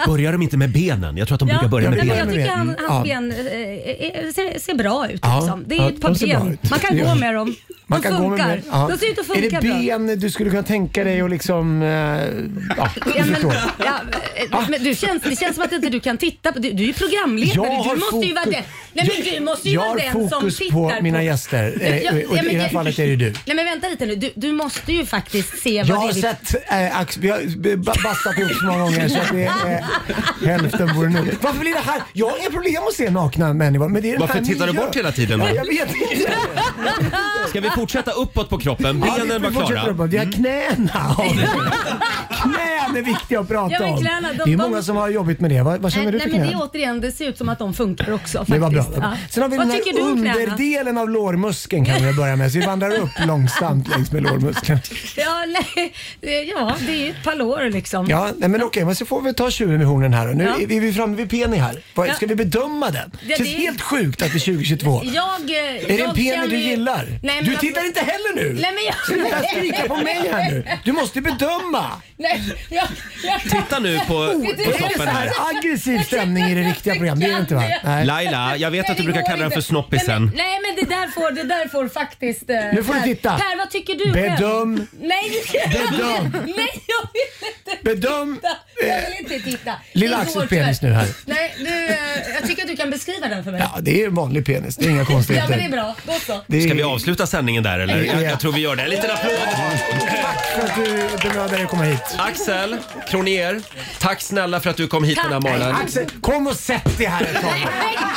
Speaker 11: Börjar de inte med benen? Jag tror att de brukar börja med
Speaker 3: nej, men
Speaker 11: benen.
Speaker 3: jag tycker han,
Speaker 11: Mm.
Speaker 3: hans
Speaker 11: Ja.
Speaker 3: ben eh, eh, ser, ser bra ut.
Speaker 11: Ja,
Speaker 3: Liksom. Det
Speaker 1: ja,
Speaker 3: är ett par
Speaker 1: de ser bra
Speaker 3: ben.
Speaker 1: ut.
Speaker 3: Man kan
Speaker 1: Ja.
Speaker 3: gå med dem.
Speaker 1: Man
Speaker 3: de
Speaker 1: kan gå
Speaker 3: funkar.
Speaker 1: med mer. Ja.
Speaker 3: De ser ut att funka
Speaker 1: Är det
Speaker 3: bra.
Speaker 1: ben du skulle kunna tänka dig och liksom... eh, ja,
Speaker 3: Ja,
Speaker 1: du
Speaker 3: men,
Speaker 1: förstår. Ah.
Speaker 3: ja, eh, men du känns, det känns som att inte du kan titta på... Du, du är ju
Speaker 1: Jag
Speaker 3: programledare.
Speaker 1: har
Speaker 3: Du måste ju vara
Speaker 1: fokus-
Speaker 3: den, nej, men du måste ju
Speaker 1: jag
Speaker 3: vara
Speaker 1: har
Speaker 3: den som
Speaker 1: fokus
Speaker 3: tittar
Speaker 1: på
Speaker 3: på...
Speaker 1: mina gäster. Eh,
Speaker 3: Ja, ja,
Speaker 1: och i
Speaker 3: men
Speaker 1: det här fallet är det du.
Speaker 3: Nej men vänta lite nu. Du, du måste ju faktiskt se
Speaker 1: Jag
Speaker 3: vad det
Speaker 1: har
Speaker 3: är vi-
Speaker 1: sett eh, Ax- vi har b- b- bastat ihop så många gånger så att det är eh, hälften vore nog. Varför blir det här? Jag har inga problem att se nakna människor men det är den
Speaker 11: Varför
Speaker 1: här
Speaker 11: tittar du
Speaker 1: miljön.
Speaker 11: bort hela tiden då?
Speaker 1: Ja, Jag vet inte.
Speaker 11: Ska vi fortsätta uppåt på kroppen?
Speaker 1: Ja, vi-
Speaker 11: Benen
Speaker 1: vi
Speaker 11: var
Speaker 1: fortsätter
Speaker 11: klara. Mm.
Speaker 1: uppåt. Vi har knäna. Knän är viktiga att prata
Speaker 3: Ja, men
Speaker 1: om.
Speaker 3: knäna, de-
Speaker 1: det är
Speaker 3: de-
Speaker 1: många som har jobbigt med det. Vad, vad känner
Speaker 3: Nej,
Speaker 1: du
Speaker 3: nej
Speaker 1: för
Speaker 3: men det
Speaker 1: knäna?
Speaker 3: är återigen, det ser ut som att de funkar också faktiskt.
Speaker 1: Det var bra.
Speaker 3: Ja.
Speaker 1: Sen har vi
Speaker 3: Vad
Speaker 1: den
Speaker 3: tycker du
Speaker 1: här
Speaker 3: om knäna?
Speaker 1: underdelen av lårmuskeln kan vi börja med. Så vi vandrar upp långsamt längs med lårmuskeln.
Speaker 3: Ja, nej, det- ja, det är ju ett par lår liksom.
Speaker 1: Ja, nej, men okej, men så får vi ta tjuren vid hornen här. Och nu
Speaker 3: Ja.
Speaker 1: är vi framme vid penis här. Vad-
Speaker 3: Ja.
Speaker 1: Ska vi bedöma den?
Speaker 3: Ja,
Speaker 1: det känns
Speaker 3: det är-
Speaker 1: helt sjukt att det är 2022.
Speaker 3: Jag, eh,
Speaker 1: Är det en
Speaker 3: jag
Speaker 1: penis
Speaker 3: känner
Speaker 1: du
Speaker 3: ju-
Speaker 1: gillar?
Speaker 3: men
Speaker 1: du
Speaker 3: jag-
Speaker 1: tittar inte heller nu!
Speaker 3: Nej, men jag...
Speaker 1: Sluta skrika på mig här nu! Du måste bedöma!
Speaker 3: Nej, jag, jag...
Speaker 11: Titta nu på,
Speaker 1: Är
Speaker 11: på
Speaker 1: det så
Speaker 11: kroppen
Speaker 1: här
Speaker 11: här.
Speaker 1: aggressiv stämning i det riktiga programmet? Det är det inte va? Nej.
Speaker 11: Laila, jag vet
Speaker 3: Nej,
Speaker 11: att du
Speaker 3: det
Speaker 11: brukar
Speaker 3: går
Speaker 11: kalla den
Speaker 3: inte.
Speaker 11: för snoppisen.
Speaker 3: Nej, men- Nej men det där får, det där får faktiskt... eh,
Speaker 11: Nu får du
Speaker 3: Per.
Speaker 11: titta.
Speaker 3: Per vad tycker du
Speaker 1: Bedöm.
Speaker 3: själv? Nej!
Speaker 1: Bedöm.
Speaker 3: Nej jag vill inte
Speaker 1: Bedöm. eh,
Speaker 3: titta. Jag vill inte titta.
Speaker 1: Lilla
Speaker 3: Det går
Speaker 1: Axels penis nu här.
Speaker 3: Nej du, eh, jag tycker att du kan beskriva den för mig.
Speaker 1: Ja, det är en vanlig penis. Det är inga
Speaker 3: Ja men det är
Speaker 1: konstigheter.
Speaker 3: bra, då så.
Speaker 11: Ska vi avsluta sändningen där eller? Jag, jag tror vi gör det. En liten applåd.
Speaker 1: Tack för att du bemödade dig att komma hit.
Speaker 11: Axel Kronier, tack snälla för att du kom hit den här morgonen.
Speaker 1: Nej, Axel, kom och sätt dig här ett tag.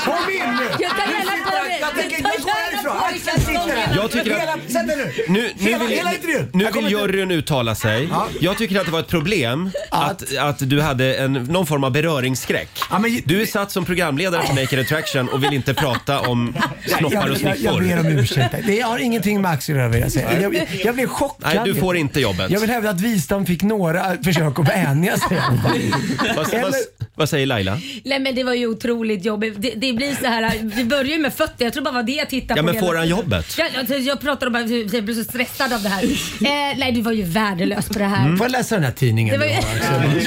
Speaker 1: Kom in nu!
Speaker 16: Jag tar gärna på dig.
Speaker 1: Jag tänker
Speaker 16: Jag tar
Speaker 1: jag går
Speaker 16: gärna
Speaker 1: härifrån.
Speaker 16: på dig.
Speaker 1: Axel sitter här.
Speaker 11: Jag tycker att-
Speaker 1: Hela- Sätt dig nu.
Speaker 11: Nu, nu
Speaker 1: hela,
Speaker 11: vill,
Speaker 1: hela intervjun.
Speaker 11: nu
Speaker 1: Jag
Speaker 11: vill
Speaker 1: kommer inte-
Speaker 11: juryn uttala sig. Jag tycker att det var ett problem att, att du hade en, någon form av beröringsskräck. Du är satt som programledare för Naked Attraction och vill inte prata om snoppar och
Speaker 1: jag, jag ber om
Speaker 11: snipfor.
Speaker 1: ursäkt. Det har ingenting med Axel att göra vill jag säga. Jag, jag blev chockad.
Speaker 11: Nej, du får inte jobbet.
Speaker 1: Jag vill hävda att Wistam fick några försök att vänja sig.
Speaker 11: Vad, vad,
Speaker 1: Eller-
Speaker 11: vad säger Laila?
Speaker 3: Nej men det var ju otroligt jobbigt. Det, det blir så här, vi börjar ju med fötter. Jag tror bara det var det jag tittade
Speaker 11: Ja,
Speaker 3: på.
Speaker 11: men
Speaker 3: hela
Speaker 11: får han
Speaker 3: tiden.
Speaker 11: jobbet?
Speaker 3: Jag, jag, jag pratar om att jag blir så stressad av det här. Eh, nej du var ju värdelös på det här.
Speaker 1: Mm. Får jag läsa den här tidningen?
Speaker 3: Det var ju-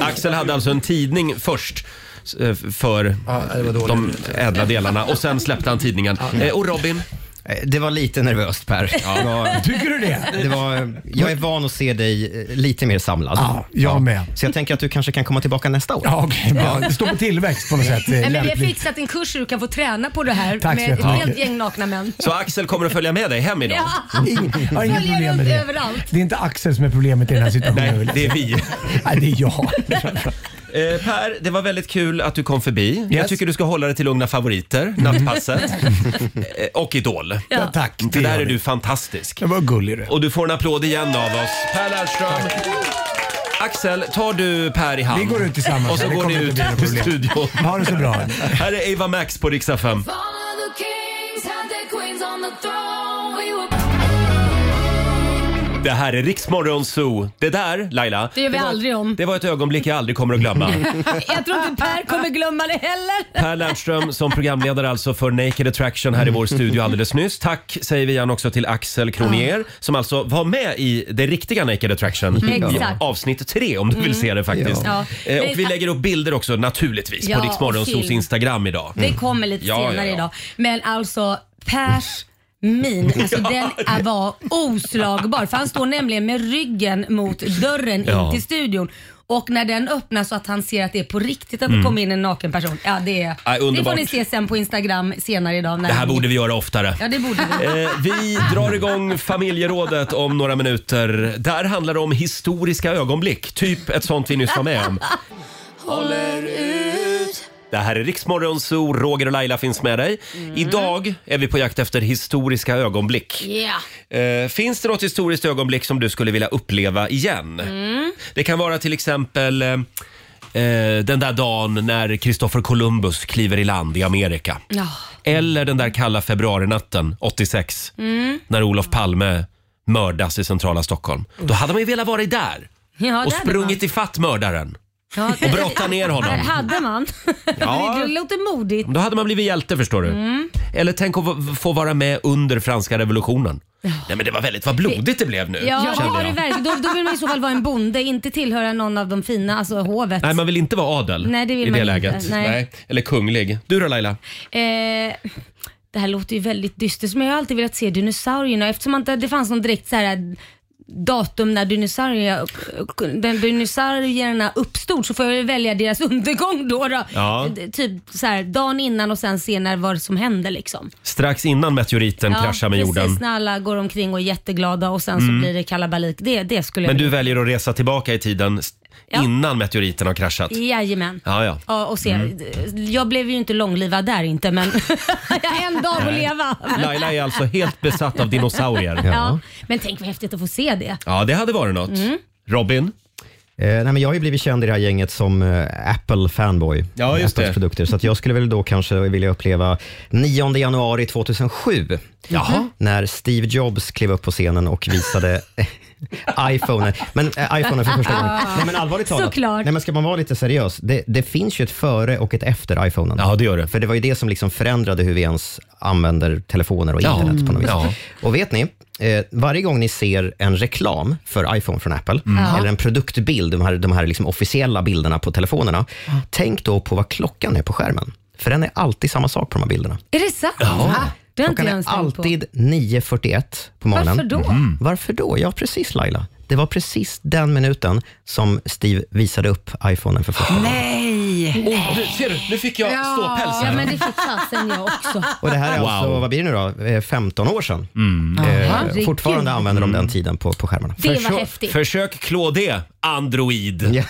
Speaker 11: Axel hade alltså en tidning först eh, för de ädla delarna och sen släppte han tidningen. Eh, Och Robin?
Speaker 4: Eh, Det var lite nervöst Per.
Speaker 1: Tycker du det?
Speaker 4: det var, eh, jag är van att se dig eh, lite mer samlad. Ja,
Speaker 1: jag med.
Speaker 4: Så jag tänker att du kanske kan komma tillbaka nästa år.
Speaker 1: Ja, okej, bra. Det står på tillväxt på något sätt.
Speaker 3: Nej, men vi har fixat en kurs hur du kan få träna på det här
Speaker 11: Tack så
Speaker 3: med ett
Speaker 11: jättemycket.
Speaker 3: helt gäng nakna män.
Speaker 11: Så Axel kommer att följa med dig hem idag?
Speaker 3: Ja.
Speaker 1: Jag har inga
Speaker 3: Följer
Speaker 1: problem med
Speaker 3: runt
Speaker 1: det.
Speaker 3: överallt.
Speaker 1: Det är inte Axel som är problemet i den här situationen.
Speaker 11: Nej, det är vi.
Speaker 1: Nej, det är jag.
Speaker 11: Eh, per, det var väldigt kul att du kom förbi. Jag
Speaker 1: Yes. Mm.
Speaker 11: tycker du ska hålla dig till Lugna favoriter, Nattpasset eh, och Idol.
Speaker 1: Ja, tack.
Speaker 11: För där är du fantastisk.
Speaker 1: Det var gullig du.
Speaker 11: Och du får en applåd igen av oss. Per Lernström. Axel, tar du Per i hand?
Speaker 1: Vi går ut tillsammans.
Speaker 11: Och så
Speaker 1: Det
Speaker 11: går ni
Speaker 1: kommer
Speaker 11: ut
Speaker 1: inte bli
Speaker 11: ur
Speaker 1: något problem.
Speaker 11: studion.
Speaker 1: Ha det så bra.
Speaker 11: Här är Eva Max på riksdag
Speaker 2: Follow
Speaker 11: 5.
Speaker 2: the kings, had their queens on the throne. We were
Speaker 11: Det här är Riksmorgon Zoo. Det där, Laila,
Speaker 3: Det gör vi aldrig om.
Speaker 11: det var ett ögonblick jag aldrig kommer att glömma.
Speaker 3: Jag tror inte Per kommer glömma det heller.
Speaker 11: Per Lernström som programledare alltså för Naked Attraction här i vår studio alldeles nyss. Tack säger vi igen också till Axel Kronier som alltså var med i det riktiga Naked Attraction
Speaker 3: Mm,
Speaker 11: i
Speaker 3: exakt. Mm.
Speaker 11: avsnitt tre om du vill se det faktiskt.
Speaker 3: Ja.
Speaker 11: Eh, Och
Speaker 3: Men-
Speaker 11: vi lägger upp bilder också naturligtvis
Speaker 3: Ja,
Speaker 11: på Riksmorgonsols
Speaker 3: film.
Speaker 11: Instagram idag.
Speaker 3: Det kommer lite
Speaker 11: Ja,
Speaker 3: senare
Speaker 11: ja, ja.
Speaker 3: idag. Men alltså Pers min. Alltså den är- var oslagbar. För han står nämligen med ryggen mot dörren
Speaker 1: Ja.
Speaker 3: in till studion. Och när den öppnas så att han ser att det är på riktigt att det
Speaker 1: Mm.
Speaker 3: kommer in en naken person. Ja, det, är,
Speaker 1: Nej,
Speaker 3: det får
Speaker 1: underbart.
Speaker 3: ni se sen på Instagram senare idag. När
Speaker 1: Det här
Speaker 3: han-
Speaker 1: borde vi göra oftare.
Speaker 3: Ja, det borde vi.
Speaker 1: Eh, vi drar igång familjerådet om några minuter. Där handlar det om historiska ögonblick, typ ett sånt vi nyss var med om.
Speaker 18: Håller ut.
Speaker 1: Det här är Riksmorgon Zoo, Roger och Laila finns med dig.
Speaker 18: Mm.
Speaker 1: Idag är vi på jakt efter historiska ögonblick.
Speaker 18: Yeah.
Speaker 1: Eh, finns det något historiskt ögonblick som du skulle vilja uppleva igen?
Speaker 18: Mm.
Speaker 1: Det kan vara till exempel eh, eh, den där dagen när Kristoffer Columbus kliver i land i Amerika.
Speaker 3: Ja.
Speaker 1: Eller den där kalla februarinatten 86
Speaker 3: Mm.
Speaker 1: när Olof Palme mördas i centrala Stockholm. Då hade man ju velat vara där
Speaker 3: Ja,
Speaker 1: och
Speaker 3: där är
Speaker 1: sprungit ifatt mördaren.
Speaker 3: man. Ja,
Speaker 1: och brottat ner honom.
Speaker 3: Där hade man.
Speaker 1: Ja.
Speaker 3: det låter modigt.
Speaker 1: Då hade man blivit hjälte förstår du.
Speaker 3: Mm.
Speaker 1: Eller tänk att v- få vara med under franska revolutionen. Nej men det var väldigt, vad blodigt det blev nu.
Speaker 3: Ja, det
Speaker 1: kände
Speaker 3: var
Speaker 1: jag.
Speaker 3: det verkligen. Då, då vill man i så fall vara en bonde, inte tillhöra någon av de fina, alltså hovet.
Speaker 1: Nej man vill inte vara adel
Speaker 3: Nej, det vill
Speaker 1: i
Speaker 3: man
Speaker 1: det
Speaker 3: inte.
Speaker 1: läget.
Speaker 3: Nej.
Speaker 1: Eller kunglig. Du då Laila?
Speaker 3: Eh, det här låter ju väldigt dystert, men jag har alltid velat se dinosaurierna eftersom inte det fanns någon direkt så här eh, datum när dinosaurier, den dinosaurierna uppstod så får jag väl välja deras undergång då. då.
Speaker 1: Ja.
Speaker 3: D- Typ så här, dagen innan och sen se när vad som hände liksom.
Speaker 1: Strax innan meteoriten kraschar med
Speaker 3: precis,
Speaker 1: jorden.
Speaker 3: när alla går omkring och är jätteglada och sen
Speaker 1: Mm.
Speaker 3: så blir det kalabalik. Det, det skulle jag
Speaker 1: Men du
Speaker 3: vilja.
Speaker 1: väljer att resa tillbaka i tiden s-
Speaker 3: Ja.
Speaker 1: innan meteoriten har kraschat?
Speaker 3: Jajamän.
Speaker 1: Ja, ja.
Speaker 3: Ja, och se.
Speaker 1: Mm.
Speaker 3: Jag blev ju inte långlivad där inte, men jag har en dag att
Speaker 1: Nej.
Speaker 3: leva.
Speaker 1: Laila är alltså helt besatt av dinosaurier.
Speaker 3: Ja. Men tänk vad häftigt att få se det.
Speaker 1: Ja, det hade varit något.
Speaker 3: Mm.
Speaker 1: Robin?
Speaker 4: Eh, nej, men jag har ju blivit känd i det här gänget som eh, Apple-fanboy.
Speaker 1: Ja, just
Speaker 4: Apples
Speaker 1: det.
Speaker 4: produkter. Så att jag skulle väl då kanske vilja uppleva 9 januari 2007.
Speaker 1: Jaha.
Speaker 4: När Steve Jobs klev upp på scenen och visade iPhone. Men eh, iPhone för första gången. Nej, men allvarligt talat.
Speaker 3: Såklart.
Speaker 4: Nej, men ska man vara lite seriös, det, det finns ju ett före och ett efter iPhonen.
Speaker 1: Ja, det gör det.
Speaker 4: För det var ju det som liksom förändrade hur vi ens använder telefoner och
Speaker 1: Ja. Mm,
Speaker 4: internet på något vis.
Speaker 1: Ja.
Speaker 4: Och vet ni, eh, varje gång ni ser en reklam för iPhone från Apple,
Speaker 1: Ja.
Speaker 4: eller en produktbild, de här, de här liksom officiella bilderna på telefonerna, tänk då på vad klockan är på skärmen. För den är alltid samma sak på de här bilderna.
Speaker 3: Är det sant?
Speaker 4: Ja.
Speaker 3: Det har inte
Speaker 4: Klockan
Speaker 3: jag ens
Speaker 4: är
Speaker 3: tänkt på.
Speaker 4: alltid 9.41 på morgonen.
Speaker 3: Varför då? Mhm.
Speaker 4: Varför då? Ja, precis Laila. Det var precis den minuten som Steve visade upp iPhonen för första gången.
Speaker 7: Nej!
Speaker 1: Oh, nu, ser du, nu fick jag ståpäls här.
Speaker 3: Ja, men det fick fasen jag också.
Speaker 4: Och det här är
Speaker 1: Wow.
Speaker 4: alltså, vad blir det nu då, Eh, 15 år sedan.
Speaker 3: Herregud.
Speaker 4: Eh, fortfarande använder de den tiden på, på skärmarna.
Speaker 3: Det var Försök- häftigt.
Speaker 1: Försök klå det, android. 9.41,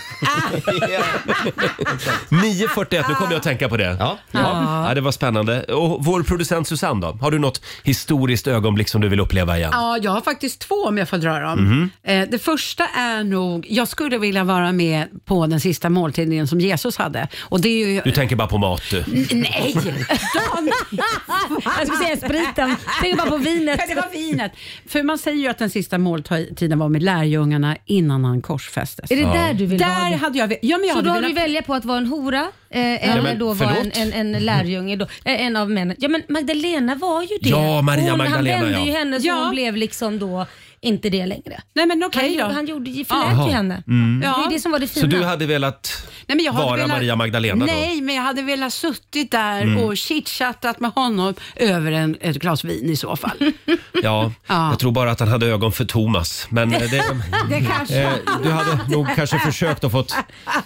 Speaker 1: nu kommer jag att tänka på det. Ja. Ja.
Speaker 3: Ja.
Speaker 1: det var spännande. Och vår producent Susanne då? Har du något historiskt ögonblick som du vill uppleva igen?
Speaker 7: Ja, jag har faktiskt två om jag får dra dem.
Speaker 1: Mhm.
Speaker 7: Eh, Det första är nog, jag skulle vilja vara med på den sista måltiden som Jesus hade. Och det är ju...
Speaker 1: Du tänker bara på mat du.
Speaker 7: N- Nej!
Speaker 3: Jag skulle säga spriten. Tänk bara på vinet.
Speaker 7: Ja, det var vinet. För man säger ju att den sista måltiden var med lärjungarna innan han korsfästes.
Speaker 3: Är det där du vill
Speaker 7: där
Speaker 3: ha det?
Speaker 7: hade jag... ve- Ja, men jag
Speaker 3: så
Speaker 7: hade
Speaker 3: då har
Speaker 7: velat-
Speaker 3: du välja på att vara en hora eh, eller
Speaker 7: men
Speaker 3: då vara en,
Speaker 7: förlåt.
Speaker 3: en, en lärjunge. Då, eh, en av männen. Ja men Magdalena var ju det.
Speaker 1: Ja, Maria
Speaker 3: hon,
Speaker 1: Magdalena,
Speaker 3: Han vände
Speaker 1: ja.
Speaker 3: ju henne så
Speaker 7: Ja.
Speaker 3: hon blev liksom då inte det längre.
Speaker 7: Nej men okej
Speaker 3: han,
Speaker 7: då.
Speaker 3: gjorde- han gjorde, ju- förlät
Speaker 1: Jaha.
Speaker 3: ju henne.
Speaker 1: Mm.
Speaker 3: Det var ju det som var det
Speaker 1: Så
Speaker 3: fina.
Speaker 1: du hade velat
Speaker 7: Nej, men jag hade
Speaker 1: vara
Speaker 7: velat-
Speaker 1: Maria Magdalena då?
Speaker 7: Nej, men jag hade velat suttit där
Speaker 1: Mm.
Speaker 7: och chitchattat med honom över en, ett glas vin i så fall.
Speaker 1: Ja,
Speaker 7: Ja.
Speaker 1: jag tror bara att han hade ögon för Thomas. Men eh, det,
Speaker 7: Det kanske-
Speaker 1: eh, du hade nog kanske försökt att få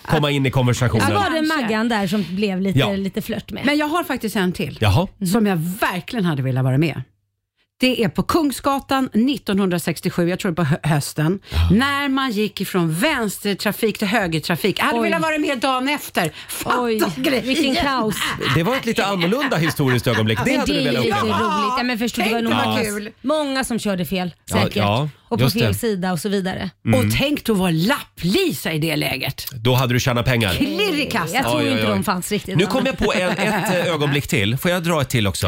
Speaker 1: komma in i
Speaker 3: Ja,
Speaker 1: konversationen.
Speaker 3: det var det Maggan där som blev lite,
Speaker 1: Ja.
Speaker 3: lite flört med.
Speaker 7: Men jag har faktiskt en till
Speaker 1: Jaha.
Speaker 3: Mhm.
Speaker 7: som jag verkligen hade velat vara med. Det är på Kungsgatan 1967, jag tror det var på hö- hösten, när man gick ifrån vänstertrafik till högertrafik. Jag hade
Speaker 3: Oj.
Speaker 7: velat vara med dagen efter. Fatta
Speaker 3: Oj,
Speaker 7: grejen.
Speaker 3: vilken kaos.
Speaker 1: Det var ett lite annorlunda historiskt ögonblick. Det
Speaker 3: men
Speaker 1: hade
Speaker 3: det
Speaker 1: du
Speaker 3: är
Speaker 1: velat
Speaker 3: ju lite
Speaker 1: uppleva.
Speaker 3: roligt. Ja, men förstå, det var nog
Speaker 1: vad
Speaker 3: många,
Speaker 1: kul.
Speaker 3: många som körde fel
Speaker 1: Ja,
Speaker 3: säkert.
Speaker 1: ja,
Speaker 3: och på
Speaker 1: just
Speaker 3: fel
Speaker 1: det.
Speaker 3: sida och så vidare.
Speaker 1: Mm.
Speaker 7: Och tänk då vara lapplisa i det läget.
Speaker 1: Då hade du tjänat pengar.
Speaker 7: Klirr i kassan.
Speaker 3: Jag tror
Speaker 1: Oj, oj,
Speaker 3: inte
Speaker 1: oj.
Speaker 3: de fanns riktigt.
Speaker 1: Nu kom jag på en, ett eh, ögonblick till. Får jag dra ett till också?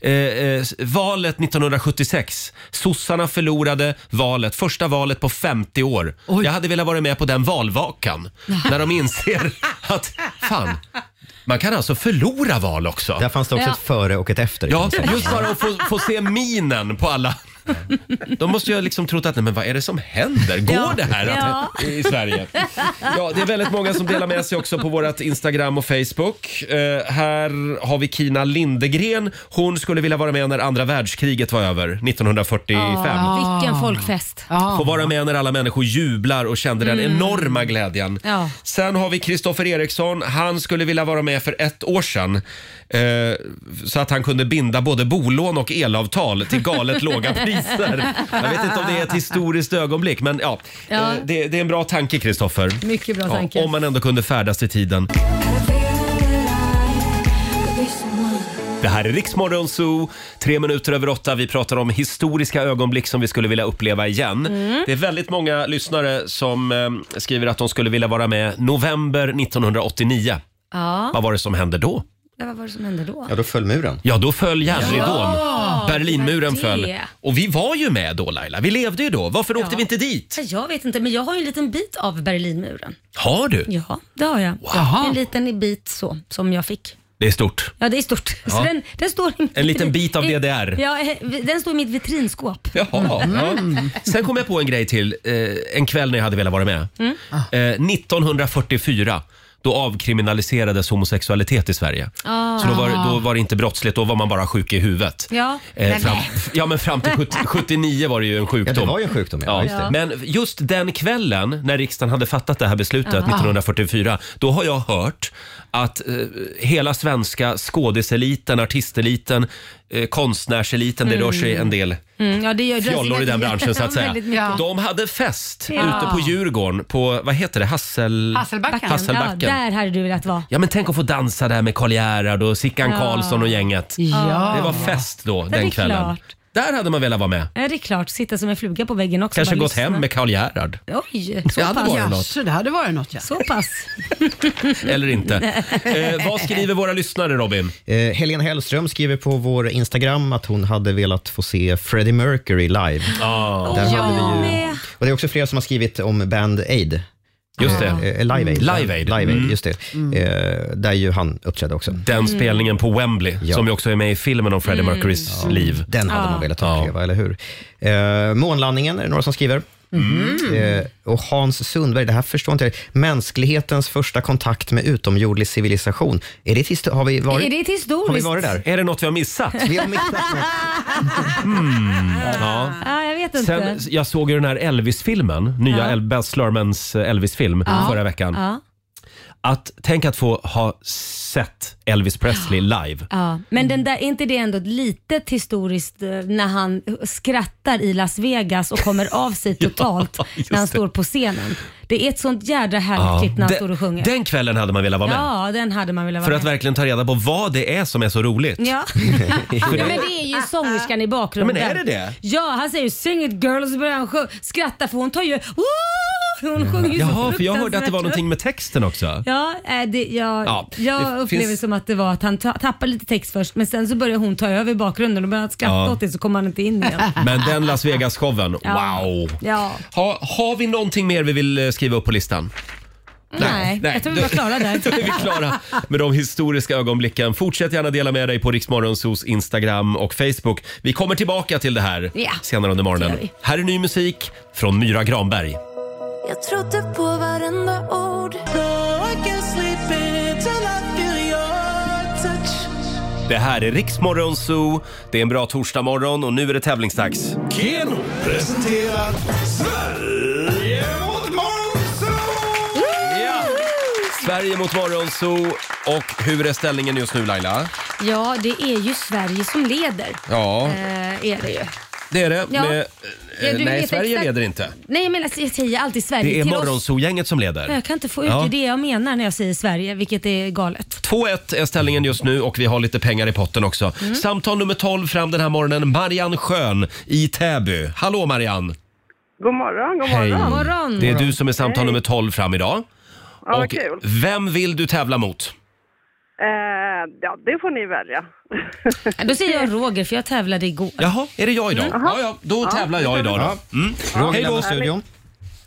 Speaker 1: Eh, eh, s- valet 1976. Sossarna förlorade valet, första valet på 50 år. Jag hade velat vara med på den valvakan. När de inser att, fan, man kan alltså förlora val också.
Speaker 4: Där fanns det också
Speaker 3: Ja.
Speaker 4: ett före och ett efter.
Speaker 1: Ja, just bara att få, få se minen på alla
Speaker 11: De måste ju ha liksom trott att, nej men vad är det som händer? Går
Speaker 2: Ja.
Speaker 11: det här att,
Speaker 2: Ja.
Speaker 11: i Sverige? Ja, det är väldigt många som delar med sig också på vårt Instagram och Facebook. Eh, här har vi Kina Lindegren. Hon skulle vilja vara med när andra världskriget var över, 1945.
Speaker 3: Vilken folkfest.
Speaker 11: Få vara med när alla människor jublar och kände den
Speaker 3: Mm.
Speaker 11: enorma glädjen.
Speaker 3: Ja.
Speaker 11: Sen har vi Kristoffer Eriksson. Han skulle vilja vara med för ett år sedan. Eh, så att han kunde binda både bolån och elavtal till galet låga priser. Jag vet inte om det är ett historiskt ögonblick, men ja.
Speaker 2: Ja.
Speaker 11: Eh, det, det är en bra tanke, Kristoffer.
Speaker 2: Mycket bra tanke.
Speaker 11: om man ändå kunde färdas i tiden. Det här är Riksmorgon Zoo, tre minuter över åtta. Vi pratar om historiska ögonblick som vi skulle vilja uppleva igen.
Speaker 2: Mm.
Speaker 11: Det är väldigt många lyssnare som eh, skriver att de skulle vilja vara med november 1989.
Speaker 3: Ja.
Speaker 11: Vad var det som hände då?
Speaker 3: Ja, Vad var det som hände då?
Speaker 11: då föll muren. Ja, då föll järnridån.
Speaker 3: Ja,
Speaker 11: Berlinmuren
Speaker 3: det var det.
Speaker 11: föll. Och vi var ju med då Laila, vi levde ju då. Varför åkte vi inte dit?
Speaker 3: Ja, Jag vet inte, men jag har ju en liten bit av Berlinmuren.
Speaker 11: Har du?
Speaker 3: Ja, det har jag.
Speaker 11: Jaha.
Speaker 3: En liten bit så, som jag fick.
Speaker 11: Det är stort.
Speaker 3: Ja, det är stort.
Speaker 11: Ja.
Speaker 3: Så den, den står i
Speaker 11: En liten bit av DDR.
Speaker 3: Ja, eh, den står i mitt vitrinskåp.
Speaker 11: Jaha.
Speaker 3: Mm.
Speaker 11: Ja. Sen kom jag på en grej till, eh, en kväll när jag hade velat vara med. Eh, 1944, då avkriminaliserades homosexualitet i Sverige.
Speaker 2: Ah.
Speaker 11: Så då var, då var det inte brottsligt, då var man bara sjuk i huvudet.
Speaker 2: Ja.
Speaker 11: Eh,
Speaker 2: Nej,
Speaker 11: fram,
Speaker 2: men.
Speaker 11: ja men fram till 70, 79 var det ju en sjukdom.
Speaker 4: Ja, det var ju en sjukdom, ja. Just det.
Speaker 11: Men just den kvällen när riksdagen hade fattat det här beslutet
Speaker 4: Ja.
Speaker 11: 1944, då har jag hört att eh, hela svenska skådiseliten, artisteliten, eh, konstnärseliten, det rör sig
Speaker 3: Mm.
Speaker 11: en del
Speaker 3: Mm, ja, det gör
Speaker 11: fjollor i den branschen så att säga.
Speaker 3: Väldigt mycket.
Speaker 11: De hade fest
Speaker 3: Ja.
Speaker 11: ute på Djurgården på, vad heter det, Hassel... Hasselbacken.
Speaker 3: Ja,
Speaker 11: Ja,
Speaker 3: där hade du velat vara.
Speaker 11: men tänk att få dansa där med Karl Gerhard och Sickan
Speaker 3: Ja.
Speaker 11: Karlsson och gänget.
Speaker 3: Ja.
Speaker 11: Det var fest då,
Speaker 3: det är
Speaker 11: den kvällen.
Speaker 3: klart.
Speaker 11: Där hade man velat vara med.
Speaker 3: Ja, det är klart. Sitta som en fluga på väggen också.
Speaker 11: Kanske
Speaker 3: bara
Speaker 11: gått hem
Speaker 3: lyssna.
Speaker 11: med Karl Gerhard.
Speaker 3: Oj,
Speaker 11: Det
Speaker 3: så
Speaker 11: hade
Speaker 3: pass.
Speaker 11: varit något. Jaså,
Speaker 3: det hade varit något ja. Så pass.
Speaker 11: Eller inte. eh, vad skriver våra lyssnare Robin?
Speaker 4: Eh, Helene Hellström skriver på vår Instagram att hon hade velat få se Freddie Mercury live. Där
Speaker 2: Ja.
Speaker 4: hade vi ju...
Speaker 2: Med.
Speaker 4: Och det är också flera som har skrivit om Band Aid.
Speaker 11: Just det.
Speaker 4: Eh, eh, Live Aid.
Speaker 11: Mm. Live Aid. Mm.
Speaker 4: just det. Eh, där ju han uppträdde också.
Speaker 3: Mm.
Speaker 11: Den spelningen på Wembley, som ju också är med i filmen om Freddie Mercurys liv.
Speaker 4: Den hade
Speaker 11: Ja.
Speaker 4: man velat uppleva, eller hur? Eh, månlandningen är det några som skriver.
Speaker 3: Mm.
Speaker 4: Eh, och Hans Sundberg, det här förstår inte jag. Mänsklighetens första kontakt med utomjordlig civilisation. Är det ett histo- har vi varit?
Speaker 3: Är det ett historiskt?
Speaker 4: Har vi varit där?
Speaker 11: Är det något vi har missat?
Speaker 4: Vi har missat
Speaker 11: Mm. Ja.
Speaker 3: Ja, jag vet inte.
Speaker 11: Sen, jag såg ju den här Elvis-filmen, nya
Speaker 3: Ja.
Speaker 11: El- Baz Luhrmanns eh, Elvis-film
Speaker 3: Ja.
Speaker 11: förra veckan.
Speaker 3: Ja.
Speaker 11: Att, tänk att få ha sett Elvis Presley live.
Speaker 3: Ja, men den där, är inte det ändå ett litet historiskt eh, när han skrattar i Las Vegas och kommer av sig totalt när han
Speaker 11: det.
Speaker 3: står på scenen? Det är ett sånt jädra härligt
Speaker 11: Ja.
Speaker 3: klipp när han
Speaker 11: Den-
Speaker 3: står och sjunger.
Speaker 11: Den kvällen hade man velat vara med.
Speaker 3: Ja, den hade man velat
Speaker 11: För
Speaker 3: vara
Speaker 11: att
Speaker 3: med.
Speaker 11: verkligen ta reda på vad det är som är så roligt.
Speaker 3: Ja. ja, men det är ju sångerskan i bakgrunden.
Speaker 11: Ja, men är det det?
Speaker 3: Ja, han säger ju “Sing it girl” och så börjar han sjö- skratta för hon tar ju... Woo! Hon sjunger ju så
Speaker 11: Jaha, för jag hörde att det var
Speaker 3: fruktansvärt
Speaker 11: någonting med texten också.
Speaker 3: Ja, eh, det, jag,
Speaker 11: Ja, det
Speaker 3: jag upplever
Speaker 11: finns-
Speaker 3: som att det var att han ta, tappade lite text först men sen så började hon ta över i bakgrunden och började han skratta
Speaker 11: Ja.
Speaker 3: åt det så kom han inte in igen.
Speaker 11: Men den Las Vegas-showen,
Speaker 3: Ja.
Speaker 11: wow!
Speaker 3: Ja.
Speaker 11: Ha, har vi någonting mer vi vill eh, skriva upp på listan?
Speaker 3: Nej, jag tror vi var klara där.
Speaker 11: Då är vi klara med de historiska ögonblicken. Fortsätt gärna dela med dig på Riksmorgonsos Instagram och Facebook. Vi kommer tillbaka till det här
Speaker 2: Ja,
Speaker 11: senare under morgonen.
Speaker 2: det gör vi.
Speaker 11: Här är ny musik från Myra Granberg.
Speaker 2: Jag trodde på varenda ord.
Speaker 11: Det här är Riksmorgonso. Det är en bra torsdagmorgon och nu är det tävlingsdags.
Speaker 16: Keno presenterar Sverige mot
Speaker 11: Ja. Sverige mot Morgonzoo. Och hur är ställningen just nu Laila?
Speaker 3: Ja, det är ju Sverige som leder.
Speaker 11: Ja,
Speaker 3: Eh, är det ju.
Speaker 11: det är det.
Speaker 3: ja.
Speaker 11: Med,
Speaker 3: Ja,
Speaker 11: eh,
Speaker 3: du
Speaker 11: nej,
Speaker 3: vet
Speaker 11: Sverige
Speaker 3: exakt-
Speaker 11: leder inte.
Speaker 3: Nej, men alltså, jag säger alltid Sverige
Speaker 11: Det är
Speaker 3: till oss.
Speaker 11: Morgonzoo-gänget som leder.
Speaker 3: Jag kan inte få ut
Speaker 11: Ja.
Speaker 3: det det jag menar när jag säger Sverige, vilket är galet.
Speaker 11: 2-1 är ställningen just nu och vi har lite pengar i potten också.
Speaker 3: Mm.
Speaker 11: Samtal nummer 12 fram den här morgonen. Marianne Schön i Täby. Hallå Marianne!
Speaker 6: God morgon, god morgon.
Speaker 11: Det är du som är samtal
Speaker 6: Hej.
Speaker 11: nummer 12 fram idag.
Speaker 6: Ja, vad
Speaker 11: och
Speaker 6: kul.
Speaker 11: vem vill du tävla mot?
Speaker 6: Eh, ja, det får ni välja.
Speaker 3: Då säger jag Roger för jag tävlade igår.
Speaker 11: Jaha, är det jag idag?
Speaker 3: Mm.
Speaker 11: Ja, ja, då
Speaker 3: Ja,
Speaker 11: tävlar jag idag då. Mm.
Speaker 4: Roger
Speaker 11: Hej då.
Speaker 4: lämnar studion.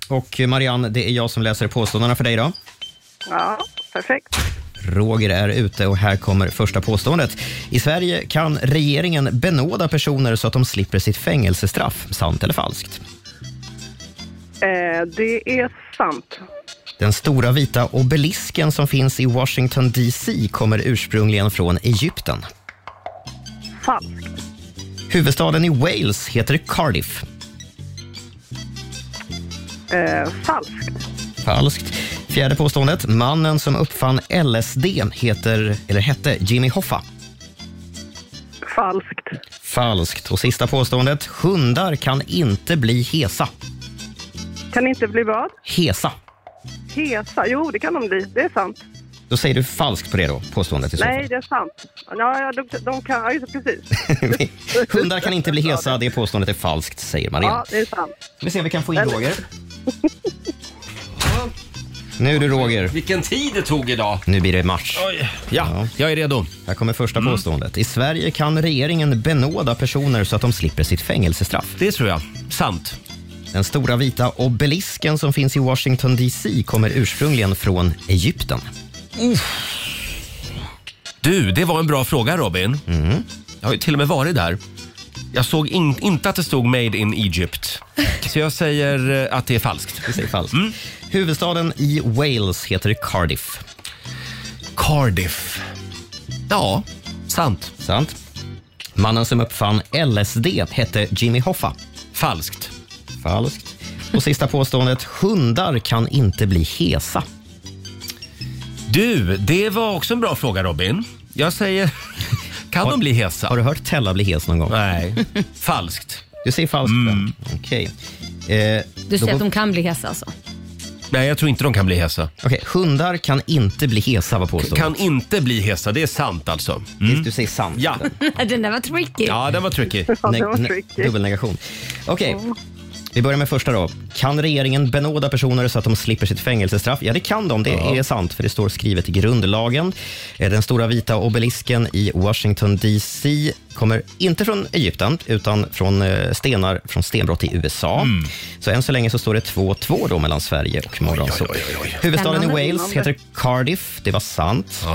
Speaker 4: Och Marianne, det är jag som läser påståendena för dig idag.
Speaker 6: Ja, perfekt.
Speaker 4: Roger är ute och här kommer första påståendet. I Sverige kan regeringen benåda personer så att de slipper sitt fängelsestraff. Sant eller falskt?
Speaker 6: Eh, det är sant.
Speaker 4: Den stora vita obelisken som finns i Washington DC kommer ursprungligen från Egypten.
Speaker 6: Falskt.
Speaker 4: Huvudstaden i Wales heter Cardiff.
Speaker 6: Eh, falskt.
Speaker 4: Falskt. Fjärde påståendet. Mannen som uppfann LSD heter, eller hette Jimmy Hoffa.
Speaker 6: Falskt.
Speaker 4: Falskt. Och sista påståendet. Hundar kan inte bli hesa.
Speaker 6: Kan inte bli vad?
Speaker 4: Hesa.
Speaker 6: Hesa. Jo, det kan de bli. Det är sant.
Speaker 4: Då säger du falskt på det då, påståendet i så
Speaker 6: Nej, det är sant. Ja, ja, de, de kan... Ja, just det, precis.
Speaker 4: fall. Hundar kan inte bli hesa, det påståendet är falskt, säger man igen.
Speaker 6: Ja, det är sant.
Speaker 4: Ska vi se om vi kan få in Roger. Nu du Roger.
Speaker 11: Vilken tid det tog idag.
Speaker 4: Nu blir det match.
Speaker 11: Oj. Ja, Mm. jag är redo.
Speaker 4: Här kommer första påståendet. I Sverige kan regeringen benåda personer så att de slipper sitt fängelsestraff.
Speaker 11: Det tror jag. Sant.
Speaker 4: Den stora vita obelisken som finns i Washington DC kommer ursprungligen från Egypten.
Speaker 11: Du, det var en bra fråga Robin. Jag har ju till och med varit där. Jag såg in, inte att det stod “Made in Egypt”. Så jag säger eh, att det är falskt.
Speaker 4: Vi säger falskt.
Speaker 11: Mm.
Speaker 4: Huvudstaden i Wales heter Cardiff.
Speaker 11: Cardiff. Ja, sant.
Speaker 4: Sant. Mannen som uppfann LSD hette Jimmy Hoffa.
Speaker 11: Falskt.
Speaker 4: Falskt. Och sista påståendet. Hundar kan inte bli hesa.
Speaker 11: Du, det var också en bra fråga Robin. Jag säger, kan de bli hesa? Har
Speaker 4: du hört Tella bli hes någon gång?
Speaker 11: Nej. Falskt.
Speaker 4: Du säger falskt mm. Okej. Eh,
Speaker 3: Du
Speaker 4: då
Speaker 3: säger att
Speaker 4: går-
Speaker 3: de kan bli hesa alltså?
Speaker 11: Nej, jag tror inte de kan bli hesa.
Speaker 4: Okej, hundar kan inte bli hesa var påståendet.
Speaker 11: Kan inte bli hesa, det är sant alltså.
Speaker 4: Du säger sant.
Speaker 11: Ja,
Speaker 3: Den där var tricky.
Speaker 11: ja den var tricky.
Speaker 4: Ne- ne- Dubbelnegation. Okej. Vi börjar med första då. Kan regeringen benåda personer så att de slipper sitt fängelsestraff? Ja, det kan de. Det är sant, för det står skrivet i grundlagen. Eh, Den stora vita obelisken i Washington DC kommer inte från Egypten, utan från eh, stenar från stenbrott i USA.
Speaker 11: Mm.
Speaker 4: Så än så länge så står det 2-2 då mellan Sverige och Morgonzoo. Huvudstaden i
Speaker 16: Spännande.
Speaker 4: Wales heter Cardiff. Det var sant.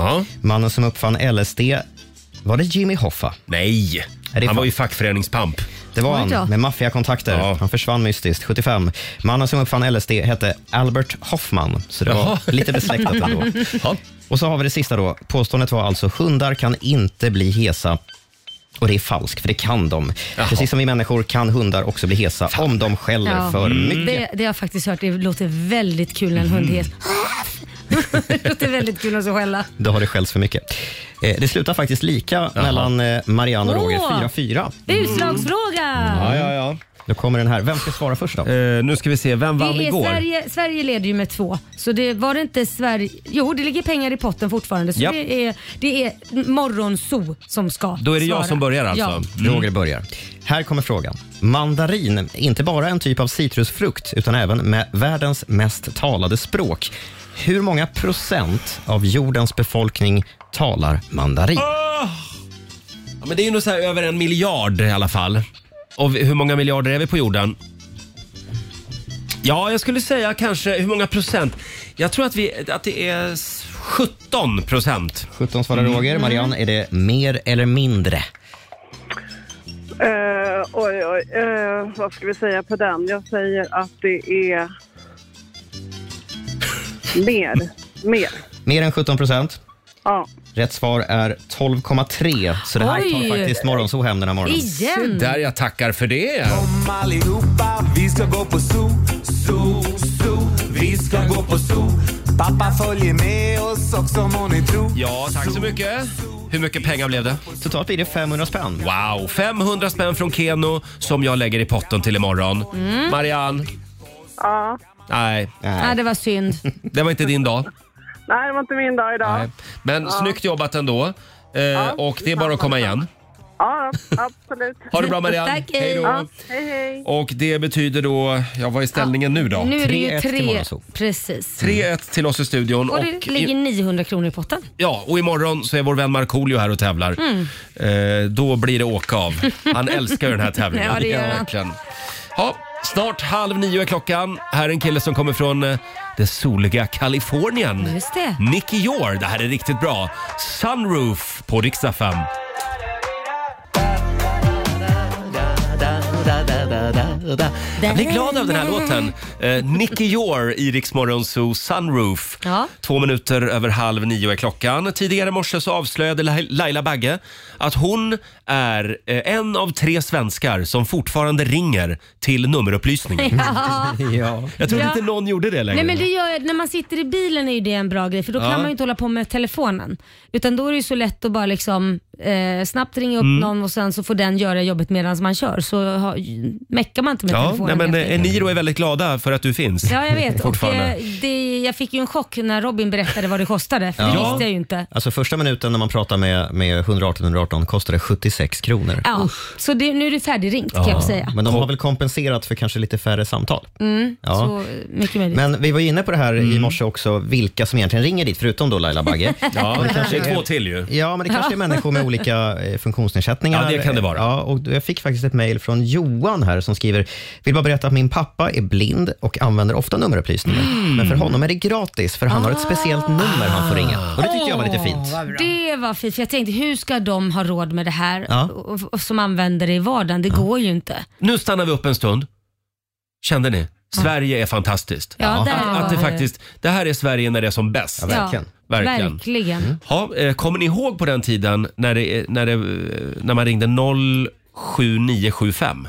Speaker 4: Mannen som uppfann LSD, var det Jimmy Hoffa?
Speaker 11: Nej,
Speaker 4: Eh,
Speaker 11: han var ju fackföreningspamp.
Speaker 4: Det var
Speaker 11: Oj då.
Speaker 4: han, med maffiakontakter. Han försvann mystiskt 75. Mannen som uppfann LSD hette Albert Hoffman, så det
Speaker 16: Jaha.
Speaker 4: var lite besläktat ändå. Och så har vi det sista då. Påståendet var alltså hundar kan inte bli hesa. Och det är falskt, för det kan de. Precis som vi människor kan hundar också bli hesa om de skäller
Speaker 3: Ja. Mm.
Speaker 4: för
Speaker 11: Mm.
Speaker 4: mycket. Mm.
Speaker 3: Det, det har jag faktiskt hört. Det låter väldigt kul när en hund hes. det låter väldigt kul att så skälla.
Speaker 4: Då har det skällts för mycket. Eh, det slutar faktiskt lika mellan eh, Marianne och Roger.
Speaker 3: Åh.
Speaker 4: 4-4.
Speaker 3: Utslagsfråga!
Speaker 11: ja. Eh,
Speaker 4: Då kommer den här. Vem ska svara först då?
Speaker 11: nu ska vi se, vem vann
Speaker 3: Det är
Speaker 11: igår?
Speaker 3: Sverige, Sverige leder ju med två. Så det var det inte Sverige... Jo, det ligger pengar i potten fortfarande. Så
Speaker 11: Japp.
Speaker 3: det är, det är Morgonzoo som ska
Speaker 4: Då är det jag
Speaker 3: svara.
Speaker 4: som börjar alltså.
Speaker 3: Ja.
Speaker 4: Mm. Roger börjar. Här kommer frågan. Mandarin, är inte bara en typ av citrusfrukt, utan även med världens mest talade språk. Hur många procent av jordens befolkning talar mandarin?
Speaker 11: Ja, men det är ju nog så här över en miljard i alla fall. Och vi- hur många miljarder är vi på jorden? Ja, jag skulle säga kanske, hur många procent? Jag tror att, vi, att det är s- 17 procent.
Speaker 4: 17 svarar Roger. Marianne, är det mer eller mindre?
Speaker 6: Eh, oj, oj. Eh, vad ska vi säga på den? Jag säger att det är... Mer. Mer.
Speaker 4: Mer än 17 procent.
Speaker 6: Ja.
Speaker 4: Rätt svar är 12,3. Så det här
Speaker 6: Oj!
Speaker 4: tar faktiskt Morgonzoo hem den här morgonen.
Speaker 6: Igen! Se där,
Speaker 11: jag tackar för det.
Speaker 16: Kom allihopa, vi ska gå på zoo, zoo, zoo. Vi ska gå på zoo. Pappa följer med oss också må ni tro.
Speaker 11: Ja, tack så mycket. Hur mycket pengar blev det?
Speaker 4: Totalt blir det 500 spänn.
Speaker 11: Wow, 500 spänn från Keno som jag lägger i potten till imorgon.
Speaker 3: Mm.
Speaker 11: Marianne,
Speaker 6: Ja.
Speaker 11: nej.
Speaker 3: Nej, det var synd.
Speaker 11: Det var inte din dag.
Speaker 6: Nej, det var inte min dag idag.
Speaker 11: Nej. Men
Speaker 6: Ja.
Speaker 11: snyggt jobbat ändå. Eh, och det är bara att komma igen.
Speaker 6: Ja, absolut.
Speaker 11: Ha det bra, Marianne.
Speaker 6: Tack,
Speaker 11: Hej då.
Speaker 6: Ja, hej, hej.
Speaker 11: Och det betyder då, ja vad är ställningen nu då?
Speaker 3: Nu är det ju
Speaker 11: 3-1 till
Speaker 3: tre...
Speaker 11: Morgonzoo.
Speaker 3: Precis.
Speaker 11: 3-1 till oss i studion.
Speaker 3: Och
Speaker 11: Och,
Speaker 3: det
Speaker 11: i,
Speaker 3: ligger 900 kronor i potten.
Speaker 11: ja, och imorgon så är vår vän Markoolio här och tävlar.
Speaker 3: Mm.
Speaker 11: Eh, då blir det åka av. Han älskar ju den här tävlingen.
Speaker 3: Ja, det gör han.
Speaker 11: Verkligen. Ja, Snart halv nio är klockan. Här är en kille som kommer från eh, det soliga Kalifornien.
Speaker 3: Just det.
Speaker 11: Nicky Jor, det här är riktigt bra. Sunroof på riksdag 5. Jag blir glad av den här låten. Eh, Nicky Jor i Rix Morgon Zoo, Sunroof.
Speaker 3: Ja.
Speaker 11: Två minuter över halv nio är klockan. Tidigare i morse så avslöjade Lai- Laila Bagge att hon är eh, en av tre svenskar som fortfarande ringer till nummerupplysningen.
Speaker 3: Ja.
Speaker 11: Jag tror
Speaker 3: Ja.
Speaker 11: inte någon gjorde det längre.
Speaker 3: Nej men det gör, när man sitter i bilen är ju det en bra grej för då
Speaker 11: Ja.
Speaker 3: kan man ju inte hålla på med telefonen. Utan då är det ju så lätt att bara liksom eh, snabbt ringa upp
Speaker 11: Mm.
Speaker 3: någon och sen så får den göra jobbet medan man kör. Så ha, meckar man inte med
Speaker 11: Ja, nej,
Speaker 3: telefonen.
Speaker 11: men
Speaker 3: helt
Speaker 11: eh,
Speaker 3: enkelt.
Speaker 11: Eniro är väldigt glada för att du finns.
Speaker 3: Ja jag vet. Och,
Speaker 11: Fortfarande.
Speaker 3: eh, det, jag fick ju en chock när Robin berättade vad det kostade. För det
Speaker 4: Ja.
Speaker 3: visste jag ju inte.
Speaker 4: Alltså första minuten när man pratar med, med 118 118 kostar det 76 kronor.
Speaker 3: Ja, så det, nu är det färdigringt kan jag säga.
Speaker 4: Men de har väl kompenserat för kanske lite färre samtal.
Speaker 3: Mm,
Speaker 4: Ja.
Speaker 3: Så mycket möjligt.
Speaker 11: Mm.
Speaker 4: Men vi var ju inne på det här i morse också, vilka som egentligen ringer dit, förutom då Laila Bagge.
Speaker 11: Ja,
Speaker 4: Men
Speaker 11: det är
Speaker 4: är-
Speaker 11: två till ju.
Speaker 4: Ja, men det kanske är människor med olika eh, funktionsnedsättningar.
Speaker 11: Ja, det kan det vara.
Speaker 4: Ja, och jag fick faktiskt ett mejl från Johan här som skriver, vill bara berätta att min pappa är blind och använder ofta nummerupplysningar. Men
Speaker 11: Mm.
Speaker 4: för honom är det gratis, för han har ett speciellt nummer han får ringa. Och det tyckte jag var lite fint.
Speaker 3: Det var fint, för jag tänkte hur ska de ha råd med det här
Speaker 11: Ja.
Speaker 3: och, och, som använder det i vardagen? Det går ju inte.
Speaker 11: Nu stannar vi upp en stund. Kände ni? Sverige är fantastiskt.
Speaker 3: Ja, där
Speaker 11: att,
Speaker 3: var
Speaker 11: att det
Speaker 3: det.
Speaker 11: faktiskt, det här är Sverige när det är som bäst.
Speaker 3: Ja,
Speaker 11: Verkligen.
Speaker 3: verkligen.
Speaker 11: Ja, eh, kommer ni ihåg på den tiden när, det, när, det, eh, när man ringde 07975?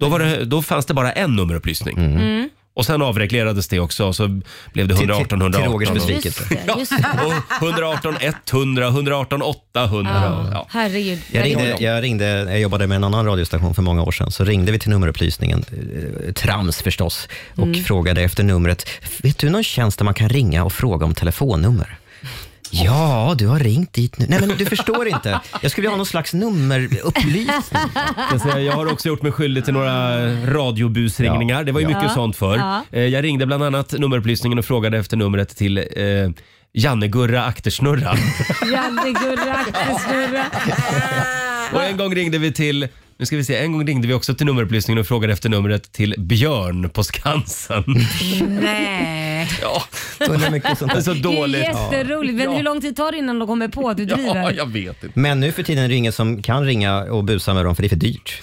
Speaker 11: Då, var det, då fanns det bara en nummerupplysning.
Speaker 3: Mm.
Speaker 11: Och sen avreglerades det också och så blev det 118
Speaker 4: till
Speaker 11: 118.
Speaker 4: Rogers besvikelse.
Speaker 3: Just det, just
Speaker 11: Ja,
Speaker 3: det.
Speaker 11: och 118 100, 118 800.
Speaker 3: Ja.
Speaker 11: Ja.
Speaker 3: Herregud.
Speaker 4: Jag, ringde, jag, ringde, jag jobbade med en annan radiostation för många år sedan, så ringde vi till nummerupplysningen, eh, trams förstås, och
Speaker 3: Mm.
Speaker 4: frågade efter numret. Vet du någon tjänst där man kan ringa och fråga om telefonnummer? Ja, du har ringt dit nu. Nej, men du förstår inte. Jag skulle ha någon slags nummerupplysning.
Speaker 11: Jag, säga, jag har också gjort mig skyldig till några radiobusringningar. Det var ju
Speaker 3: Ja.
Speaker 11: mycket
Speaker 3: Ja.
Speaker 11: sånt förr.
Speaker 3: Ja.
Speaker 11: Eh, Jag ringde bland annat nummerupplysningen och frågade efter numret till eh, Janne-Gurra Aktersnurra.
Speaker 3: Janne Gurra, Aktersnurra.
Speaker 11: och en gång ringde vi till nu ska vi se, en gång ringde vi också till nummerupplysningen och frågade efter numret till Björn på Skansen.
Speaker 3: Nej.
Speaker 11: ja.
Speaker 4: Så det är mycket sånt där.
Speaker 11: Det är så dåligt.
Speaker 3: Det är jätteroligt. Men hur lång tid tar det innan de kommer på att du driver?
Speaker 11: Ja, jag vet inte.
Speaker 4: Men nu för tiden är det ingen som kan ringa och busa med dem, för det är för dyrt.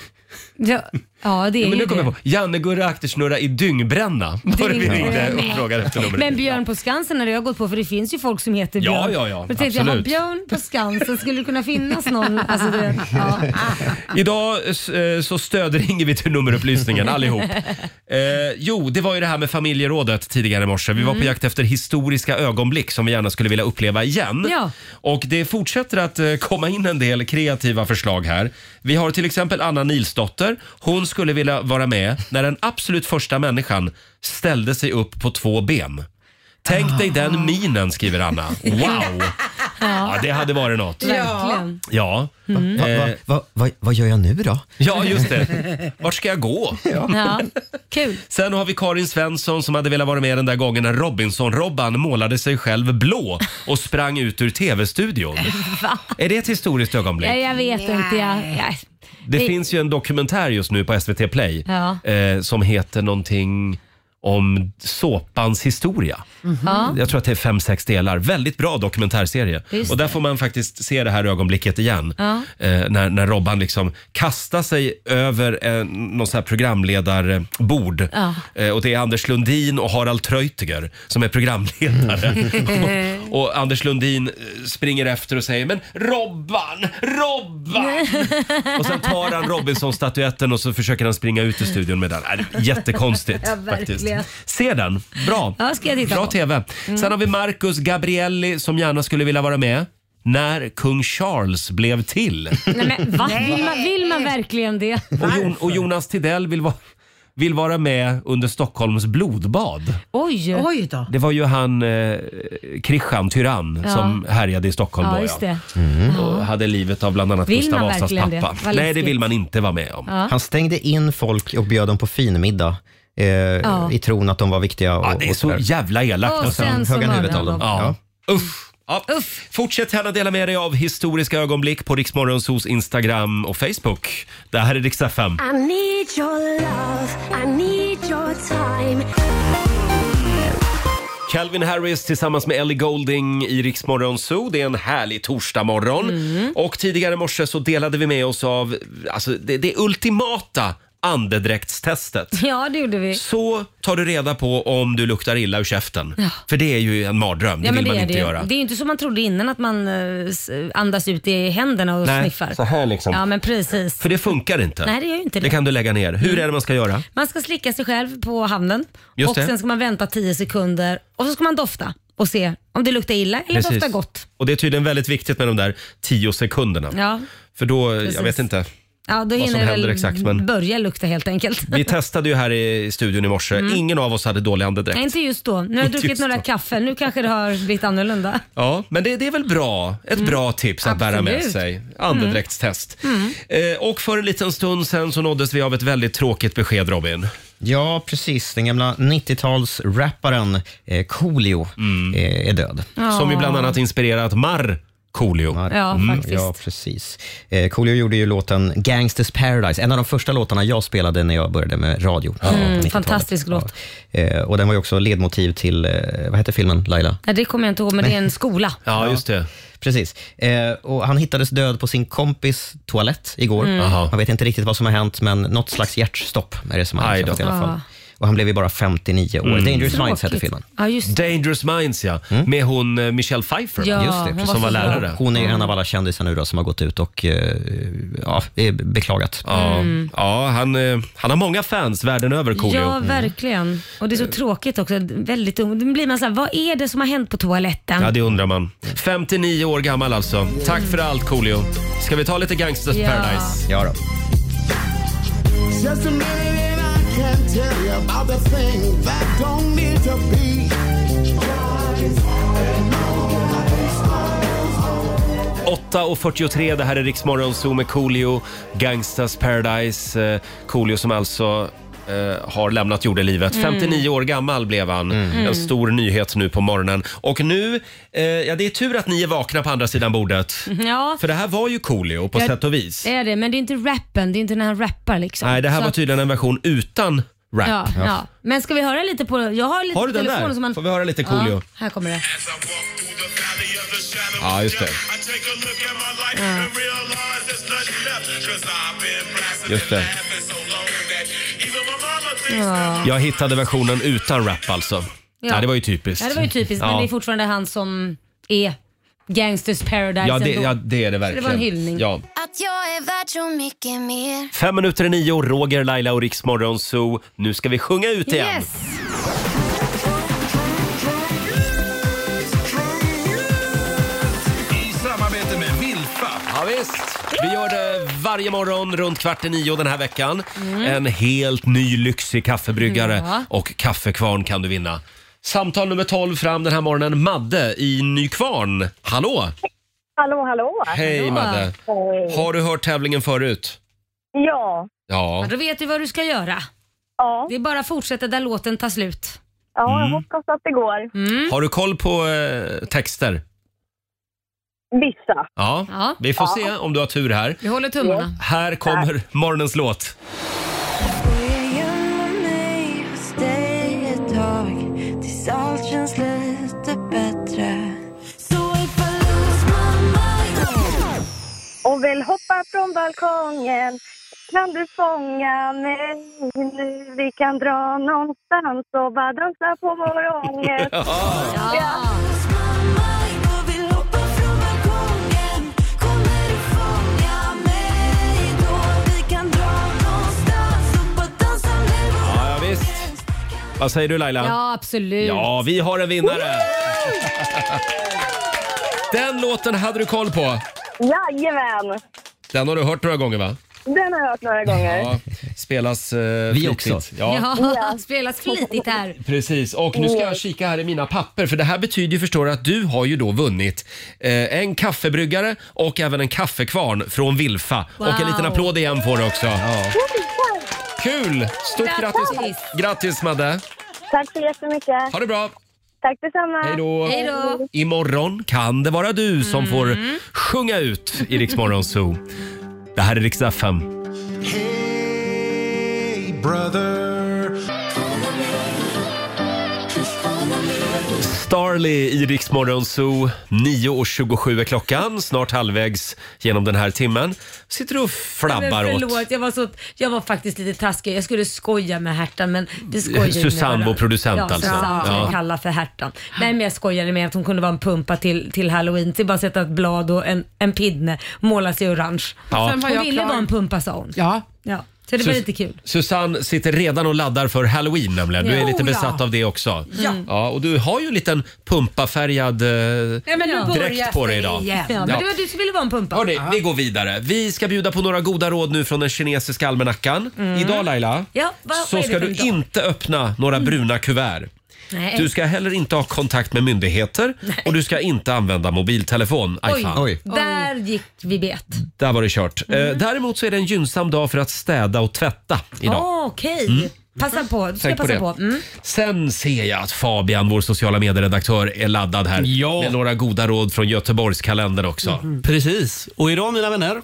Speaker 3: Ja, ja det
Speaker 11: Men
Speaker 3: är ju
Speaker 11: nu
Speaker 3: det.
Speaker 11: kommer jag på, Janne-Gurra Aktersnurra i dyngbänna var det vi ringde och frågade efter numret.
Speaker 3: Men Björn på Skansen har jag gått på för det finns ju folk som heter
Speaker 11: Ja,
Speaker 3: Björn.
Speaker 11: ja, ja,
Speaker 3: Då tänkte jag,
Speaker 11: absolut.
Speaker 3: har Björn på Skansen, skulle det kunna finnas någon? Alltså, du vet, ja.
Speaker 11: Idag eh, så stödringer vi till nummerupplysningen allihop. Eh, jo, det var ju det här med familjerådet tidigare i morse. Vi var på
Speaker 19: Mm.
Speaker 11: jakt efter historiska ögonblick som vi gärna skulle vilja uppleva igen.
Speaker 19: Ja.
Speaker 11: Och det fortsätter att eh, komma in en del kreativa förslag här. Vi har till exempel Anna Nilsdotter. Hon skulle vilja vara med när den absolut första människan ställde sig upp på två ben. Tänk dig den minen, skriver Anna. Wow! Ja, det hade varit något.
Speaker 3: Verkligen.
Speaker 11: Ja.
Speaker 3: Mm.
Speaker 4: Va,
Speaker 3: Eh.
Speaker 4: va, va, va, vad gör jag nu då?
Speaker 11: Ja, just det. Vart ska jag gå?
Speaker 3: Ja. Kul.
Speaker 11: Sen har vi Karin Svensson som hade velat vara med den där gången när Robinson-Robban målade sig själv blå och sprang ut ur tv-studion.
Speaker 3: Va?
Speaker 11: Är det ett historiskt ögonblick?
Speaker 3: Ja, jag vet inte. Jag, jag,
Speaker 11: Det
Speaker 3: det-
Speaker 11: finns ju en dokumentär just nu på SVT Play
Speaker 3: Ja.
Speaker 11: eh, som heter någonting om såpans historia.
Speaker 3: Ja.
Speaker 11: Jag tror att det är fem, sex delar. Väldigt bra dokumentärserie.
Speaker 19: Mhm. Just
Speaker 11: och där
Speaker 19: det.
Speaker 11: får man faktiskt se det här ögonblicket igen.
Speaker 19: Ja.
Speaker 11: Eh, när, när Robban liksom kastar sig över eh, någon sån här programledarbord.
Speaker 19: Ja.
Speaker 11: Eh, och det är Anders Lundin och Harald Treutiger som är programledare. och, och Anders Lundin eh, springer efter och säger “Men Robban, Robban!” Och sen tar han Robinson-statyetten och så försöker han springa ut ur studion med den. Äh, det är Jättekonstigt
Speaker 3: Ja, verkligen.
Speaker 11: faktiskt. Se den, bra.
Speaker 3: Ja, ska jag titta
Speaker 11: bra
Speaker 3: på. Mm.
Speaker 11: TV. Sen har vi Marcus Gabrielli som gärna skulle vilja vara med. När kung Charles blev till.
Speaker 3: Nej, men, va? Vill, man, vill man verkligen det?
Speaker 11: Och, Jon, och Jonas Tidell vill, va, vill vara med under Stockholms blodbad.
Speaker 3: Oj. Oj
Speaker 7: då.
Speaker 11: Det var ju han eh, Christian Tyrann
Speaker 3: Ja.
Speaker 11: som härjade i Stockholm
Speaker 3: Ja,
Speaker 11: då,
Speaker 3: just det.
Speaker 11: och hade livet av bland annat
Speaker 3: Vill
Speaker 11: Gustav
Speaker 3: man
Speaker 11: Vasas
Speaker 3: verkligen det?
Speaker 11: pappa.
Speaker 3: Vad
Speaker 11: Nej, det
Speaker 3: läskigt.
Speaker 11: vill man inte vara med om.
Speaker 3: Ja.
Speaker 4: Han stängde in folk och bjöd dem på finmiddag. Eh, I tron att de var viktiga. Och, ja,
Speaker 11: det är så jävla elakt.
Speaker 3: Och sen så
Speaker 4: Höga
Speaker 3: mördade
Speaker 4: huvudet av
Speaker 3: han
Speaker 4: dem.
Speaker 3: dem.
Speaker 4: Ja.
Speaker 11: Usch. Ja. Fortsätt gärna dela med dig av historiska ögonblick på Riksmorgonsos Instagram och Facebook. Det här är Rix FM.
Speaker 19: I need your love, I need your time.
Speaker 11: Calvin Harris tillsammans med Ellie Golding i Riksmorgon Zoo. Det är en härlig torsdagmorgon.
Speaker 3: Mm.
Speaker 11: Och tidigare i morse så delade vi med oss av alltså, det, det ultimata andedräktstestet.
Speaker 3: Ja, det gjorde vi.
Speaker 11: Så tar du reda på om du luktar illa ur käften.
Speaker 3: Ja.
Speaker 11: För det är ju en mardröm, det
Speaker 3: ja,
Speaker 11: vill
Speaker 3: men det
Speaker 11: man
Speaker 3: är
Speaker 11: inte
Speaker 3: det. ju.
Speaker 11: göra.
Speaker 3: Det är ju inte som man trodde innan att man eh, s- andas ut i händerna och
Speaker 11: Nej,
Speaker 3: sniffar.
Speaker 11: så här liksom.
Speaker 3: Ja, men precis.
Speaker 11: För det funkar inte.
Speaker 3: Nej, det gör ju inte det. Mm.
Speaker 11: Det kan du lägga ner. Hur är det man ska göra?
Speaker 3: Man ska slicka sig själv på handen
Speaker 11: Just
Speaker 3: och
Speaker 11: det.
Speaker 3: sen ska man vänta 10 sekunder och så ska man dofta och se om det luktar illa eller
Speaker 11: Precis.
Speaker 3: doftar gott.
Speaker 11: Och det är tydligen väldigt viktigt med de där tio sekunderna.
Speaker 3: Ja,
Speaker 11: För då,
Speaker 3: Precis.
Speaker 11: jag vet inte.
Speaker 3: ja då
Speaker 11: Vad som
Speaker 3: hinner det
Speaker 11: händer
Speaker 3: väl
Speaker 11: exakt, men-
Speaker 3: börja lukta helt enkelt.
Speaker 11: Vi testade ju här i studion i morse.
Speaker 3: Mm.
Speaker 11: Ingen av oss hade dålig
Speaker 3: Nej,
Speaker 11: andedräkt.
Speaker 3: inte just då. Nu har jag
Speaker 11: Inte
Speaker 3: druckit
Speaker 11: just
Speaker 3: några
Speaker 11: då.
Speaker 3: kaffe. Nu kanske det har blivit annorlunda.
Speaker 11: Ja, men det, det är väl bra. Ett bra tips att bära med
Speaker 3: Mm. Absolut. Mm.
Speaker 11: sig. Andedräktstest. Eh, och för en liten stund sen så nåddes vi av ett väldigt tråkigt besked, Robin.
Speaker 4: Ja, precis. Den gamla 90-talsrapparen eh, Coolio eh, är död.
Speaker 11: Ja. Som ju bland annat inspirerat Mar Coolio.
Speaker 3: Ja, faktiskt.
Speaker 4: Ja, precis. Eh, Coolio gjorde ju låten Gangsters Paradise, en av de första låtarna jag spelade när jag började med radio.
Speaker 3: Mm,
Speaker 4: 90-talet.
Speaker 3: fantastisk låt.
Speaker 4: Eh, och den var ju också ledmotiv till, eh, vad hette filmen Laila?
Speaker 3: Nej, det kommer jag inte ihåg, men det är en skola.
Speaker 11: Ja, just det.
Speaker 4: Precis. Eh, och han hittades död på sin kompis toalett igår.
Speaker 3: Mm. Aha.
Speaker 4: Man vet inte riktigt vad som har hänt, men något slags hjärtstopp är det som har inträffat i alla fall.
Speaker 3: Ja.
Speaker 4: Och han blev ju bara 59 år.
Speaker 11: Mm.
Speaker 4: Dangerous Minds
Speaker 3: Ah. Tråkigt.
Speaker 4: hette filmen.
Speaker 3: Ja, just
Speaker 11: Dangerous Minds, ja. Med hon eh, Michelle Pfeiffer, va?
Speaker 3: Ja, Just det, hon precis.
Speaker 11: som var
Speaker 3: var så bra.
Speaker 11: lärare.
Speaker 4: Hon är ju
Speaker 11: Ja.
Speaker 4: en av alla kändisar nu då som har gått ut och eh, ja, eh, beklagat.
Speaker 11: Ja, Mm. ja han, eh, han har många fans världen över, Coolio. Mm.
Speaker 3: Ja, verkligen. Och det är så tråkigt också. Väldigt dumt. Då blir man så här, vad är det som har hänt på toaletten?
Speaker 11: Ja, det undrar man. 59 år gammal alltså. Tack för allt, Coolio. Ska vi ta lite Gangsters
Speaker 2: Ja.
Speaker 11: Paradise?
Speaker 4: Ja
Speaker 2: Just a minute and I can tell you about the thing that don't need to be.
Speaker 11: 8.43, det här är Riksmorgon Zoo med Coolio, Gangsters Paradise. Eh, Coolio som alltså eh, har lämnat jordelivet.
Speaker 9: Mm.
Speaker 11: 59 år gammal blev han.
Speaker 9: Mm.
Speaker 11: En stor nyhet nu på morgonen. Och nu, eh, ja det är tur att ni är vakna på andra sidan bordet.
Speaker 3: Ja,
Speaker 11: För det här var ju Coolio på
Speaker 3: Ja,
Speaker 11: sätt och vis.
Speaker 3: det är det. Men det är inte rappen, det är inte när han rappar liksom.
Speaker 11: Nej, det här
Speaker 3: Så
Speaker 11: var
Speaker 3: att-
Speaker 11: tydligen en version utan rap.
Speaker 3: Ja, ja. Men ska vi höra lite på... Jag har lite
Speaker 11: Har du den
Speaker 3: telefon
Speaker 11: där?
Speaker 3: som man...
Speaker 11: Får vi höra lite Coolio?
Speaker 3: Ja, här kommer det.
Speaker 11: Ja, just det.
Speaker 3: Ja.
Speaker 11: Just det.
Speaker 3: Ja.
Speaker 11: Jag hittade versionen utan rap alltså. Ja.
Speaker 3: Ja.
Speaker 11: det var ju typiskt.
Speaker 3: Ja, det var ju typiskt. Men
Speaker 11: Ja.
Speaker 3: det är fortfarande han som är Gangsters Paradise
Speaker 11: Ja det,
Speaker 3: ändå.
Speaker 11: ja, det är det
Speaker 3: Så det
Speaker 11: verkligen.
Speaker 3: var en hyllning.
Speaker 11: Ja.
Speaker 2: Att jag är värd så mycket mer.
Speaker 11: Fem minuter i nio, Roger, Laila och Riksmorgon Zoo. Nu ska vi sjunga ut igen.
Speaker 2: Yes!
Speaker 5: I samarbete med Vilfa.
Speaker 11: Ja, visst. Vi gör det varje morgon runt kvart i nio den här veckan.
Speaker 5: Mm.
Speaker 11: En helt ny lyxig kaffebryggare
Speaker 5: Ja.
Speaker 11: och kaffekvarn kan du vinna. Samtal nummer 12 fram den här morgonen. Madde i Nykvarn. Hallå!
Speaker 20: Hallå, hallå!
Speaker 11: Hej, Hallå. Madde.
Speaker 20: Hej.
Speaker 11: Har du hört tävlingen förut?
Speaker 20: Ja.
Speaker 11: Ja.
Speaker 3: Ja, då vet du vad du ska göra.
Speaker 20: Ja.
Speaker 3: Det är bara att fortsätta där låten tar slut.
Speaker 20: Ja, jag
Speaker 11: Mm.
Speaker 20: hoppas att det går.
Speaker 11: Har du koll på eh, texter?
Speaker 20: Vissa.
Speaker 11: Ja.
Speaker 20: Ja.
Speaker 11: Vi får
Speaker 20: Ja.
Speaker 11: se om du har tur här.
Speaker 3: Vi håller tummarna.
Speaker 11: Här kommer morgonens låt.
Speaker 20: Och vill hoppa från balkongen kan du fånga mig nu? Vi kan dra någonstans och bara dansa på morgonen. Ja.
Speaker 11: Ja, ja visst. Vad säger du Laila?
Speaker 3: Ja, absolut.
Speaker 11: Ja, vi har en vinnare! Den låten hade du koll på.
Speaker 20: Jajamän!
Speaker 11: Den har du hört några gånger va?
Speaker 20: Den har jag hört några gånger.
Speaker 11: Ja, spelas eh,
Speaker 4: Vi
Speaker 11: flitigt.
Speaker 4: också.
Speaker 11: Ja.
Speaker 3: Ja, spelas flitigt här.
Speaker 11: Precis, och nu ska jag kika här i mina papper för det här betyder ju förstår du, att du har ju då vunnit eh, en kaffebryggare och även en kaffekvarn från Vilfa.
Speaker 2: Wow.
Speaker 11: Och en liten applåd igen får du också. Kul! Stort grattis!
Speaker 20: Grattis.
Speaker 11: Grattis Madde!
Speaker 20: Tack så jättemycket.
Speaker 11: Ha det bra!
Speaker 6: Tack detsamma.
Speaker 11: Hej då. Imorgon kan det vara du som får sjunga ut i Rix Morgon Zoo. Det här är Rix FM. Starly i Rix Morgon Zoo. 9.27 är klockan, snart halvvägs genom den här timmen. Sitter du och flabbar
Speaker 3: men
Speaker 11: åt
Speaker 3: förlåt, jag var, så, jag var faktiskt lite taskig. Jag skulle skoja med Hertan men vi skojar ju med
Speaker 11: Susanne, vår
Speaker 3: varandra.
Speaker 11: producent
Speaker 3: ja,
Speaker 11: alltså.
Speaker 3: Susanne, som
Speaker 11: Ja.
Speaker 3: jag kallar för Hertan. Nej men jag skojade med att hon kunde vara en pumpa till, till halloween. Till bara att sätta ett blad och en, en pinne, måla sig orange.
Speaker 11: Ja. Sen var
Speaker 3: Hon
Speaker 11: jag
Speaker 3: ville
Speaker 11: klar.
Speaker 3: vara en pumpa sa hon.
Speaker 21: Ja.
Speaker 3: ja. Så det var
Speaker 11: Sus-
Speaker 3: lite kul.
Speaker 11: Susanne sitter redan och laddar för halloween nämligen. Du är
Speaker 3: Ja.
Speaker 11: lite
Speaker 3: Oh, ja.
Speaker 11: besatt av det också.
Speaker 3: Ja.
Speaker 11: och du har ju en liten pumpafärgad eh,
Speaker 3: Nej, men nu
Speaker 11: dräkt på dig idag.
Speaker 3: Ja, men
Speaker 11: Ja.
Speaker 3: det var du som ville vara en pumpa.
Speaker 11: Hörrni, vi går vidare. Vi ska bjuda på några goda råd nu från den kinesiska almanackan.
Speaker 3: Mm.
Speaker 11: Idag Laila,
Speaker 3: Ja, vad-
Speaker 11: så
Speaker 3: vad är det
Speaker 11: ska
Speaker 3: för
Speaker 11: du
Speaker 3: idag? Mm.
Speaker 11: inte öppna några bruna kuvert.
Speaker 3: Nej.
Speaker 11: Du ska heller inte ha kontakt med myndigheter och du ska inte använda mobiltelefon. Aj,
Speaker 3: Oj, Mm.
Speaker 11: fan.
Speaker 3: där gick vi bet.
Speaker 11: Där var det kört. Eh, Däremot så är det en gynnsam dag för att städa och tvätta idag.
Speaker 3: Ah, Okej,
Speaker 11: Mm.
Speaker 3: passa på. Du ska
Speaker 11: Tänk på
Speaker 3: passa
Speaker 11: det.
Speaker 3: på. Mm.
Speaker 11: Sen ser jag att Fabian, vår sociala medieredaktör, är laddad här med några goda råd från Göteborgskalendern också.
Speaker 1: Mm-hmm. Precis. Och idag mina vänner,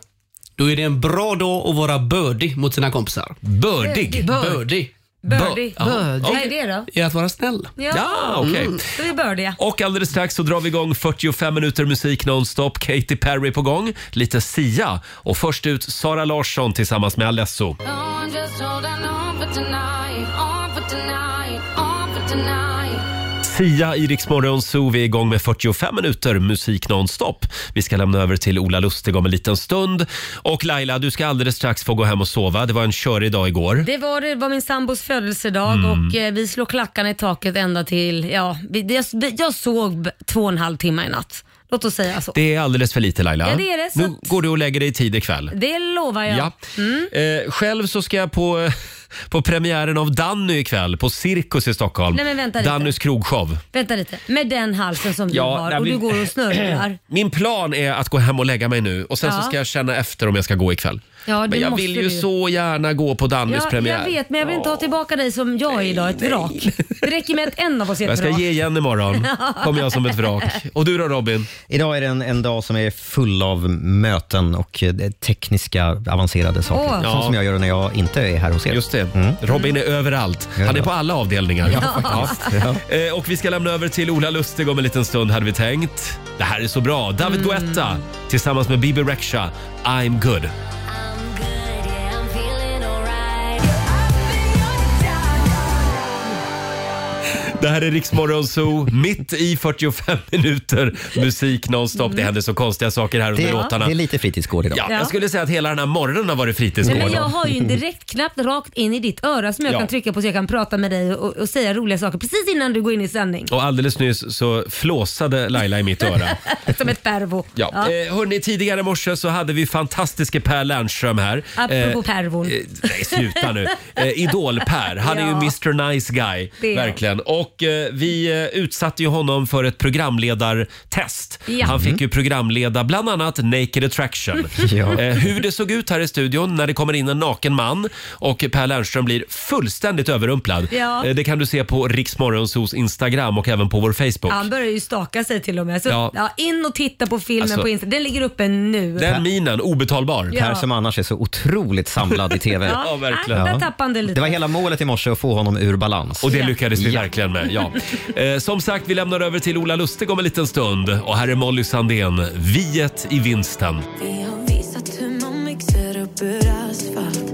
Speaker 1: då är det en bra dag att vara bördig mot sina kompisar.
Speaker 11: Bördig?
Speaker 3: Börd.
Speaker 1: Bördig.
Speaker 3: Birdie.
Speaker 1: Ja.
Speaker 3: Vad är det då?
Speaker 1: I att vara snäll. Mm.
Speaker 11: Ja, Ah, okej.
Speaker 3: Då är vi bördiga.
Speaker 11: Och alldeles strax så drar vi igång 45 minuter musik nonstop. Katy Perry på gång, lite Sia och först ut Sara Larsson tillsammans med Alesso. Sia i Rix Morgon Zoo. Vi är igång med 45 minuter musik nonstop. Vi ska lämna över till Ola Lustig om en liten stund. Och Laila, du ska alldeles strax få gå hem och sova. Det var en körig dag igår.
Speaker 3: Det var, det var min sambos födelsedag
Speaker 11: Mm.
Speaker 3: och eh, vi slog klackarna i taket ända till, ja, vi, jag, vi- jag såg b- två och en halv timme i natt. Låt oss säga så. Det,
Speaker 11: Det är alldeles för lite Laila.
Speaker 3: Ja, det är det, så
Speaker 11: Nu
Speaker 3: att-
Speaker 11: går du och lägger dig tid ikväll.
Speaker 3: lovar jag.
Speaker 11: Ja.
Speaker 3: Mm.
Speaker 11: Eh, själv så ska jag på, på premiären av Danny ikväll på Cirkus i Stockholm.
Speaker 3: Nej, men vänta lite.
Speaker 11: Dannys krogshow.
Speaker 3: Vänta lite, med den halsen som
Speaker 11: Ja,
Speaker 3: du har
Speaker 11: nej,
Speaker 3: och
Speaker 11: men-
Speaker 3: du går och snörvlar.
Speaker 11: Min plan är att gå hem och lägga mig nu och sen
Speaker 3: Ja.
Speaker 11: så ska jag känna efter om jag ska gå ikväll.
Speaker 3: Ja,
Speaker 11: men
Speaker 3: det
Speaker 11: jag
Speaker 3: måste
Speaker 11: vill ju
Speaker 3: du.
Speaker 11: så gärna gå på Dannys
Speaker 3: Ja,
Speaker 11: premiär.
Speaker 3: jag vet, men jag vill inte ha tillbaka dig som jag är idag, ett vrak. Det räcker med att en av oss är
Speaker 11: Jag
Speaker 3: ett
Speaker 11: ska
Speaker 3: vrak.
Speaker 11: ge igen imorgon. Kommer jag som ett vrak. Och du då Robin?
Speaker 4: Idag är det en, en dag som är full av möten och eh, tekniska avancerade saker.
Speaker 11: Åh.
Speaker 4: Sånt som jag gör när jag inte är här hos er. Mm. Just
Speaker 11: det. Robin är överallt. Han är på alla avdelningar. Ja, Eh, Och vi ska lämna över till Ola Lustig om en liten stund hade vi tänkt. Det här är så bra. David Guetta tillsammans med Bibi Rexha. I'm good. Det här är Riksmorgon Zoo, mitt i 45 minuter musik nonstop.
Speaker 3: Mm.
Speaker 11: Det händer så konstiga saker här under
Speaker 4: Det-
Speaker 11: låtarna.
Speaker 4: det är lite fritidsgård idag.
Speaker 11: Ja,
Speaker 3: Ja.
Speaker 11: jag skulle säga att hela den här morgonen har varit
Speaker 3: Nej,
Speaker 11: fritidsgård.
Speaker 3: men jag har ju en direktknapp rakt in i ditt öra som jag
Speaker 11: Ja.
Speaker 3: kan trycka på så jag kan prata med dig och, och säga roliga saker precis innan du går in i sändning.
Speaker 11: Och alldeles nyss så flåsade Laila i mitt öra.
Speaker 3: Som ett pervo.
Speaker 11: Ja. Eh, hörni, tidigare i morse så hade vi fantastiske Per Lernström här.
Speaker 3: Apropå
Speaker 11: Eh,
Speaker 3: pervon.
Speaker 11: Nej, sluta nu. Eh, Idol-Per. Han är ju
Speaker 3: Ja.
Speaker 11: Mr Nice Guy.
Speaker 3: Det är han.
Speaker 11: Verkligen. Och eh, vi eh, utsatte ju honom för ett programledartest.
Speaker 3: Ja.
Speaker 11: Han fick
Speaker 3: Mm.
Speaker 11: ju programleda bland annat Naked Attraction.
Speaker 4: Ja.
Speaker 11: Eh, hur det såg ut här i studion när det kommer in en naken man och Per Lernström blir fullständigt överrumplad.
Speaker 3: Ja.
Speaker 11: Eh, det kan du se på Riksmorgonsos Instagram och även på vår Facebook.
Speaker 3: Han börjar ju staka sig till och med. Så,
Speaker 11: Ja.
Speaker 3: ja. in och titta på filmen
Speaker 4: Alltså,
Speaker 3: på Instagram. Den ligger uppe nu.
Speaker 11: Den minen, obetalbar.
Speaker 3: Ja.
Speaker 4: Per som annars är så otroligt samlad i TV.
Speaker 3: Ja, Ja, verkligen. där tappade han det lite.
Speaker 4: var hela målet i morse att få honom ur balans.
Speaker 11: Och det lyckades vi verkligen med. Ja. Eh, som sagt, vi lämnar över till Ola Lustig om en liten stund. Och här är Molly Sandén, Viet i vinsten.
Speaker 22: Vi har visat hur man mixar upp ur asfalt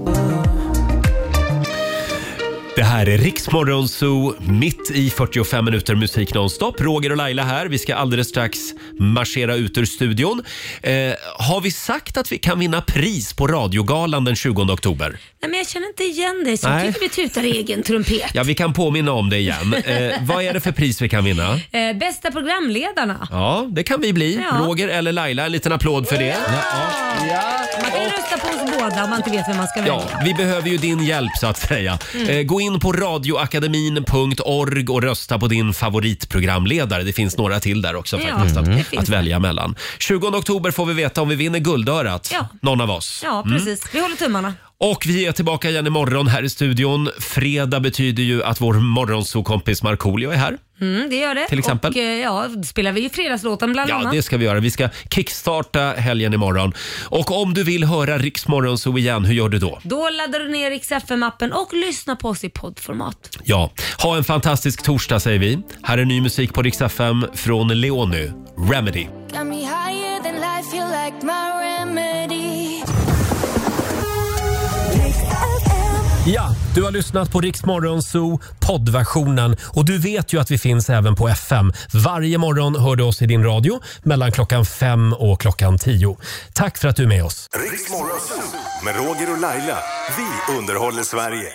Speaker 11: Det här är Riksmorgon Zoo, mitt i 45 minuter musik nonstop. Roger och Laila här. Vi ska alldeles strax marschera ut ur studion. Eh, har vi sagt att vi kan vinna pris på radiogalan den 20 oktober?
Speaker 3: Nej, men jag känner inte igen dig så
Speaker 11: Nej.
Speaker 3: jag tycker vi tutar i egen trumpet.
Speaker 11: Ja, vi kan påminna om det igen. Eh, vad är det för pris vi kan vinna?
Speaker 3: Eh, bästa programledarna.
Speaker 11: Ja, det kan vi bli.
Speaker 3: Ja.
Speaker 11: Roger eller Laila, en liten applåd för det.
Speaker 3: Man kan ju rösta på oss båda om man inte vet vem man ska välja.
Speaker 11: Ja, vi behöver ju din hjälp så att säga. Eh, gå in på radioakademin.org och rösta på din favoritprogramledare. Det finns några till där också
Speaker 3: Ja,
Speaker 11: faktiskt
Speaker 3: det
Speaker 11: att,
Speaker 3: finns
Speaker 11: att
Speaker 3: det.
Speaker 11: välja mellan. 20 oktober får vi veta om vi vinner Guldörat,
Speaker 3: Ja.
Speaker 11: någon av oss.
Speaker 3: Ja,
Speaker 11: Mm.
Speaker 3: precis. Vi håller tummarna.
Speaker 11: Och vi är tillbaka igen imorgon här i studion. Fredag betyder ju att vår morgonsokompis Markoolio är här.
Speaker 23: Mm, det gör det.
Speaker 11: Till exempel.
Speaker 23: Och, eh, ja, spelar vi fredagslåten bland
Speaker 11: Ja,
Speaker 23: annat.
Speaker 11: det ska vi göra. Vi ska kickstarta helgen imorgon. Och om du vill höra Riks Morgonzoo igen, hur gör du då?
Speaker 23: Då laddar du ner Rix FM-appen och lyssnar på oss i poddformat.
Speaker 11: Ja, ha en fantastisk torsdag säger vi. Här är ny musik på Rix FM från Leonu, Remedy.
Speaker 24: Got me higher than life, you like my remedy.
Speaker 11: Ja, du har lyssnat på Rix Morgonzoo poddversionen och du vet ju att vi finns även på FM. Varje morgon hör du oss i din radio mellan klockan fem och klockan tio. Tack för att du är med oss.
Speaker 5: Riks Morgonzoo med Roger och Laila. Vi underhåller Sverige.